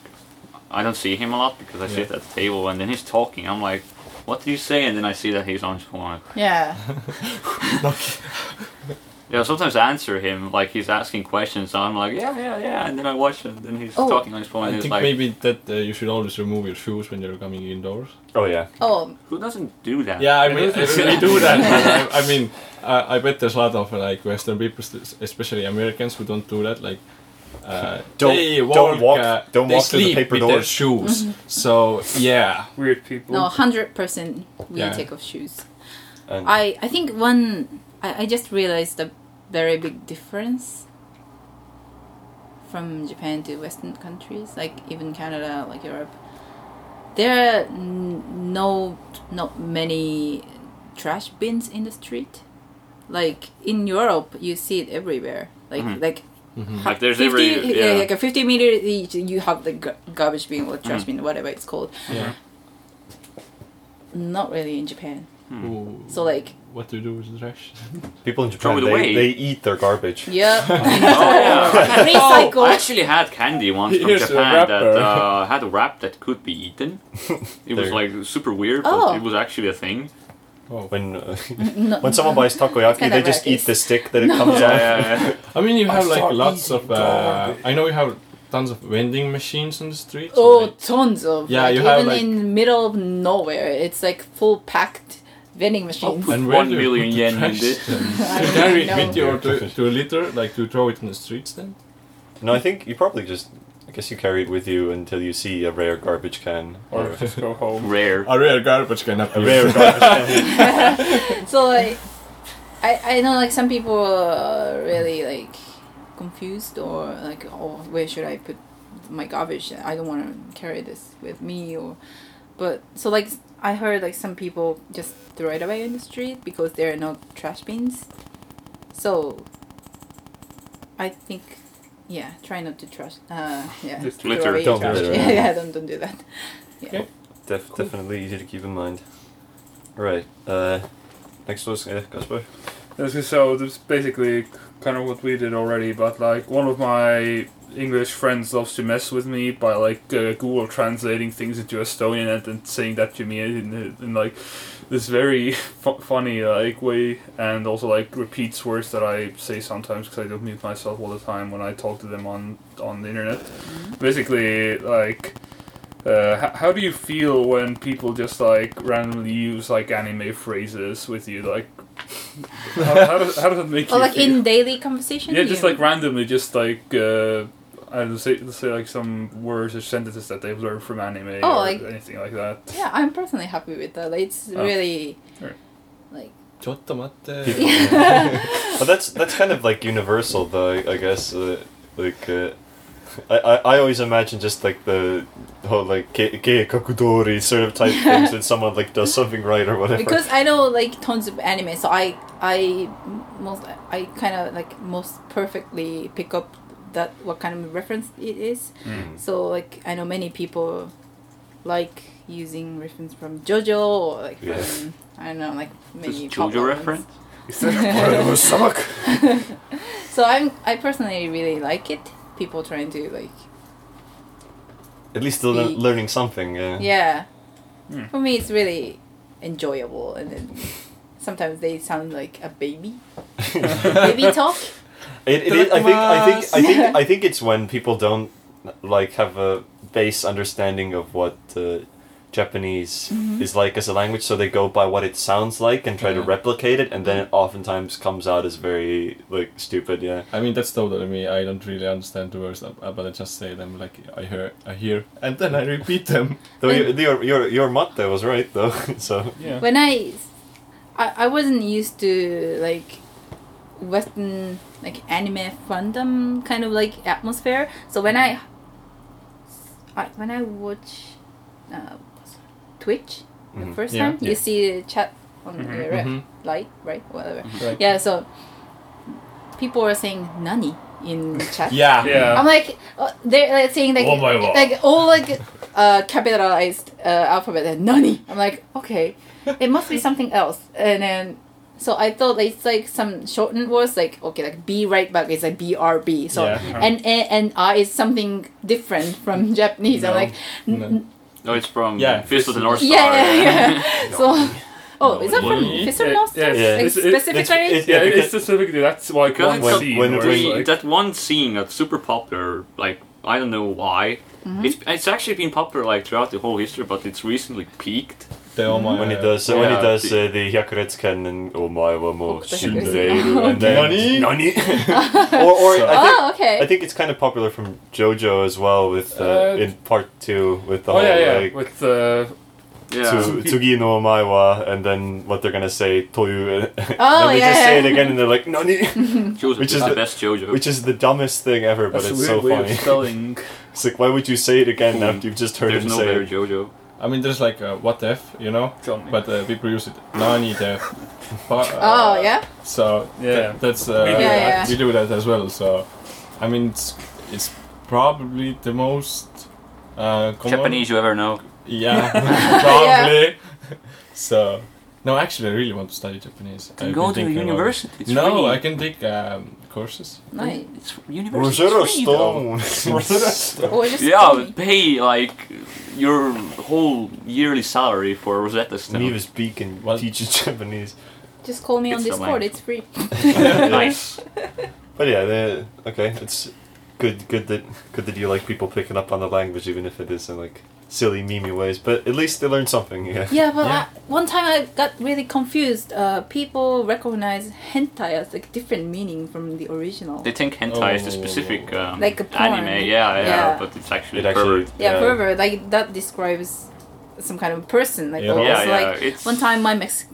[SPEAKER 4] I don't see him a lot because I sit at the table, and then he's talking. I'm like, what do you say? And then I see that he's on his phone.
[SPEAKER 5] Yeah.
[SPEAKER 4] Yeah, sometimes I answer him like he's asking questions. So I'm like, yeah, yeah, yeah, and then I watch him. Then he's
[SPEAKER 5] Oh.
[SPEAKER 4] talking on his phone.
[SPEAKER 2] I
[SPEAKER 4] and he's
[SPEAKER 2] think
[SPEAKER 4] like,
[SPEAKER 2] maybe that uh, you should always remove your shoes when you're coming indoors.
[SPEAKER 3] (laughs) oh yeah,
[SPEAKER 5] Oh,
[SPEAKER 4] who doesn't do that?
[SPEAKER 2] Yeah, I
[SPEAKER 1] It
[SPEAKER 2] (laughs) mean,
[SPEAKER 1] is-
[SPEAKER 2] we do that. but I, I mean, I, I bet there's a lot of like Western people, s- especially Americans, who don't do that. Like, uh,
[SPEAKER 3] Don't-
[SPEAKER 2] they
[SPEAKER 3] don't
[SPEAKER 2] walk,
[SPEAKER 3] walk-
[SPEAKER 2] uh,
[SPEAKER 3] don't
[SPEAKER 2] they
[SPEAKER 3] walk through the
[SPEAKER 2] sleep
[SPEAKER 3] paper
[SPEAKER 2] with Their
[SPEAKER 3] doors.
[SPEAKER 2] shoes. So yeah,
[SPEAKER 1] Weird people.
[SPEAKER 5] no, hundred percent. We
[SPEAKER 2] Yeah.
[SPEAKER 5] take off shoes.
[SPEAKER 3] and
[SPEAKER 5] I I think one. I, I just realized a very big difference from Japan to Western countries, like even Canada, like Europe. There are n- no not many trash bins in the street. Like in Europe, you see it everywhere. Like
[SPEAKER 4] Mhm.
[SPEAKER 5] like
[SPEAKER 2] Mm-hmm.
[SPEAKER 4] Like there's
[SPEAKER 5] 50
[SPEAKER 4] every
[SPEAKER 5] yeah,
[SPEAKER 4] yeah.
[SPEAKER 5] like a 50 meter each, you have the gar- garbage bin or trash
[SPEAKER 4] Mhm.
[SPEAKER 5] bin whatever it's called
[SPEAKER 2] yeah.
[SPEAKER 5] not really in japan
[SPEAKER 2] Ooh.
[SPEAKER 5] so like
[SPEAKER 2] what do you do with the trash? (laughs)
[SPEAKER 3] people in
[SPEAKER 4] Throw
[SPEAKER 3] Japan
[SPEAKER 4] it
[SPEAKER 3] they,
[SPEAKER 4] away.
[SPEAKER 3] they eat their garbage.
[SPEAKER 5] yeah
[SPEAKER 2] Oh,
[SPEAKER 5] (laughs)
[SPEAKER 4] yeah.
[SPEAKER 5] recycle
[SPEAKER 4] Oh, I actually had candy once from
[SPEAKER 2] Here's a
[SPEAKER 4] Japan that
[SPEAKER 2] wrapper.
[SPEAKER 4] uh, had a wrap that could be
[SPEAKER 2] (laughs)
[SPEAKER 4] eaten. It was
[SPEAKER 3] There.
[SPEAKER 4] like super weird,
[SPEAKER 5] Oh.
[SPEAKER 4] but it was actually a
[SPEAKER 2] (laughs)
[SPEAKER 4] thing.
[SPEAKER 2] Oh.
[SPEAKER 3] When (laughs) uh,
[SPEAKER 5] (laughs) No,
[SPEAKER 3] when someone buys takoyaki,
[SPEAKER 5] kinda
[SPEAKER 3] they just eat
[SPEAKER 5] racist.
[SPEAKER 3] the stick
[SPEAKER 5] (laughs)
[SPEAKER 3] that it comes
[SPEAKER 4] Yeah,
[SPEAKER 3] off.
[SPEAKER 4] yeah, yeah.
[SPEAKER 2] I mean, you
[SPEAKER 1] I
[SPEAKER 2] have like
[SPEAKER 1] start
[SPEAKER 2] lots
[SPEAKER 1] eating
[SPEAKER 2] of. Uh,
[SPEAKER 1] garbage.
[SPEAKER 2] I know you have tons of vending machines on the street. so,
[SPEAKER 5] oh
[SPEAKER 2] like,
[SPEAKER 5] tons of
[SPEAKER 2] Yeah,
[SPEAKER 5] like,
[SPEAKER 2] you have,
[SPEAKER 5] even
[SPEAKER 2] like-
[SPEAKER 5] in middle of nowhere it's like full packed vending
[SPEAKER 4] I'll
[SPEAKER 5] machines
[SPEAKER 4] put
[SPEAKER 2] And where
[SPEAKER 4] one
[SPEAKER 2] do you
[SPEAKER 4] million
[SPEAKER 2] put the
[SPEAKER 4] yen in
[SPEAKER 2] trash (laughs)
[SPEAKER 4] this.
[SPEAKER 5] (laughs)
[SPEAKER 3] (laughs)
[SPEAKER 5] I
[SPEAKER 2] to
[SPEAKER 5] don't
[SPEAKER 2] carry it
[SPEAKER 5] know.
[SPEAKER 2] with you or to, to a litter, like to throw it in the streets then?
[SPEAKER 3] No, I think you probably just. I guess you carry it with you until you see a rare garbage can
[SPEAKER 1] Or just go home.
[SPEAKER 4] Rare.
[SPEAKER 2] A rare garbage can
[SPEAKER 3] a
[SPEAKER 2] appear.
[SPEAKER 3] rare
[SPEAKER 2] (laughs)
[SPEAKER 3] garbage can.
[SPEAKER 5] (laughs) so like I, I know like some people are really like confused or like oh where should i put my garbage i don't want to carry this with me or but so like i heard like some people just throw it away in the street because there are no trash bins so i think yeah try not to trash uh yeah
[SPEAKER 1] Just
[SPEAKER 5] throw
[SPEAKER 4] litter.
[SPEAKER 5] away
[SPEAKER 3] Don't
[SPEAKER 5] trash.
[SPEAKER 3] litter.
[SPEAKER 5] (laughs) yeah, yeah don't, don't do that
[SPEAKER 3] Def- Definitely easy to keep in mind. Right. Uh, next was uh, Gaspar.
[SPEAKER 1] This is- So this is basically kind of what we did already, but like one of my English friends loves to mess with me by like uh, Google translating things into Estonian and then saying that to me in, in, in like this very (laughs) fu- funny like way, and also like repeats words that I say sometimes because I don't mute myself all the time when I talk to them on on the internet. Basically, like. Uh, h- how do you feel when people just like randomly use like anime phrases with you? Like, how, how, does, how does that
[SPEAKER 5] (laughs)
[SPEAKER 1] make
[SPEAKER 5] or
[SPEAKER 1] you
[SPEAKER 5] like
[SPEAKER 1] feel?
[SPEAKER 5] in daily conversation
[SPEAKER 1] yeah, just
[SPEAKER 5] you-
[SPEAKER 1] like randomly, just like uh, I don't say, say like some words or sentences that they've learned from anime
[SPEAKER 5] Oh,
[SPEAKER 1] or
[SPEAKER 5] like-
[SPEAKER 1] anything like that.
[SPEAKER 5] Yeah, I'm personally happy with that. Like, it's
[SPEAKER 1] Oh.
[SPEAKER 5] really
[SPEAKER 1] Right.
[SPEAKER 5] like (laughs)
[SPEAKER 2] Chottomatte.
[SPEAKER 5] yeah.
[SPEAKER 3] (laughs) But that's that's kind of like universal, though. I, I guess uh, like uh, I, I I always imagine just like the whole like ke ke kakudori sort of type things when someone like does something right or whatever.
[SPEAKER 5] because I know like tons of anime, so I I most I kind of like most perfectly pick up that what kind of reference it is.
[SPEAKER 3] Mm.
[SPEAKER 5] So like I know many people like using reference from JoJo or like from
[SPEAKER 3] Yeah.
[SPEAKER 5] I don't know like many
[SPEAKER 4] Just
[SPEAKER 5] pop
[SPEAKER 4] JoJo
[SPEAKER 5] ones. (laughs)
[SPEAKER 4] reference?
[SPEAKER 1] Is that a part of a stomach?
[SPEAKER 5] So I'm I personally really like it. People trying to like
[SPEAKER 3] At least they're lear-
[SPEAKER 5] Be-
[SPEAKER 3] learning something. Yeah. (laughs)
[SPEAKER 5] yeah.
[SPEAKER 1] Hmm.
[SPEAKER 5] For me, it's really enjoyable, and then sometimes they sound like a baby
[SPEAKER 2] (laughs)
[SPEAKER 5] baby talk.
[SPEAKER 3] It, it is, I think I think I think I think it's when people don't like have a base understanding of what uh, Japanese
[SPEAKER 5] Mm-hmm.
[SPEAKER 3] is like as a language, so they go by what it sounds like and try to
[SPEAKER 2] Yeah.
[SPEAKER 3] replicate it, and then
[SPEAKER 5] Mm-hmm.
[SPEAKER 3] it oftentimes comes out as very like stupid. Yeah,
[SPEAKER 2] I mean that's totally me. I don't really understand the words, uh, uh, but I just say them like I hear, I hear, and then I repeat them.
[SPEAKER 3] though you, your your your mate was right though. (laughs) So
[SPEAKER 1] Yeah.
[SPEAKER 5] When I, I I wasn't used to like Western like anime fandom kind of like atmosphere. So when I, I when I watch, uh, Twitch the
[SPEAKER 3] Mhm.
[SPEAKER 5] first
[SPEAKER 2] Mm-hmm. Yeah.
[SPEAKER 5] time,
[SPEAKER 2] Yeah.
[SPEAKER 5] you see the chat on
[SPEAKER 1] Mhm.
[SPEAKER 5] the red
[SPEAKER 2] Mhm.
[SPEAKER 5] light, right? Whatever.
[SPEAKER 1] Right.
[SPEAKER 5] Yeah. So people were saying "nani" in the chat.
[SPEAKER 2] (laughs) Yeah.
[SPEAKER 1] Yeah.
[SPEAKER 5] I'm like uh, they're like saying like
[SPEAKER 2] Oh my lord.
[SPEAKER 5] like all like uh, capitalized uh, alphabet and nani. I'm like okay, it must be something else. And then so I thought it's like some shortened words like okay like B right back is like B R B. So
[SPEAKER 2] Yeah.
[SPEAKER 5] and A and R is something different from (laughs) Japanese. I'm
[SPEAKER 2] No.
[SPEAKER 5] like n-
[SPEAKER 2] No.
[SPEAKER 5] n-
[SPEAKER 4] No, it's from
[SPEAKER 2] Yeah.
[SPEAKER 4] Fist of the North Star.
[SPEAKER 5] yeah yeah
[SPEAKER 4] (laughs)
[SPEAKER 5] yeah.
[SPEAKER 3] (laughs)
[SPEAKER 5] (laughs) so. Oh, is that from
[SPEAKER 2] Nani.
[SPEAKER 5] Fist of
[SPEAKER 1] Yeah,
[SPEAKER 5] North Star?
[SPEAKER 1] yeah,
[SPEAKER 3] Yeah.
[SPEAKER 5] Like
[SPEAKER 1] it's- it-
[SPEAKER 5] specifically?
[SPEAKER 3] it's-
[SPEAKER 1] Yeah,
[SPEAKER 3] Yeah,
[SPEAKER 1] it's
[SPEAKER 3] because-
[SPEAKER 1] specifically that's like
[SPEAKER 4] Because
[SPEAKER 1] one
[SPEAKER 4] it's
[SPEAKER 1] scene
[SPEAKER 3] when-
[SPEAKER 1] where
[SPEAKER 3] when-
[SPEAKER 1] it's
[SPEAKER 4] We,
[SPEAKER 1] like,
[SPEAKER 4] that one scene that's super popular, like, I don't know why.
[SPEAKER 5] Mm-hmm.
[SPEAKER 4] It's, it's actually been popular like throughout the whole history, but it's recently peaked.
[SPEAKER 2] The oh my,
[SPEAKER 3] when he does when he
[SPEAKER 4] Yeah.
[SPEAKER 3] does uh, the Hyakuretsuken and oh my wa mo
[SPEAKER 5] Fuck the heck is
[SPEAKER 3] shindei
[SPEAKER 5] it?
[SPEAKER 3] (laughs) and then
[SPEAKER 2] Nani?
[SPEAKER 5] (laughs)
[SPEAKER 3] nani or or I think,
[SPEAKER 5] Oh, okay.
[SPEAKER 3] I think it's kind of popular from JoJo as well with uh,
[SPEAKER 1] Eh. Uh,
[SPEAKER 3] in part two with the
[SPEAKER 1] oh
[SPEAKER 3] whole
[SPEAKER 1] yeah, yeah,
[SPEAKER 3] like
[SPEAKER 1] with uh,
[SPEAKER 4] Yeah. (laughs)
[SPEAKER 3] tsu- Tsugi no Maiwa and then what they're gonna say Toyu eh. (laughs) and
[SPEAKER 5] Oh,
[SPEAKER 3] then they just
[SPEAKER 5] yeah.
[SPEAKER 3] say it again and they're like
[SPEAKER 1] (laughs)
[SPEAKER 3] Nani
[SPEAKER 4] Joseph
[SPEAKER 3] Which is
[SPEAKER 4] is the
[SPEAKER 3] the-
[SPEAKER 4] best JoJo.
[SPEAKER 3] which is the dumbest thing ever but
[SPEAKER 1] that's a
[SPEAKER 3] it's
[SPEAKER 1] weird
[SPEAKER 3] so
[SPEAKER 1] way
[SPEAKER 3] funny.
[SPEAKER 1] of spelling.
[SPEAKER 3] (laughs) It's like why would you say it again after you've just heard
[SPEAKER 4] There's
[SPEAKER 3] him
[SPEAKER 4] no
[SPEAKER 3] say
[SPEAKER 4] better
[SPEAKER 3] it?
[SPEAKER 4] JoJo.
[SPEAKER 2] I mean, there's like uh, what if, you know,
[SPEAKER 1] Something.
[SPEAKER 2] but uh, people use it. Nani the. But, uh,
[SPEAKER 5] oh yeah.
[SPEAKER 2] So
[SPEAKER 1] Yeah.
[SPEAKER 2] yeah, that's uh,
[SPEAKER 1] We do
[SPEAKER 5] Yeah, that. yeah.
[SPEAKER 2] we do that as well. So, I mean, it's it's probably the most uh, common.
[SPEAKER 4] Japanese you ever know. (laughs)
[SPEAKER 2] Yeah, (laughs) probably. So, no, actually, I really want to study Japanese. I've
[SPEAKER 4] go to
[SPEAKER 2] been
[SPEAKER 4] a
[SPEAKER 2] thinking about it.
[SPEAKER 4] university. It's
[SPEAKER 2] no,
[SPEAKER 4] free.
[SPEAKER 2] I can take um, courses.
[SPEAKER 5] Nice.
[SPEAKER 4] It's
[SPEAKER 3] Rosetta
[SPEAKER 4] university.
[SPEAKER 3] Stone. (laughs) Rosetta Stone.
[SPEAKER 5] Or Oh, just
[SPEAKER 4] Yeah, pay like your whole yearly salary for Rosetta Stone.
[SPEAKER 3] Nevis Beacon
[SPEAKER 2] What?
[SPEAKER 3] teaches Japanese.
[SPEAKER 5] Just call me on
[SPEAKER 4] It's a
[SPEAKER 5] Discord.
[SPEAKER 4] wank.
[SPEAKER 5] It's free.
[SPEAKER 4] (laughs) nice.
[SPEAKER 3] But yeah, the, okay, it's good. Good that good that you like people picking up on the language, even if it is in like silly, memey ways. But at least they learn something. Yeah.
[SPEAKER 5] Yeah, but
[SPEAKER 2] Yeah.
[SPEAKER 5] I, one time I got really confused. Uh, people recognize hentai as like different meaning from the original.
[SPEAKER 4] They think hentai is the
[SPEAKER 2] Oh.
[SPEAKER 4] specific um,
[SPEAKER 5] Like a porn.
[SPEAKER 4] anime. Yeah, yeah,
[SPEAKER 5] Yeah.
[SPEAKER 4] but it's actually
[SPEAKER 3] It actually.
[SPEAKER 4] pervert.
[SPEAKER 5] yeah, forever. Like that describes some kind of person. Like
[SPEAKER 2] Yeah.
[SPEAKER 5] almost
[SPEAKER 4] Yeah, yeah.
[SPEAKER 5] like
[SPEAKER 4] it's
[SPEAKER 5] one time my Mex-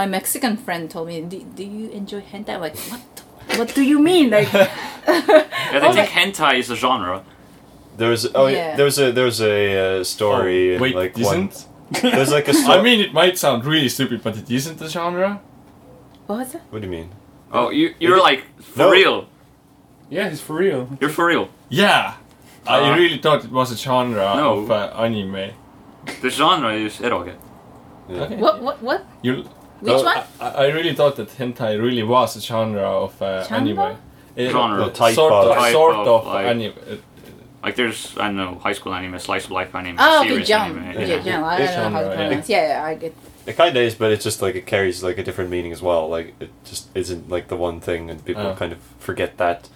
[SPEAKER 5] my Mexican friend told me, do, "Do you enjoy hentai?" I'm like, what? the- What do you mean? Like, (laughs) Oh,
[SPEAKER 4] Yeah, they think hentai is a genre.
[SPEAKER 3] There was oh yeah.
[SPEAKER 5] Yeah.
[SPEAKER 3] there was a there was a uh, story
[SPEAKER 2] Oh, wait,
[SPEAKER 3] like one.
[SPEAKER 2] isn't?
[SPEAKER 3] There's
[SPEAKER 2] (laughs)
[SPEAKER 3] like a story.
[SPEAKER 2] I mean, it might sound really stupid, but it isn't a genre.
[SPEAKER 5] what was that?
[SPEAKER 3] what do you mean?
[SPEAKER 4] Oh, you, you're like for
[SPEAKER 3] No.
[SPEAKER 4] real.
[SPEAKER 1] Yeah, it's for real.
[SPEAKER 4] You're for real.
[SPEAKER 2] Yeah,
[SPEAKER 4] Uh,
[SPEAKER 2] I really thought it was a genre
[SPEAKER 4] No.
[SPEAKER 2] of uh, anime.
[SPEAKER 4] The genre is eroge.
[SPEAKER 3] Yeah.
[SPEAKER 2] Okay.
[SPEAKER 5] What? What? What?
[SPEAKER 2] You
[SPEAKER 5] Which
[SPEAKER 3] Oh,
[SPEAKER 5] one?
[SPEAKER 2] I, I really thought that hentai really was a genre of uh,
[SPEAKER 5] Genre?
[SPEAKER 2] anime. It-
[SPEAKER 4] Genre.
[SPEAKER 2] uh,
[SPEAKER 3] Type
[SPEAKER 2] sort
[SPEAKER 3] of-
[SPEAKER 2] of,
[SPEAKER 4] Type
[SPEAKER 2] sort
[SPEAKER 4] of,
[SPEAKER 2] of,
[SPEAKER 4] like-
[SPEAKER 2] anime. Uh,
[SPEAKER 4] Like there's I don't know high school anime, slice of life anime,
[SPEAKER 5] Oh, okay,
[SPEAKER 4] serious
[SPEAKER 5] jump.
[SPEAKER 4] anime.
[SPEAKER 5] Yeah,
[SPEAKER 3] Yeah.
[SPEAKER 5] jump. I
[SPEAKER 3] It's
[SPEAKER 5] don't know how to
[SPEAKER 2] genre, yeah.
[SPEAKER 5] pronounce. Yeah, yeah, I get.
[SPEAKER 3] It kind of is, but it's just like it carries like a different meaning as well. Like it just isn't like the one thing, and people
[SPEAKER 2] Oh.
[SPEAKER 3] kind of forget that.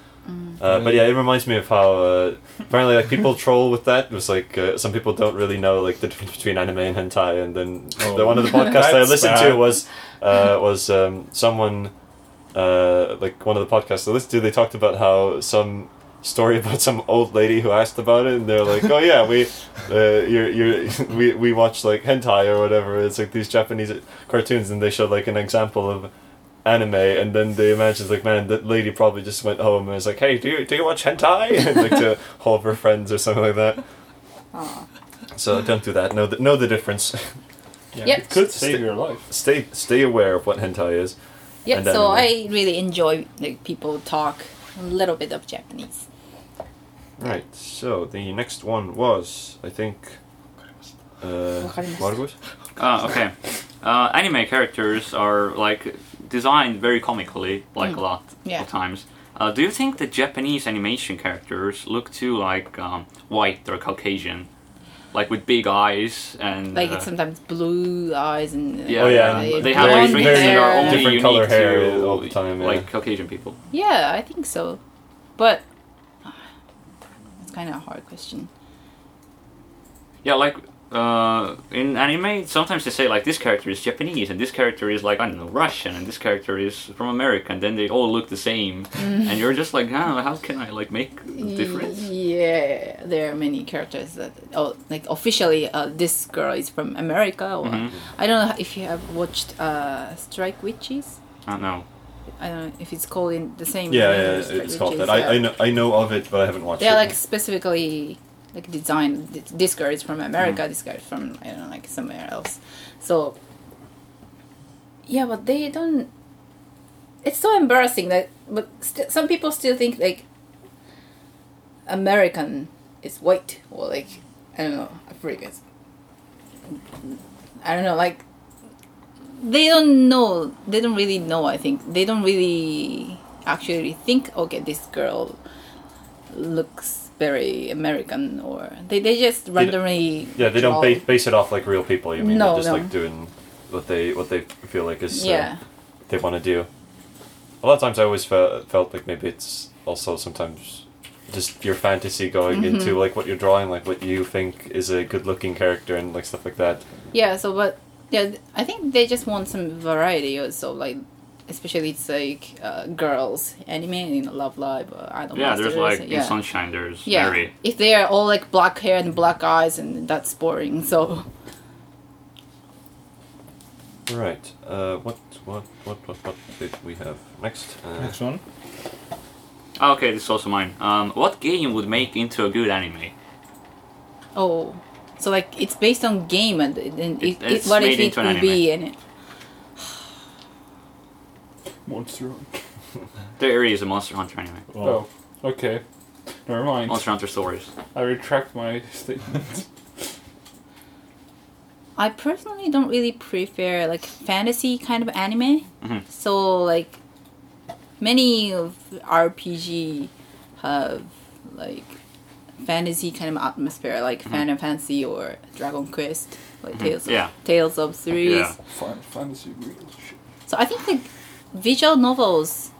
[SPEAKER 3] Uh, but yeah, it reminds me of how uh, apparently like people (laughs) troll with that. It was like uh, some people don't really know like the difference between anime and hentai, and then
[SPEAKER 2] Oh.
[SPEAKER 3] the one of the podcasts I
[SPEAKER 2] That's
[SPEAKER 3] listened to
[SPEAKER 2] bad.
[SPEAKER 3] was uh, was um, someone uh, like one of the podcasts I listened to. They talked about how some story about some old lady who asked about it, and they're like, "Oh yeah, we, uh, you're, you're, (laughs) we, we watch like hentai or whatever." It's like these Japanese cartoons, and they show like an example of anime, and then they imagine like, "Man, that lady probably just went home and was like, hey, do you, do you watch hentai?'" (laughs) and like to all of her friends or something like that.
[SPEAKER 5] Aw.
[SPEAKER 3] So don't do that. Know the, know the difference. (laughs)
[SPEAKER 1] Yeah,
[SPEAKER 5] Yep.
[SPEAKER 1] It could save your life.
[SPEAKER 3] stay stay aware of what hentai is.
[SPEAKER 5] Yeah,
[SPEAKER 3] And then- uh,
[SPEAKER 5] so I really enjoy like people talk a little bit of Japanese.
[SPEAKER 3] Right. So the next one was, I think, uh,
[SPEAKER 5] Wakarimashita.
[SPEAKER 3] Margus.
[SPEAKER 4] Uh, okay. Uh, anime characters are like designed very comically, like a lot
[SPEAKER 5] Mm. Yeah.
[SPEAKER 4] of times. Uh, do you think the Japanese animation characters look too like um, white or Caucasian, like with big eyes and
[SPEAKER 5] Like
[SPEAKER 4] uh,
[SPEAKER 5] it's sometimes blue eyes and uh,
[SPEAKER 4] yeah,
[SPEAKER 3] Oh, yeah,
[SPEAKER 5] uh,
[SPEAKER 4] they have
[SPEAKER 3] Very-
[SPEAKER 4] like
[SPEAKER 5] blonde
[SPEAKER 4] traits that are
[SPEAKER 5] hair.
[SPEAKER 4] only
[SPEAKER 3] Different
[SPEAKER 4] unique
[SPEAKER 3] color hair
[SPEAKER 4] to
[SPEAKER 3] all the time, yeah.
[SPEAKER 4] like Caucasian people.
[SPEAKER 5] Yeah, I think so, but (sighs) it's kind of a hard question.
[SPEAKER 4] Yeah, like uh, in anime, sometimes they say like this character is Japanese and this character is like I don't know Russian and this character is from America, and then they all look the same,
[SPEAKER 5] Mm.
[SPEAKER 4] and you're just like, how how can I like make a difference?
[SPEAKER 5] Yeah, there are many characters that oh, like officially uh, this girl is from America or
[SPEAKER 3] Mm-hmm.
[SPEAKER 4] Mhm.
[SPEAKER 5] I don't know if you have watched uh, Strike Witches.
[SPEAKER 4] I don't know.
[SPEAKER 5] I don't know if it's called in the same.
[SPEAKER 3] Yeah,
[SPEAKER 5] name
[SPEAKER 3] yeah,
[SPEAKER 5] as Strike
[SPEAKER 3] it's called
[SPEAKER 5] Witches,
[SPEAKER 3] that. I, I
[SPEAKER 5] yeah.
[SPEAKER 3] know I know of it, but I haven't watched
[SPEAKER 5] They are
[SPEAKER 3] it.
[SPEAKER 5] like specifically like designed. th- This girl is from America. This girl is from I don't know like somewhere else. So yeah, but they don't. It's so embarrassing that, but st- some people still think like American is white or like I don't know Africans. I don't know like they don't know. They don't really know. I think they don't really actually think. Okay, this girl looks very American, or they, they just randomly.
[SPEAKER 3] yeah, they
[SPEAKER 5] draw.
[SPEAKER 3] don't base, base it off like real people. You mean
[SPEAKER 5] No,
[SPEAKER 3] they're just
[SPEAKER 5] no.
[SPEAKER 3] like doing what they what they feel like is uh,
[SPEAKER 5] Yeah,
[SPEAKER 3] they want to do. A lot of times, I always fe- felt like maybe it's also sometimes just your fantasy going
[SPEAKER 5] Mm-hmm.
[SPEAKER 3] into like what you're drawing, like what you think is a good-looking character and like stuff like that.
[SPEAKER 5] yeah. So, but yeah, th- I think they just want some variety. Also, like especially it's like uh, girls anime in Love Live. Or I don't.
[SPEAKER 4] Yeah, there's like in
[SPEAKER 5] yeah.
[SPEAKER 4] Sunshine, there's
[SPEAKER 5] yeah.
[SPEAKER 4] Mary.
[SPEAKER 5] If they are all like black hair and black eyes, and that's boring. So
[SPEAKER 3] Right. Uh, what what what what what did we have next? Uh,
[SPEAKER 2] Next one.
[SPEAKER 4] Ah, okay, this is also mine. Um, what game would make into a good anime?
[SPEAKER 5] oh. So like it's based on game and then
[SPEAKER 4] It-
[SPEAKER 5] it, it,
[SPEAKER 4] it's
[SPEAKER 5] what
[SPEAKER 4] made
[SPEAKER 5] if it
[SPEAKER 4] into an
[SPEAKER 5] would be and
[SPEAKER 1] Monster. Hunter.
[SPEAKER 4] There is a Monster Hunter anime.
[SPEAKER 1] Oh, okay. Never mind.
[SPEAKER 4] Monster Hunter Stories.
[SPEAKER 1] I retract my (laughs) statement.
[SPEAKER 5] I personally don't really prefer like fantasy kind of anime.
[SPEAKER 4] Mhm.
[SPEAKER 5] So like many of RPG have like fantasy kind of atmosphere, like Final Fantasy or Dragon Quest, like Tales of
[SPEAKER 4] Mm-hmm. Yeah.
[SPEAKER 5] Tales of series.
[SPEAKER 4] Yeah.
[SPEAKER 1] Final Fantasy real shit.
[SPEAKER 5] So I think like visual novels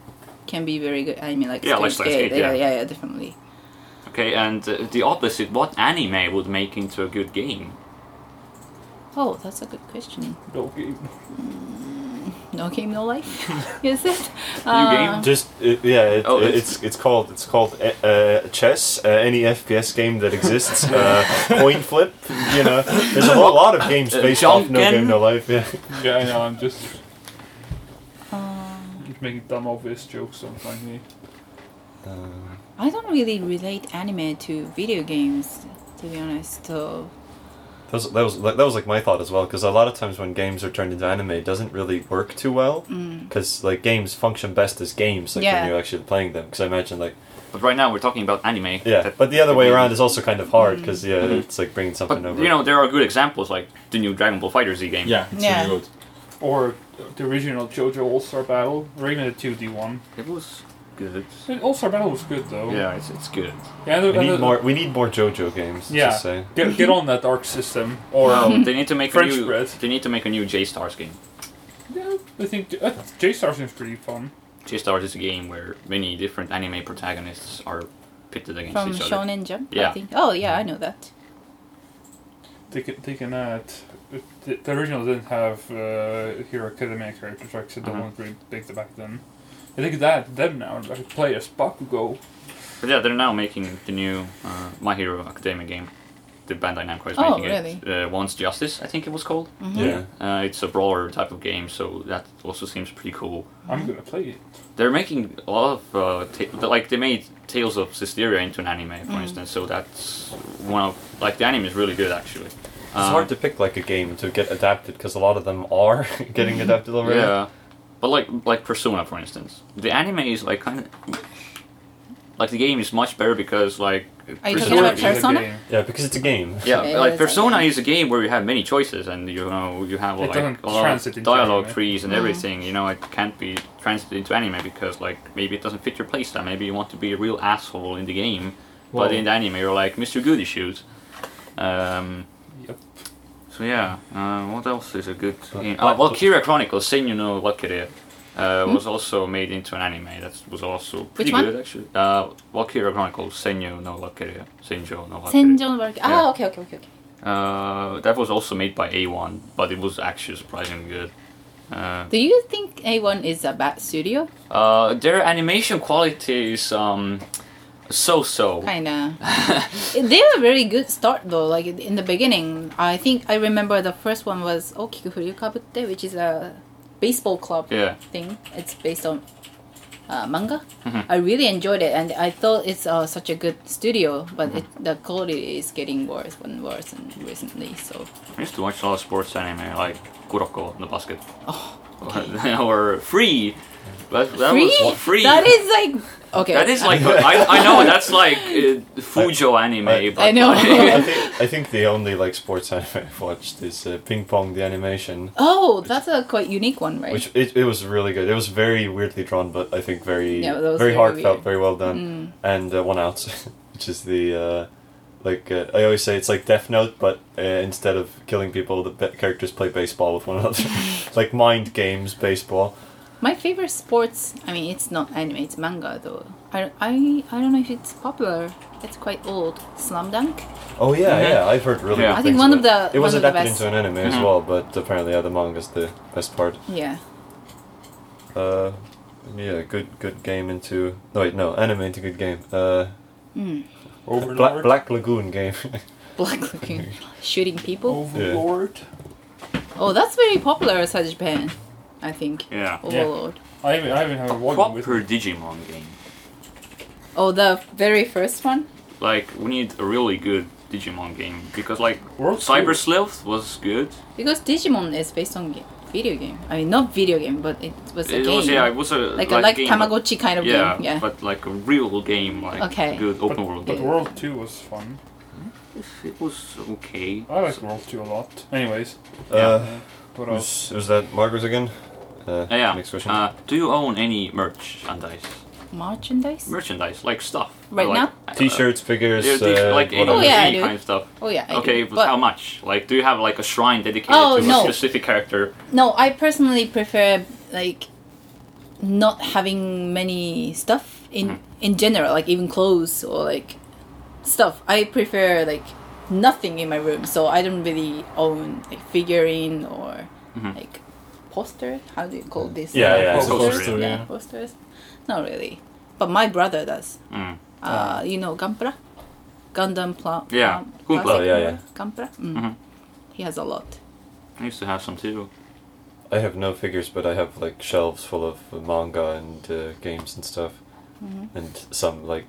[SPEAKER 5] can be very good anime, like
[SPEAKER 4] Yeah, like
[SPEAKER 5] Steins
[SPEAKER 4] Steins
[SPEAKER 5] Gate,
[SPEAKER 4] Gate,
[SPEAKER 5] yeah,
[SPEAKER 4] yeah.
[SPEAKER 5] yeah, yeah, definitely.
[SPEAKER 4] Okay, and uh, the opposite, what anime would make into a good game?
[SPEAKER 5] Oh, that's a good question.
[SPEAKER 1] No game.
[SPEAKER 5] No game, no life. (laughs) Is it?
[SPEAKER 4] game?
[SPEAKER 3] Just uh, yeah, it,
[SPEAKER 4] Oh,
[SPEAKER 3] it-
[SPEAKER 4] it's-
[SPEAKER 3] it's it's called it's called uh, uh, chess. Uh, any FPS game that exists,
[SPEAKER 4] (laughs)
[SPEAKER 3] uh, coin flip. You know, there's a whole lot of games
[SPEAKER 4] Uh,
[SPEAKER 3] based off no
[SPEAKER 4] Junken.
[SPEAKER 3] game no life. Yeah,
[SPEAKER 1] Yeah, I know. I'm just
[SPEAKER 5] Um,
[SPEAKER 1] making dumb, obvious jokes. Don't mind me.
[SPEAKER 5] I don't really relate anime to video games, to be honest. So
[SPEAKER 3] that was that was that was like my thought as well. Because a lot of times when games are turned into anime, it doesn't really work too well. Because like games function best as games, like
[SPEAKER 5] Yeah.
[SPEAKER 3] when you're actually playing them. Because I imagine like
[SPEAKER 4] But right now we're talking about anime.
[SPEAKER 3] yeah,
[SPEAKER 4] that-
[SPEAKER 3] but the other way around is also kind of hard. Because yeah,
[SPEAKER 4] Mhm.
[SPEAKER 3] it's like bringing
[SPEAKER 4] But
[SPEAKER 3] something over.
[SPEAKER 4] you know, there are good examples like the new Dragon Ball Fighter Z game.
[SPEAKER 2] Yeah, it's
[SPEAKER 5] Yeah.
[SPEAKER 2] really good.
[SPEAKER 1] Or the original JoJo All Star Battle, or even the 2D one.
[SPEAKER 4] It was good.
[SPEAKER 1] All Star Battle was good though.
[SPEAKER 4] Yeah, it's, it's good.
[SPEAKER 1] Yeah, and the-
[SPEAKER 3] we
[SPEAKER 1] and
[SPEAKER 3] need (laughs)
[SPEAKER 1] the-
[SPEAKER 3] more. We need more JoJo games.
[SPEAKER 1] Yeah.
[SPEAKER 3] Just say.
[SPEAKER 1] Get, get on that arc system, or um,
[SPEAKER 4] Well, they need to make a
[SPEAKER 1] French
[SPEAKER 4] new.
[SPEAKER 1] bread.
[SPEAKER 4] They need to make a new J Stars game.
[SPEAKER 1] yeah, I think uh, J Star seems pretty fun.
[SPEAKER 4] J Stars is a game where many different anime protagonists are pitted against
[SPEAKER 5] from
[SPEAKER 4] each other.
[SPEAKER 5] Shonen Jump, I
[SPEAKER 4] Yeah.
[SPEAKER 5] think. Oh yeah, I know that.
[SPEAKER 1] They can, they can add. uh, The, the original didn't have uh, Hero Academia characters, like so that
[SPEAKER 4] Uh-huh.
[SPEAKER 1] one really big back then. I think that them now, like play as Bakugo.
[SPEAKER 4] But yeah, they're now making the new uh, My Hero Academia game. The Bandai Namco is
[SPEAKER 5] Oh,
[SPEAKER 4] making it. Uh, Once Justice, I think it was called.
[SPEAKER 3] Mm.
[SPEAKER 5] Mm-hmm.
[SPEAKER 2] Yeah.
[SPEAKER 4] Uh, it's a brawler type of game, so that also seems pretty cool.
[SPEAKER 5] Mm-hmm.
[SPEAKER 1] I'm gonna play it.
[SPEAKER 4] They're making a lot of uh, ta- like they made Tales of Cisteria into an anime, for
[SPEAKER 5] Mm.
[SPEAKER 4] instance. So that's one of like the anime is really good actually. Um,
[SPEAKER 3] It's hard to pick like a game to get adapted because a lot of them are (laughs) getting
[SPEAKER 5] Mm-hmm.
[SPEAKER 3] adapted
[SPEAKER 5] Oh,
[SPEAKER 3] already.
[SPEAKER 4] Yeah, but like like Persona, for instance, the anime is like kind of like the game is much better because like
[SPEAKER 5] Are you talking
[SPEAKER 4] Persona
[SPEAKER 5] about
[SPEAKER 1] Persona
[SPEAKER 4] is-
[SPEAKER 1] is a
[SPEAKER 5] Persona?
[SPEAKER 1] game.
[SPEAKER 3] Yeah, because it's a game.
[SPEAKER 4] Yeah,
[SPEAKER 5] Yeah,
[SPEAKER 4] like
[SPEAKER 5] it's like-
[SPEAKER 4] Persona is a game where you have many choices and you know you have
[SPEAKER 1] It
[SPEAKER 4] like
[SPEAKER 1] doesn't
[SPEAKER 4] a lot
[SPEAKER 1] transit
[SPEAKER 4] of
[SPEAKER 1] into
[SPEAKER 4] dialogue
[SPEAKER 1] anime.
[SPEAKER 4] trees and
[SPEAKER 5] Mhm.
[SPEAKER 4] everything. You know, it can't be translated into anime because like maybe it doesn't fit your playstyle. Maybe you want to be a real asshole in the game, but
[SPEAKER 2] Well-
[SPEAKER 4] in the anime you're like Mr. Goody Shoes. Um,
[SPEAKER 1] Yep.
[SPEAKER 4] so yeah, uh, what else is a good
[SPEAKER 3] But-
[SPEAKER 4] game?
[SPEAKER 3] but-
[SPEAKER 4] Uh, Valkyria Chronicles, Senyu no Valkyria, uh, was also made into an anime. That was also pretty
[SPEAKER 5] one?
[SPEAKER 4] good actually. Uh, Valkyria Chronicles, Senyu no Valkyria, Senjo no Valkyria.
[SPEAKER 5] Senjon Valkyrie. Ah,
[SPEAKER 4] Yeah.
[SPEAKER 5] okay, okay, okay, okay.
[SPEAKER 4] Uh, that was also made by A1, but it was actually surprisingly good. Uh,
[SPEAKER 5] Do you think A1 is a bad studio?
[SPEAKER 4] uh, their animation quality is um, so so.
[SPEAKER 5] (laughs) Kinda. they were very good start though. Like in the beginning, I think I remember the first one was Okiku Furikabute, which is a baseball club
[SPEAKER 4] Yeah.
[SPEAKER 5] thing. It's based on uh, manga.
[SPEAKER 4] Mhm.
[SPEAKER 5] I really enjoyed it, and I thought it's uh, such a good studio, but
[SPEAKER 4] Mm-hmm.
[SPEAKER 5] it, the quality is getting worse and worse and recently. So
[SPEAKER 4] I used to watch a lot of sports anime like Kuroko in the Basket.
[SPEAKER 5] Oh,
[SPEAKER 4] (laughs) or Free. That, that
[SPEAKER 5] free?
[SPEAKER 4] was free.
[SPEAKER 5] That is like okay.
[SPEAKER 4] That is like I, I know that's like uh, Fujo anime.
[SPEAKER 3] I-
[SPEAKER 4] but
[SPEAKER 5] I know.
[SPEAKER 3] (laughs) I
[SPEAKER 5] (laughs)
[SPEAKER 3] think I think the only like sports (laughs) anime I've watched is uh, Ping Pong the animation,
[SPEAKER 5] oh, that's a quite unique one, right?
[SPEAKER 3] which it, it was really good. It was very weirdly drawn, but I think very
[SPEAKER 5] Yeah, that was
[SPEAKER 3] very
[SPEAKER 5] very
[SPEAKER 3] heartfelt,
[SPEAKER 5] weird.
[SPEAKER 3] very well done.
[SPEAKER 5] Mm.
[SPEAKER 3] And uh, One Out, (laughs) which is the uh, like uh, I always say it's like Death Note, but uh, instead of killing people, the be- characters play baseball with one
[SPEAKER 5] (laughs)
[SPEAKER 3] another, (laughs) like mind games baseball.
[SPEAKER 5] My favorite sports, I mean, it's not anime, it's manga though. I, I, I don't know if it's popular. It's quite old. Slam Dunk?
[SPEAKER 3] Oh yeah,
[SPEAKER 4] Mhm.
[SPEAKER 3] yeah, I've heard really.
[SPEAKER 4] Yeah.
[SPEAKER 3] good
[SPEAKER 5] I think
[SPEAKER 3] things
[SPEAKER 5] one of
[SPEAKER 3] about it.
[SPEAKER 5] the-
[SPEAKER 3] it was
[SPEAKER 5] one of the
[SPEAKER 3] adapted
[SPEAKER 5] best.
[SPEAKER 3] into an anime as
[SPEAKER 4] Mhm.
[SPEAKER 3] well, but apparently yeah, the manga's the best part.
[SPEAKER 5] Yeah. (laughs)
[SPEAKER 3] Uh, yeah, good good game into no wait no anime into good game. Uh,
[SPEAKER 5] Mm.
[SPEAKER 1] Overlord.
[SPEAKER 3] Black, Black Lagoon game. (laughs)
[SPEAKER 5] Black looking. Shooting people.
[SPEAKER 1] Overlord.
[SPEAKER 5] Oh, that's very popular outside Japan, I think. Oh,
[SPEAKER 4] Yeah.
[SPEAKER 5] Overlord.
[SPEAKER 1] I haven't, I haven't had one with
[SPEAKER 4] Proper Digimon game.
[SPEAKER 5] Oh, the very first one?
[SPEAKER 4] Like we need a really good Digimon game because like
[SPEAKER 1] World
[SPEAKER 4] Cyber
[SPEAKER 1] Tour.
[SPEAKER 4] Sleuth was good.
[SPEAKER 5] Because Digimon is based on ga- video game. I mean, not video game, but it was a
[SPEAKER 4] It
[SPEAKER 5] game.
[SPEAKER 4] was oh, yeah, it was a
[SPEAKER 5] like,
[SPEAKER 4] a
[SPEAKER 5] a like
[SPEAKER 4] game,
[SPEAKER 5] Tamagotchi kind
[SPEAKER 4] but-
[SPEAKER 5] of
[SPEAKER 4] yeah,
[SPEAKER 5] game. Yeah.
[SPEAKER 4] but like a real game, like
[SPEAKER 5] Okay.
[SPEAKER 4] good
[SPEAKER 1] But,
[SPEAKER 4] open world.
[SPEAKER 1] but
[SPEAKER 5] Yeah.
[SPEAKER 1] World 2 was fun.
[SPEAKER 4] it was okay.
[SPEAKER 1] I like World 2 a lot. Anyways,
[SPEAKER 3] uh,
[SPEAKER 1] what else?
[SPEAKER 3] was, was that Margaret again? Uh,
[SPEAKER 4] Uh, yeah.
[SPEAKER 3] Next question.
[SPEAKER 4] Uh, do you own any merch and dice?
[SPEAKER 5] Merchandise?
[SPEAKER 4] Merchandise, like stuff.
[SPEAKER 5] Right
[SPEAKER 4] like,
[SPEAKER 5] now?
[SPEAKER 4] uh,
[SPEAKER 3] T-shirts, figures,
[SPEAKER 4] yeah, t-
[SPEAKER 3] uh,
[SPEAKER 4] like any,
[SPEAKER 3] whatever.
[SPEAKER 5] Oh, yeah, I
[SPEAKER 4] any
[SPEAKER 5] do.
[SPEAKER 4] kind of stuff.
[SPEAKER 5] oh, yeah. I
[SPEAKER 4] okay,
[SPEAKER 5] do.
[SPEAKER 4] but,
[SPEAKER 5] But-
[SPEAKER 4] how much? Like, do you have like a shrine dedicated
[SPEAKER 5] Oh,
[SPEAKER 4] to
[SPEAKER 5] no.
[SPEAKER 4] a specific character?
[SPEAKER 5] No, I personally prefer like not having many stuff in
[SPEAKER 4] Mhm.
[SPEAKER 3] Mm-hmm.
[SPEAKER 5] in general, like even clothes or like stuff. I prefer like nothing in my room, so I don't really own like figurine or
[SPEAKER 4] Mhm.
[SPEAKER 5] like poster. How do you call this?
[SPEAKER 3] Mm-hmm. Yeah, yeah,
[SPEAKER 2] It's
[SPEAKER 4] Oh,
[SPEAKER 2] supposed
[SPEAKER 4] poster,
[SPEAKER 2] to,
[SPEAKER 5] yeah,
[SPEAKER 2] yeah.
[SPEAKER 5] posters. Not really, but my brother does.
[SPEAKER 4] Mm.
[SPEAKER 5] Uh, you know Gunpla, Gundam Pla.
[SPEAKER 4] Yeah,
[SPEAKER 5] Pla-
[SPEAKER 4] Gunpla.
[SPEAKER 5] Plastic
[SPEAKER 3] Oh, yeah, yeah. Mm-hmm.
[SPEAKER 5] Gunpla. Mm.
[SPEAKER 4] Mhm.
[SPEAKER 5] He has a lot.
[SPEAKER 4] I used to have some too.
[SPEAKER 3] I have no figures, but I have like shelves full of manga and uh, games and stuff, and some like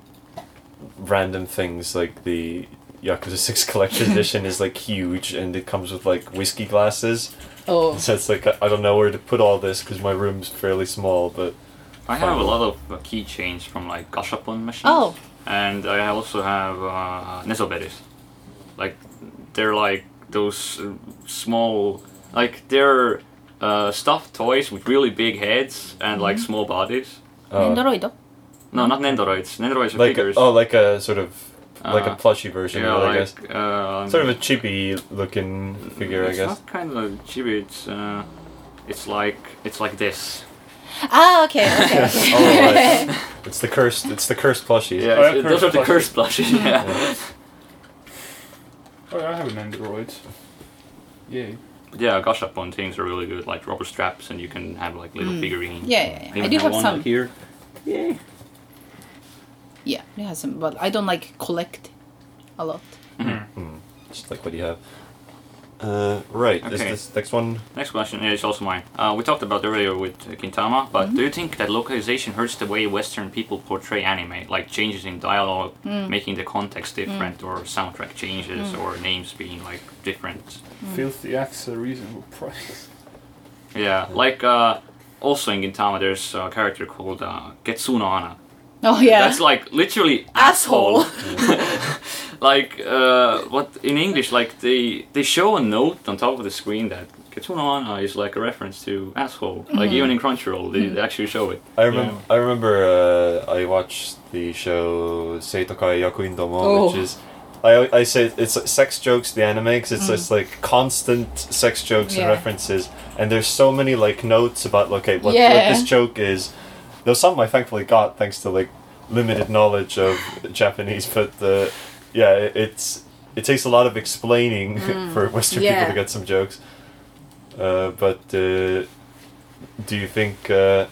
[SPEAKER 3] random things like the Yakuza (laughs) Six Collector's Edition is like huge, and it comes with like whiskey glasses.
[SPEAKER 5] Oh,
[SPEAKER 3] So it's like I I don't know where to put all this because my room's fairly small, but
[SPEAKER 4] I have a
[SPEAKER 3] Fine.
[SPEAKER 4] lot of uh, keychains from like gashapon machines.
[SPEAKER 5] Oh.
[SPEAKER 4] And I also have uh, nettleberries. Like they're like those uh, small, like they're uh, stuffed toys with really big heads and like small bodies.
[SPEAKER 3] uh,
[SPEAKER 5] Nendoroid.
[SPEAKER 4] No, not nendoroids. Nendoroids are
[SPEAKER 3] like
[SPEAKER 4] figures.
[SPEAKER 3] oh, like a sort of like
[SPEAKER 4] Uh,
[SPEAKER 3] a plushy version,
[SPEAKER 4] yeah,
[SPEAKER 3] of it, I guess.
[SPEAKER 4] like um,
[SPEAKER 3] Sort of a chibi looking figure, I
[SPEAKER 4] it's
[SPEAKER 3] guess.
[SPEAKER 4] not kind of chibi. It's uh, it's like it's like this.
[SPEAKER 5] Ah, okay, okay, okay.
[SPEAKER 3] (laughs) oh, right.
[SPEAKER 5] (laughs)
[SPEAKER 3] it's the cursed. It's the cursed plushie.
[SPEAKER 4] Yeah,
[SPEAKER 1] I have
[SPEAKER 4] it's- uh, those are
[SPEAKER 1] cursed
[SPEAKER 4] the cursed plushies. (laughs) Yeah.
[SPEAKER 1] Oh, yeah, I have an Android. Yay.
[SPEAKER 4] Yeah, gashapon things are really good, like rubber straps, and you can have like little figurines.
[SPEAKER 5] Yeah, yeah, yeah.
[SPEAKER 4] Even
[SPEAKER 5] I do
[SPEAKER 4] have
[SPEAKER 5] have
[SPEAKER 4] one
[SPEAKER 5] some.
[SPEAKER 4] here. Yeah.
[SPEAKER 5] Yeah, it has some, but I don't like collect a lot.
[SPEAKER 3] Just like what do you have? Uh, right. Is
[SPEAKER 4] Okay.
[SPEAKER 3] this next one?
[SPEAKER 4] Next question is also mine. Uh, we talked about earlier with uh, Gintama, but do you think that localization hurts the way Western people portray anime, like changes in dialogue, making the context different, or soundtrack changes, or names being like different?
[SPEAKER 1] Filthy acts a reasonable
[SPEAKER 3] (laughs)
[SPEAKER 1] price.
[SPEAKER 4] Yeah, like uh, also in Gintama, there's a character called uh, Getsuna Ana.
[SPEAKER 5] Oh yeah,
[SPEAKER 4] That's like literally
[SPEAKER 5] Asshole.
[SPEAKER 4] (laughs) like uh, what in English? Like they they show a note on top of the screen that Ketsuna Ana is like a reference to asshole. Like
[SPEAKER 5] Mm-hmm.
[SPEAKER 4] even in Crunchyroll, they actually show it.
[SPEAKER 3] I remember. I remember. Uh, I watched the show Seitokai Yakuin Domo,
[SPEAKER 5] Oh.
[SPEAKER 3] which is. I, I say it's like sex jokes the anime 'cause it's just like constant sex jokes
[SPEAKER 5] Mm. Yeah.
[SPEAKER 3] and references and there's so many like notes about okay what,
[SPEAKER 5] Yeah.
[SPEAKER 3] what this joke is though some I thankfully got thanks to like limited knowledge of Japanese but uh, yeah it, it's it takes a lot of explaining (laughs) for Western
[SPEAKER 5] Yeah.
[SPEAKER 3] people to get some jokes uh, but uh, do you think uh,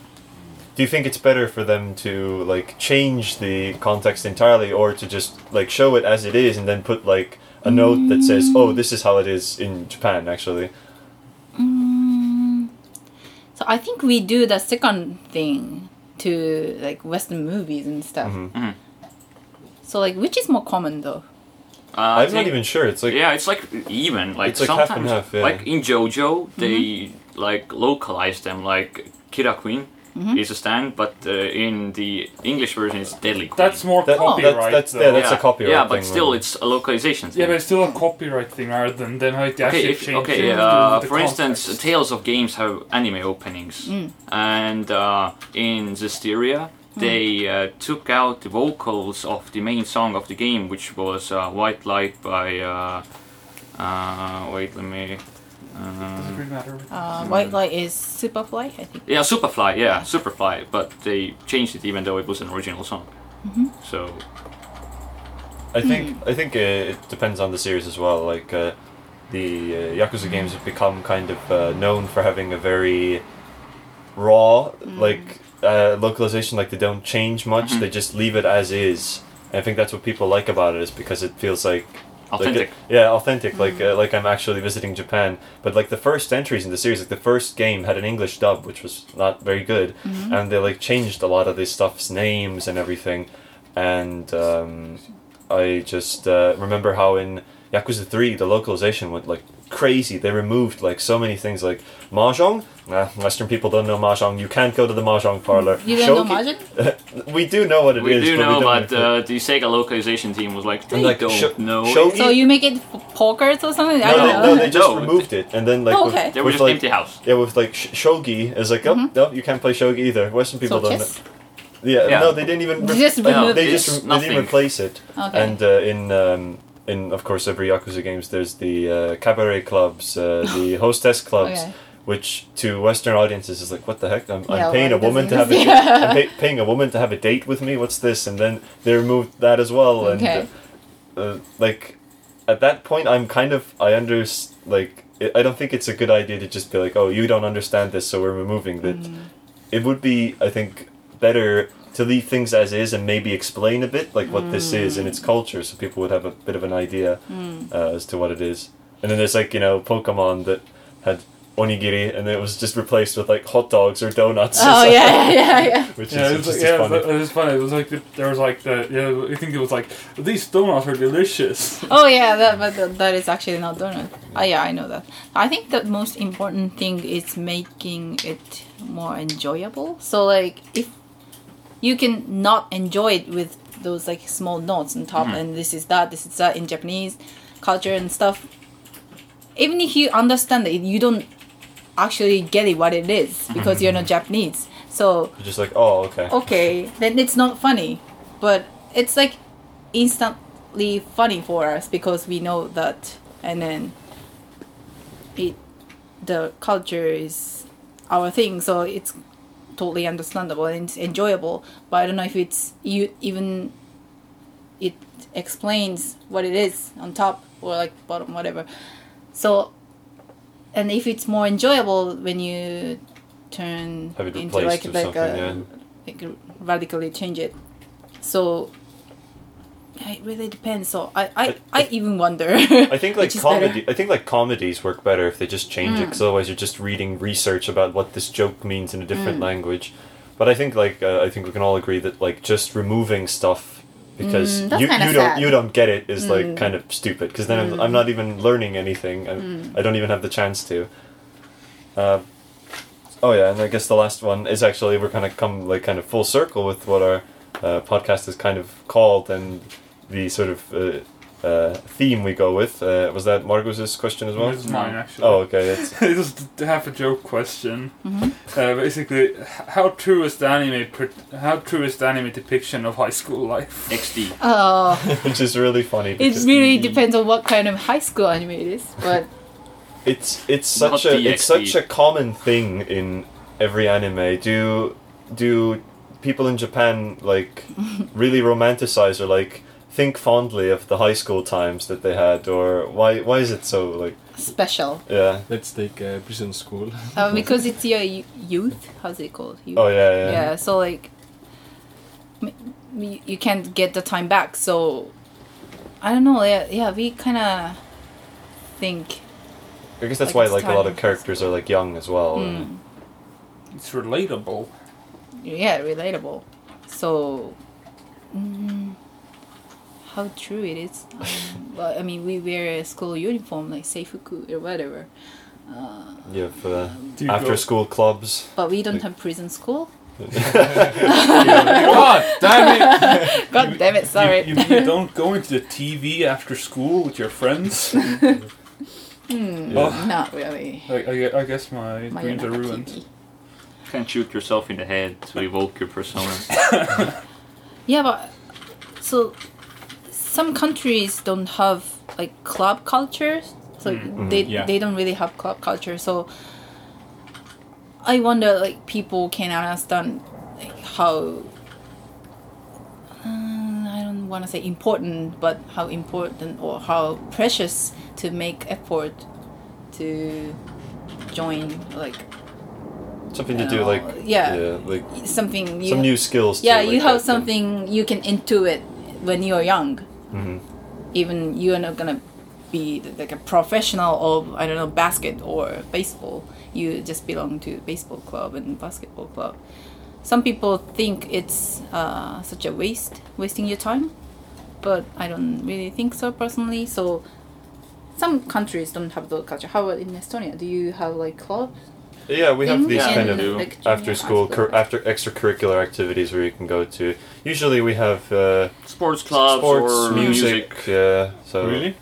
[SPEAKER 3] do you think it's better for them to like change the context entirely or to just like show it as it is and then put like a note that says oh this is how it is in Japan actually
[SPEAKER 5] Mm, so I think we do the second thing to like Western movies and stuff.
[SPEAKER 3] Mhm.
[SPEAKER 4] Mhm.
[SPEAKER 5] So like, which is more common though?
[SPEAKER 4] Uh, I
[SPEAKER 3] I'm
[SPEAKER 4] think-
[SPEAKER 3] not even sure it's like
[SPEAKER 4] yeah, it's like even like
[SPEAKER 3] It's like half
[SPEAKER 4] sometimes
[SPEAKER 3] and half, yeah.
[SPEAKER 4] like in JoJo
[SPEAKER 5] Mm-hmm.
[SPEAKER 4] they like localize them like Kira Queen
[SPEAKER 5] Mm-hmm.
[SPEAKER 4] is a stand, but uh, in the English version it's Deadly Queen.
[SPEAKER 1] That's more
[SPEAKER 3] that,
[SPEAKER 1] copyright.
[SPEAKER 3] that's, that's, yeah,
[SPEAKER 1] though.
[SPEAKER 3] that's a copyright
[SPEAKER 4] Yeah, but
[SPEAKER 3] thing,
[SPEAKER 4] still
[SPEAKER 3] right?
[SPEAKER 4] it's a localization. Thing.
[SPEAKER 1] Yeah, but it's still a copyright thing rather than then how it actually
[SPEAKER 4] Okay, if,
[SPEAKER 1] changes.
[SPEAKER 4] okay.
[SPEAKER 1] the-
[SPEAKER 4] Uh,
[SPEAKER 1] the
[SPEAKER 4] for instance,
[SPEAKER 1] context.
[SPEAKER 4] Tales of Games have anime openings,
[SPEAKER 1] Mm.
[SPEAKER 4] and uh, in Zestiria, they uh, took out the vocals of the main song of the game, which was uh, "White Light" by. Uh, uh, wait, let me.
[SPEAKER 1] Doesn't
[SPEAKER 4] Um,
[SPEAKER 1] really matter.
[SPEAKER 5] Uh,
[SPEAKER 3] Mm-hmm.
[SPEAKER 5] White Light is Superfly, I think.
[SPEAKER 4] yeah, Superfly. Yeah, Superfly. But they changed it, even though it was an original song.
[SPEAKER 1] Mm-hmm.
[SPEAKER 4] So
[SPEAKER 3] I think I think uh, it depends on the series as well. Like uh, the uh, Yakuza games have become kind of uh, known for having a very raw like uh, localization. Like they don't change much; they just leave it as is. And I think that's what people like about it is because it feels like like,
[SPEAKER 4] authentic.
[SPEAKER 3] uh, yeah, authentic. Like uh, like I'm actually visiting Japan. But like the first entries in the series, like the first game had an English dub, which was not very good, and they like changed a lot of this stuff's names and everything. And um, I just uh, remember how in Yakuza Three the localization went like crazy. They removed like so many things, like mahjong. Nah, Western people don't know mahjong. You can't go to the mahjong parlor.
[SPEAKER 5] You don't know
[SPEAKER 3] Shogi-
[SPEAKER 5] Majin?
[SPEAKER 3] we do know what it is.
[SPEAKER 4] we do
[SPEAKER 3] but
[SPEAKER 4] know,
[SPEAKER 3] we don't
[SPEAKER 4] but uh, the Sega localization team was like, they
[SPEAKER 3] like,
[SPEAKER 4] don't
[SPEAKER 3] sho-
[SPEAKER 4] know.
[SPEAKER 3] shogi-
[SPEAKER 5] So you make it f- pokers or something? I
[SPEAKER 3] no,
[SPEAKER 5] don't
[SPEAKER 3] they, no,
[SPEAKER 5] know.
[SPEAKER 3] they just
[SPEAKER 4] No,
[SPEAKER 3] removed it, and then like
[SPEAKER 5] Oh,
[SPEAKER 3] with-
[SPEAKER 5] okay. Mm-hmm.
[SPEAKER 4] They were
[SPEAKER 3] with,
[SPEAKER 4] just
[SPEAKER 3] like,
[SPEAKER 4] empty house.
[SPEAKER 3] Yeah, with like sh- shogi is like, oh no, you can't play shogi either. Western people
[SPEAKER 5] so
[SPEAKER 3] don't.
[SPEAKER 5] chess?
[SPEAKER 3] Know. Yeah,
[SPEAKER 4] Yeah.
[SPEAKER 3] no, they didn't even.
[SPEAKER 5] They just
[SPEAKER 3] like,
[SPEAKER 5] removed
[SPEAKER 3] they
[SPEAKER 4] it.
[SPEAKER 3] just
[SPEAKER 4] It's
[SPEAKER 3] re- they
[SPEAKER 4] nothing.
[SPEAKER 3] didn't replace it.
[SPEAKER 5] Okay.
[SPEAKER 3] And uh, in um, in of course every yakuza games, there's the uh, cabaret clubs, uh,
[SPEAKER 5] (laughs)
[SPEAKER 3] the hostess clubs.
[SPEAKER 5] Okay.
[SPEAKER 3] Which to Western audiences is like, what the heck? I'm,
[SPEAKER 5] Yeah,
[SPEAKER 3] I'm paying a
[SPEAKER 5] why
[SPEAKER 3] woman to have
[SPEAKER 5] doesn't
[SPEAKER 3] a
[SPEAKER 5] this- (laughs)
[SPEAKER 3] date- I'm pay- paying a woman to have a date with me. What's this? And then they removed that as well. And
[SPEAKER 5] Okay.
[SPEAKER 3] uh, uh, like at that point i'm kind of i under like i I don't think it's a good idea to just be like oh you don't understand this so we're removing that
[SPEAKER 5] Mm.
[SPEAKER 3] it would be i think better to leave things as is and maybe explain a bit like what this is
[SPEAKER 5] Mm.
[SPEAKER 3] and its culture so people would have a bit of an idea uh, as to what it is and then there's like you know pokemon that had onigiri and it was just replaced with like hot dogs or donuts or (laughs)
[SPEAKER 5] Oh
[SPEAKER 3] something,
[SPEAKER 5] yeah, (laughs) yeah, yeah.
[SPEAKER 3] which
[SPEAKER 1] Yeah,
[SPEAKER 3] is
[SPEAKER 1] it
[SPEAKER 3] just
[SPEAKER 1] was, like,
[SPEAKER 3] as
[SPEAKER 1] yeah, uh, it
[SPEAKER 3] funny
[SPEAKER 1] was, it was funny. It was like the, there was like the yeah. I think it was like these donuts are delicious. (laughs)
[SPEAKER 5] (laughs) Oh yeah, that but that- that is actually not donut. Ah yeah, I know that. I think the most important thing is making it more enjoyable. So like if you can not enjoy it with those like small notes on top and this is that, this is that in Japanese culture and stuff. Even if you understand it, you don't actually get it what it is because you're not Japanese. So
[SPEAKER 3] You're just like oh okay
[SPEAKER 5] okay, then it's not funny. But it's like instantly funny for us because we know that, and then it the culture is our thing, so it's totally understandable and it's enjoyable. But I don't know if it's you even it explains what it is on top or like bottom, whatever. So, and if it's more enjoyable when you turn
[SPEAKER 3] have it
[SPEAKER 5] into
[SPEAKER 3] replaced
[SPEAKER 5] like
[SPEAKER 3] or
[SPEAKER 5] like
[SPEAKER 3] something
[SPEAKER 5] a
[SPEAKER 3] yeah
[SPEAKER 5] like radically change it. So it really depends. So I, I,
[SPEAKER 3] I-
[SPEAKER 5] I even wonder.
[SPEAKER 3] (laughs) I
[SPEAKER 5] (laughs)
[SPEAKER 3] think like comedy. I think like comedies work better if they just change
[SPEAKER 5] Mm.
[SPEAKER 3] it, because otherwise you're just reading research about what this joke means in a different
[SPEAKER 5] Mm.
[SPEAKER 3] language. But I think like uh, I think we can all agree that like just removing stuff because
[SPEAKER 5] Mm, that's
[SPEAKER 3] you,
[SPEAKER 5] kinda
[SPEAKER 3] you don't
[SPEAKER 5] sad.
[SPEAKER 3] you don't get it is
[SPEAKER 5] Mm.
[SPEAKER 3] like kind of stupid because then I'm, I'm not even learning anything. I'm,
[SPEAKER 5] Mm.
[SPEAKER 3] I don't even have the chance to. Uh, oh yeah, and I guess the last one is actually we're kind of come like kind of full circle with what our uh, podcast is kind of called and the sort of uh, uh, theme we go with. Uh, was that Margus's question as well?
[SPEAKER 1] This is
[SPEAKER 5] Mm.
[SPEAKER 1] mine actually.
[SPEAKER 3] Oh, okay. That's,
[SPEAKER 1] (laughs) it was a half a joke question.
[SPEAKER 5] Mhm.
[SPEAKER 1] Uh, basically, h- how true is the anime? Pre- how true is the anime depiction of high school life?
[SPEAKER 4] XD.
[SPEAKER 3] (laughs)
[SPEAKER 5] Oh,
[SPEAKER 3] (laughs) which is really funny.
[SPEAKER 5] it
[SPEAKER 3] because
[SPEAKER 5] really depends on what kind of high school anime it is. But
[SPEAKER 3] It's it's such
[SPEAKER 4] Not
[SPEAKER 3] a it's
[SPEAKER 4] DXD.
[SPEAKER 3] such a common thing in every anime. Do do people in Japan
[SPEAKER 5] (laughs)
[SPEAKER 3] like really romanticize or like think fondly of the high school times that they had, or why why is it so like
[SPEAKER 5] special
[SPEAKER 3] yeah?
[SPEAKER 2] Let's take uh, prison school. (laughs)
[SPEAKER 5] uh, because it's your y- youth. How's it called? Youth.
[SPEAKER 3] Oh yeah, yeah.
[SPEAKER 5] yeah so like m- m- you can't get the time back so i don't know yeah, yeah we kind of think
[SPEAKER 3] I guess that's
[SPEAKER 5] Like, it's
[SPEAKER 3] why like a lot
[SPEAKER 5] time.
[SPEAKER 3] of characters are like young as well.
[SPEAKER 5] mm,
[SPEAKER 1] It's relatable.
[SPEAKER 5] yeah relatable so mm, how true it is um, well i mean we wear a school uniform like seifuku or whatever uh,
[SPEAKER 3] You have uh,
[SPEAKER 1] Do you
[SPEAKER 3] after
[SPEAKER 1] go-
[SPEAKER 3] school clubs.
[SPEAKER 5] but we don't have prison school
[SPEAKER 1] God damn it!
[SPEAKER 5] god (laughs) damn it sorry (laughs)
[SPEAKER 1] You, you, you don't go into the TV after school with
[SPEAKER 5] (laughs)
[SPEAKER 1] your friends.
[SPEAKER 5] Hmm,
[SPEAKER 1] Yeah.
[SPEAKER 5] not really
[SPEAKER 1] I, I, gue- I guess my,
[SPEAKER 5] My
[SPEAKER 1] dreams are
[SPEAKER 5] Yonaka
[SPEAKER 1] ruined.
[SPEAKER 5] TV.
[SPEAKER 4] Can't shoot yourself in the head to evoke your
[SPEAKER 3] (laughs)
[SPEAKER 4] persona.
[SPEAKER 5] Yeah, but so some countries don't have like club cultures, so they
[SPEAKER 2] yeah.
[SPEAKER 5] they don't really have club culture. So I wonder, like people can understand like, how. um, I don't want to say important, but how important or how precious to make effort to join like
[SPEAKER 1] Oh.
[SPEAKER 3] Something to do like
[SPEAKER 5] Yeah.
[SPEAKER 3] like
[SPEAKER 5] something
[SPEAKER 3] some new skills. to,
[SPEAKER 5] yeah you
[SPEAKER 3] like, get
[SPEAKER 5] have
[SPEAKER 3] them.
[SPEAKER 5] something you can intuit when you're young
[SPEAKER 3] Mhm.
[SPEAKER 5] even you're not gonna be like a professional of i don't know basket or baseball you just belong to baseball club and basketball club some people think it's uh, such a waste wasting your time but i don't really think so personally so some countries don't have the culture how about in estonia do you have like clubs
[SPEAKER 3] Yeah, we have
[SPEAKER 5] thing?
[SPEAKER 3] these
[SPEAKER 4] Yeah,
[SPEAKER 3] kind
[SPEAKER 5] And,
[SPEAKER 3] of
[SPEAKER 4] do.
[SPEAKER 5] like,
[SPEAKER 3] after
[SPEAKER 5] junior
[SPEAKER 3] school
[SPEAKER 5] high
[SPEAKER 3] cur- after extracurricular activities where you can go to. Usually we have uh,
[SPEAKER 4] Sports clubs
[SPEAKER 3] sports,
[SPEAKER 4] or
[SPEAKER 3] music. Yeah. So
[SPEAKER 2] Uh, Really?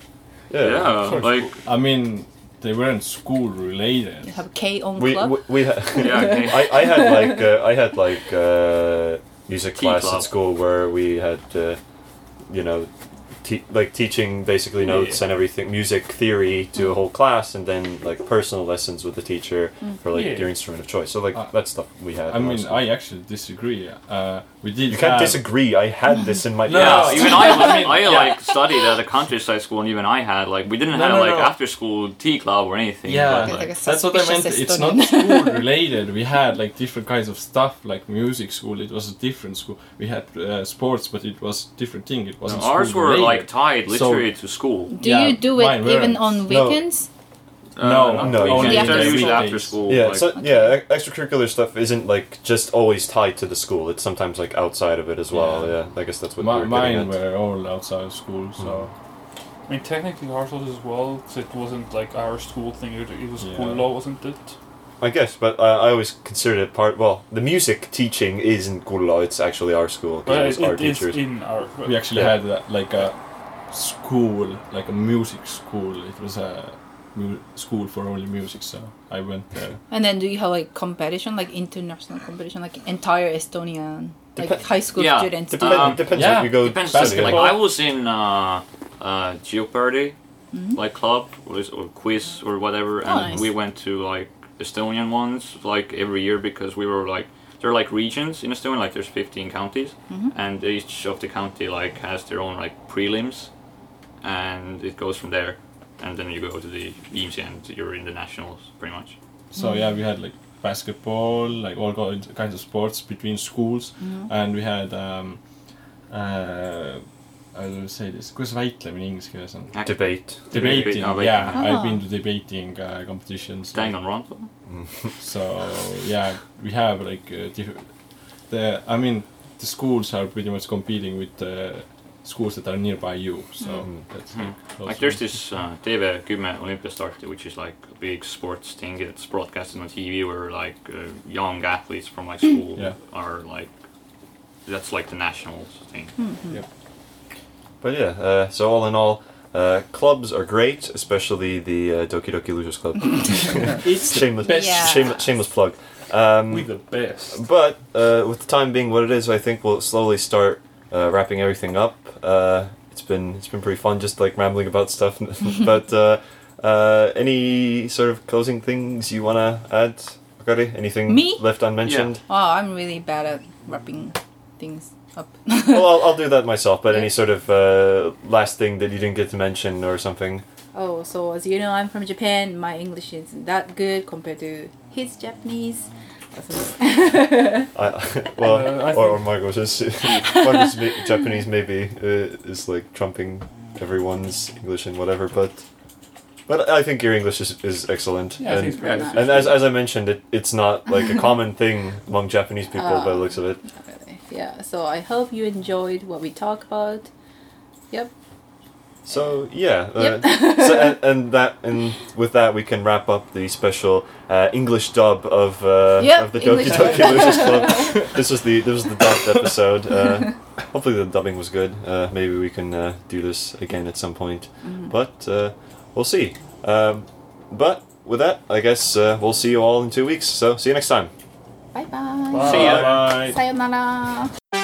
[SPEAKER 3] Yeah.
[SPEAKER 4] Yeah,
[SPEAKER 3] Sure.
[SPEAKER 4] like
[SPEAKER 2] I mean, they weren't school related.
[SPEAKER 5] you have k on
[SPEAKER 3] we
[SPEAKER 5] club
[SPEAKER 3] we, we ha-
[SPEAKER 4] (laughs)
[SPEAKER 3] (laughs)
[SPEAKER 4] Yeah,
[SPEAKER 2] (laughs)
[SPEAKER 4] okay.
[SPEAKER 3] I, I had like uh, I had like uh, music
[SPEAKER 4] Tea
[SPEAKER 3] class
[SPEAKER 4] club.
[SPEAKER 3] at school where we had uh, you know te- like teaching basically notes and everything music theory to a whole class and then like personal lessons with the teacher for like
[SPEAKER 2] Yeah.
[SPEAKER 3] your instrument of choice. So like
[SPEAKER 2] Uh,
[SPEAKER 3] that stuff we had.
[SPEAKER 2] I
[SPEAKER 3] in our
[SPEAKER 2] mean,
[SPEAKER 3] school.
[SPEAKER 2] I actually disagree. Uh, we did.
[SPEAKER 3] you can't
[SPEAKER 2] have-
[SPEAKER 3] disagree. I had this in my
[SPEAKER 2] (laughs) No,
[SPEAKER 4] yeah,
[SPEAKER 3] past.
[SPEAKER 4] even I,
[SPEAKER 2] I (laughs) mean,
[SPEAKER 4] I
[SPEAKER 2] yeah.
[SPEAKER 4] like studied at a countryside school, and even I had like we didn't
[SPEAKER 2] No,
[SPEAKER 4] have
[SPEAKER 2] no,
[SPEAKER 4] like
[SPEAKER 2] no.
[SPEAKER 4] after school tea club or anything.
[SPEAKER 2] Yeah,
[SPEAKER 4] but, like,
[SPEAKER 5] Like a
[SPEAKER 2] that's what I meant.
[SPEAKER 5] suspicious
[SPEAKER 2] It's
[SPEAKER 5] Estonian.
[SPEAKER 2] not
[SPEAKER 5] (laughs)
[SPEAKER 2] school related. We had like different kinds of stuff, like music school. It was a different school. We had uh, sports, but it was different thing. It wasn't.
[SPEAKER 4] ours
[SPEAKER 2] school
[SPEAKER 4] were
[SPEAKER 2] related.
[SPEAKER 4] like tied
[SPEAKER 2] So-
[SPEAKER 4] literally to school.
[SPEAKER 5] do
[SPEAKER 2] yeah,
[SPEAKER 5] you do it
[SPEAKER 2] mine
[SPEAKER 5] even
[SPEAKER 2] weren't.
[SPEAKER 5] on
[SPEAKER 3] No.
[SPEAKER 5] weekends
[SPEAKER 3] No,
[SPEAKER 4] not
[SPEAKER 3] no,
[SPEAKER 4] really.
[SPEAKER 5] only
[SPEAKER 4] They're
[SPEAKER 5] after
[SPEAKER 4] usually
[SPEAKER 5] school.
[SPEAKER 4] after school.
[SPEAKER 3] Yeah,
[SPEAKER 4] like,
[SPEAKER 3] so yeah, e- extracurricular stuff isn't like just always tied to the school. It's sometimes like outside of it as well.
[SPEAKER 2] Yeah.
[SPEAKER 3] Yeah, I guess that's what
[SPEAKER 2] Mi-
[SPEAKER 3] we were getting
[SPEAKER 2] mine
[SPEAKER 3] at.
[SPEAKER 2] were all outside of school, so
[SPEAKER 1] I mean, technically ours was as well, 'cause it wasn't like our school thing, it it was school
[SPEAKER 2] Yeah.
[SPEAKER 1] law, wasn't it?
[SPEAKER 3] I guess, but I, I always considered it part. Well, the music teaching is in Gula. It's actually our school. 'cause
[SPEAKER 1] But
[SPEAKER 3] it
[SPEAKER 1] it,
[SPEAKER 3] was our
[SPEAKER 1] it is
[SPEAKER 3] teachers.
[SPEAKER 1] in our.
[SPEAKER 2] we actually
[SPEAKER 3] Yeah.
[SPEAKER 2] had uh, like a school, like a music school. It was a mu- school for only music, so I went there.
[SPEAKER 5] and then do you have like competition like international competition like entire estonian like
[SPEAKER 3] Depe-
[SPEAKER 5] high school
[SPEAKER 4] Yeah.
[SPEAKER 5] students Uh,
[SPEAKER 3] Depend,
[SPEAKER 4] Um,
[SPEAKER 3] depends
[SPEAKER 2] yeah,
[SPEAKER 3] what you go.
[SPEAKER 4] depends.
[SPEAKER 3] study.
[SPEAKER 4] Like
[SPEAKER 2] Basketball.
[SPEAKER 4] I was in uh, uh, Geoparty, like club or, or quiz or whatever, and
[SPEAKER 5] nice.
[SPEAKER 4] we went to like Estonian ones like every year because we were like there are like regions in Estonia, like there's 15 counties, and each of the county like has their own like prelims, and it goes from there, and then you go to the EMC and you're in the nationals pretty much.
[SPEAKER 2] So yeah, we had like basketball, like all kinds kinds of sports between schools, and we had um, uh, uh, I don't say this. kuidas väitlemine inglise keeles on ?
[SPEAKER 3] Debate.
[SPEAKER 2] Debating
[SPEAKER 4] Ah, ,
[SPEAKER 2] yeah
[SPEAKER 5] Ah.
[SPEAKER 2] I have been to debating uh, competitions
[SPEAKER 4] Dang on Ron.
[SPEAKER 2] so yeah we have like uh, diff- the I mean the schools are pretty much competing with the schools that are nearby you so
[SPEAKER 3] Mhm.
[SPEAKER 2] that's
[SPEAKER 4] Mhm.
[SPEAKER 2] like, also-
[SPEAKER 4] Like there's this uh, TV10 Olympiastarter, which is like a big sports thing that's broadcasted on TV, where like uh, young athletes from like school
[SPEAKER 2] Yeah.
[SPEAKER 4] are like, that's like the nationals thing.
[SPEAKER 3] But yeah, uh, so all in all, uh, clubs are great, especially the uh, Doki Doki Losers Club.
[SPEAKER 2] (laughs) it's the
[SPEAKER 3] shameless,
[SPEAKER 2] best
[SPEAKER 5] Yeah.
[SPEAKER 3] shameless, shameless plug. Um,
[SPEAKER 1] We the best.
[SPEAKER 3] But uh, with the time being what it is, I think we'll slowly start uh, wrapping everything up. Uh, it's been it's been pretty fun, just like rambling about stuff. (laughs)
[SPEAKER 5] (laughs)
[SPEAKER 3] but uh, uh, any sort of closing things you wanna add, Akari? Anything
[SPEAKER 5] Me?
[SPEAKER 3] left unmentioned?
[SPEAKER 5] Oh, I'm really bad at wrapping things up.
[SPEAKER 3] well,
[SPEAKER 5] Oh, (laughs)
[SPEAKER 3] I'll, I'll do that myself. But
[SPEAKER 5] Yeah.
[SPEAKER 3] any sort of uh, last thing that you didn't get to mention or something?
[SPEAKER 5] Oh, so as you know, I'm from Japan. My English isn't that good compared to his Japanese. (laughs)
[SPEAKER 3] I, (laughs) well,
[SPEAKER 1] Uh, I
[SPEAKER 3] or, or Margot's (laughs) Margot's ma- Japanese maybe uh, is like trumping everyone's English and whatever, but but I think your English is, is excellent.
[SPEAKER 1] Yeah, I
[SPEAKER 3] and,
[SPEAKER 1] think it's pretty
[SPEAKER 5] and-
[SPEAKER 1] good.
[SPEAKER 3] and as, as I mentioned, it, it's not
[SPEAKER 1] (laughs)
[SPEAKER 3] like a common thing among Japanese people
[SPEAKER 5] Ah.
[SPEAKER 3] by the looks of it.
[SPEAKER 5] yeah, so I hope you enjoyed what we talk about. Yep.
[SPEAKER 3] So yeah, uh, so, and, and that and with that we can wrap up the special uh, English dub of uh,
[SPEAKER 5] Yep,
[SPEAKER 3] of the Doki
[SPEAKER 5] English dub.
[SPEAKER 3] Doki Losers
[SPEAKER 5] (laughs)
[SPEAKER 3] Club. this was the this was the dubbed episode. Uh, hopefully the dubbing was good. Uh, maybe we can uh, do this again at some point,
[SPEAKER 5] Mm-hmm.
[SPEAKER 3] but uh, we'll see. Um, but with that, I guess uh, we'll see you all in two weeks. So see you next time.
[SPEAKER 5] Bye bye.
[SPEAKER 1] Bye.
[SPEAKER 4] See ya.
[SPEAKER 2] Bye.
[SPEAKER 5] Sayonara.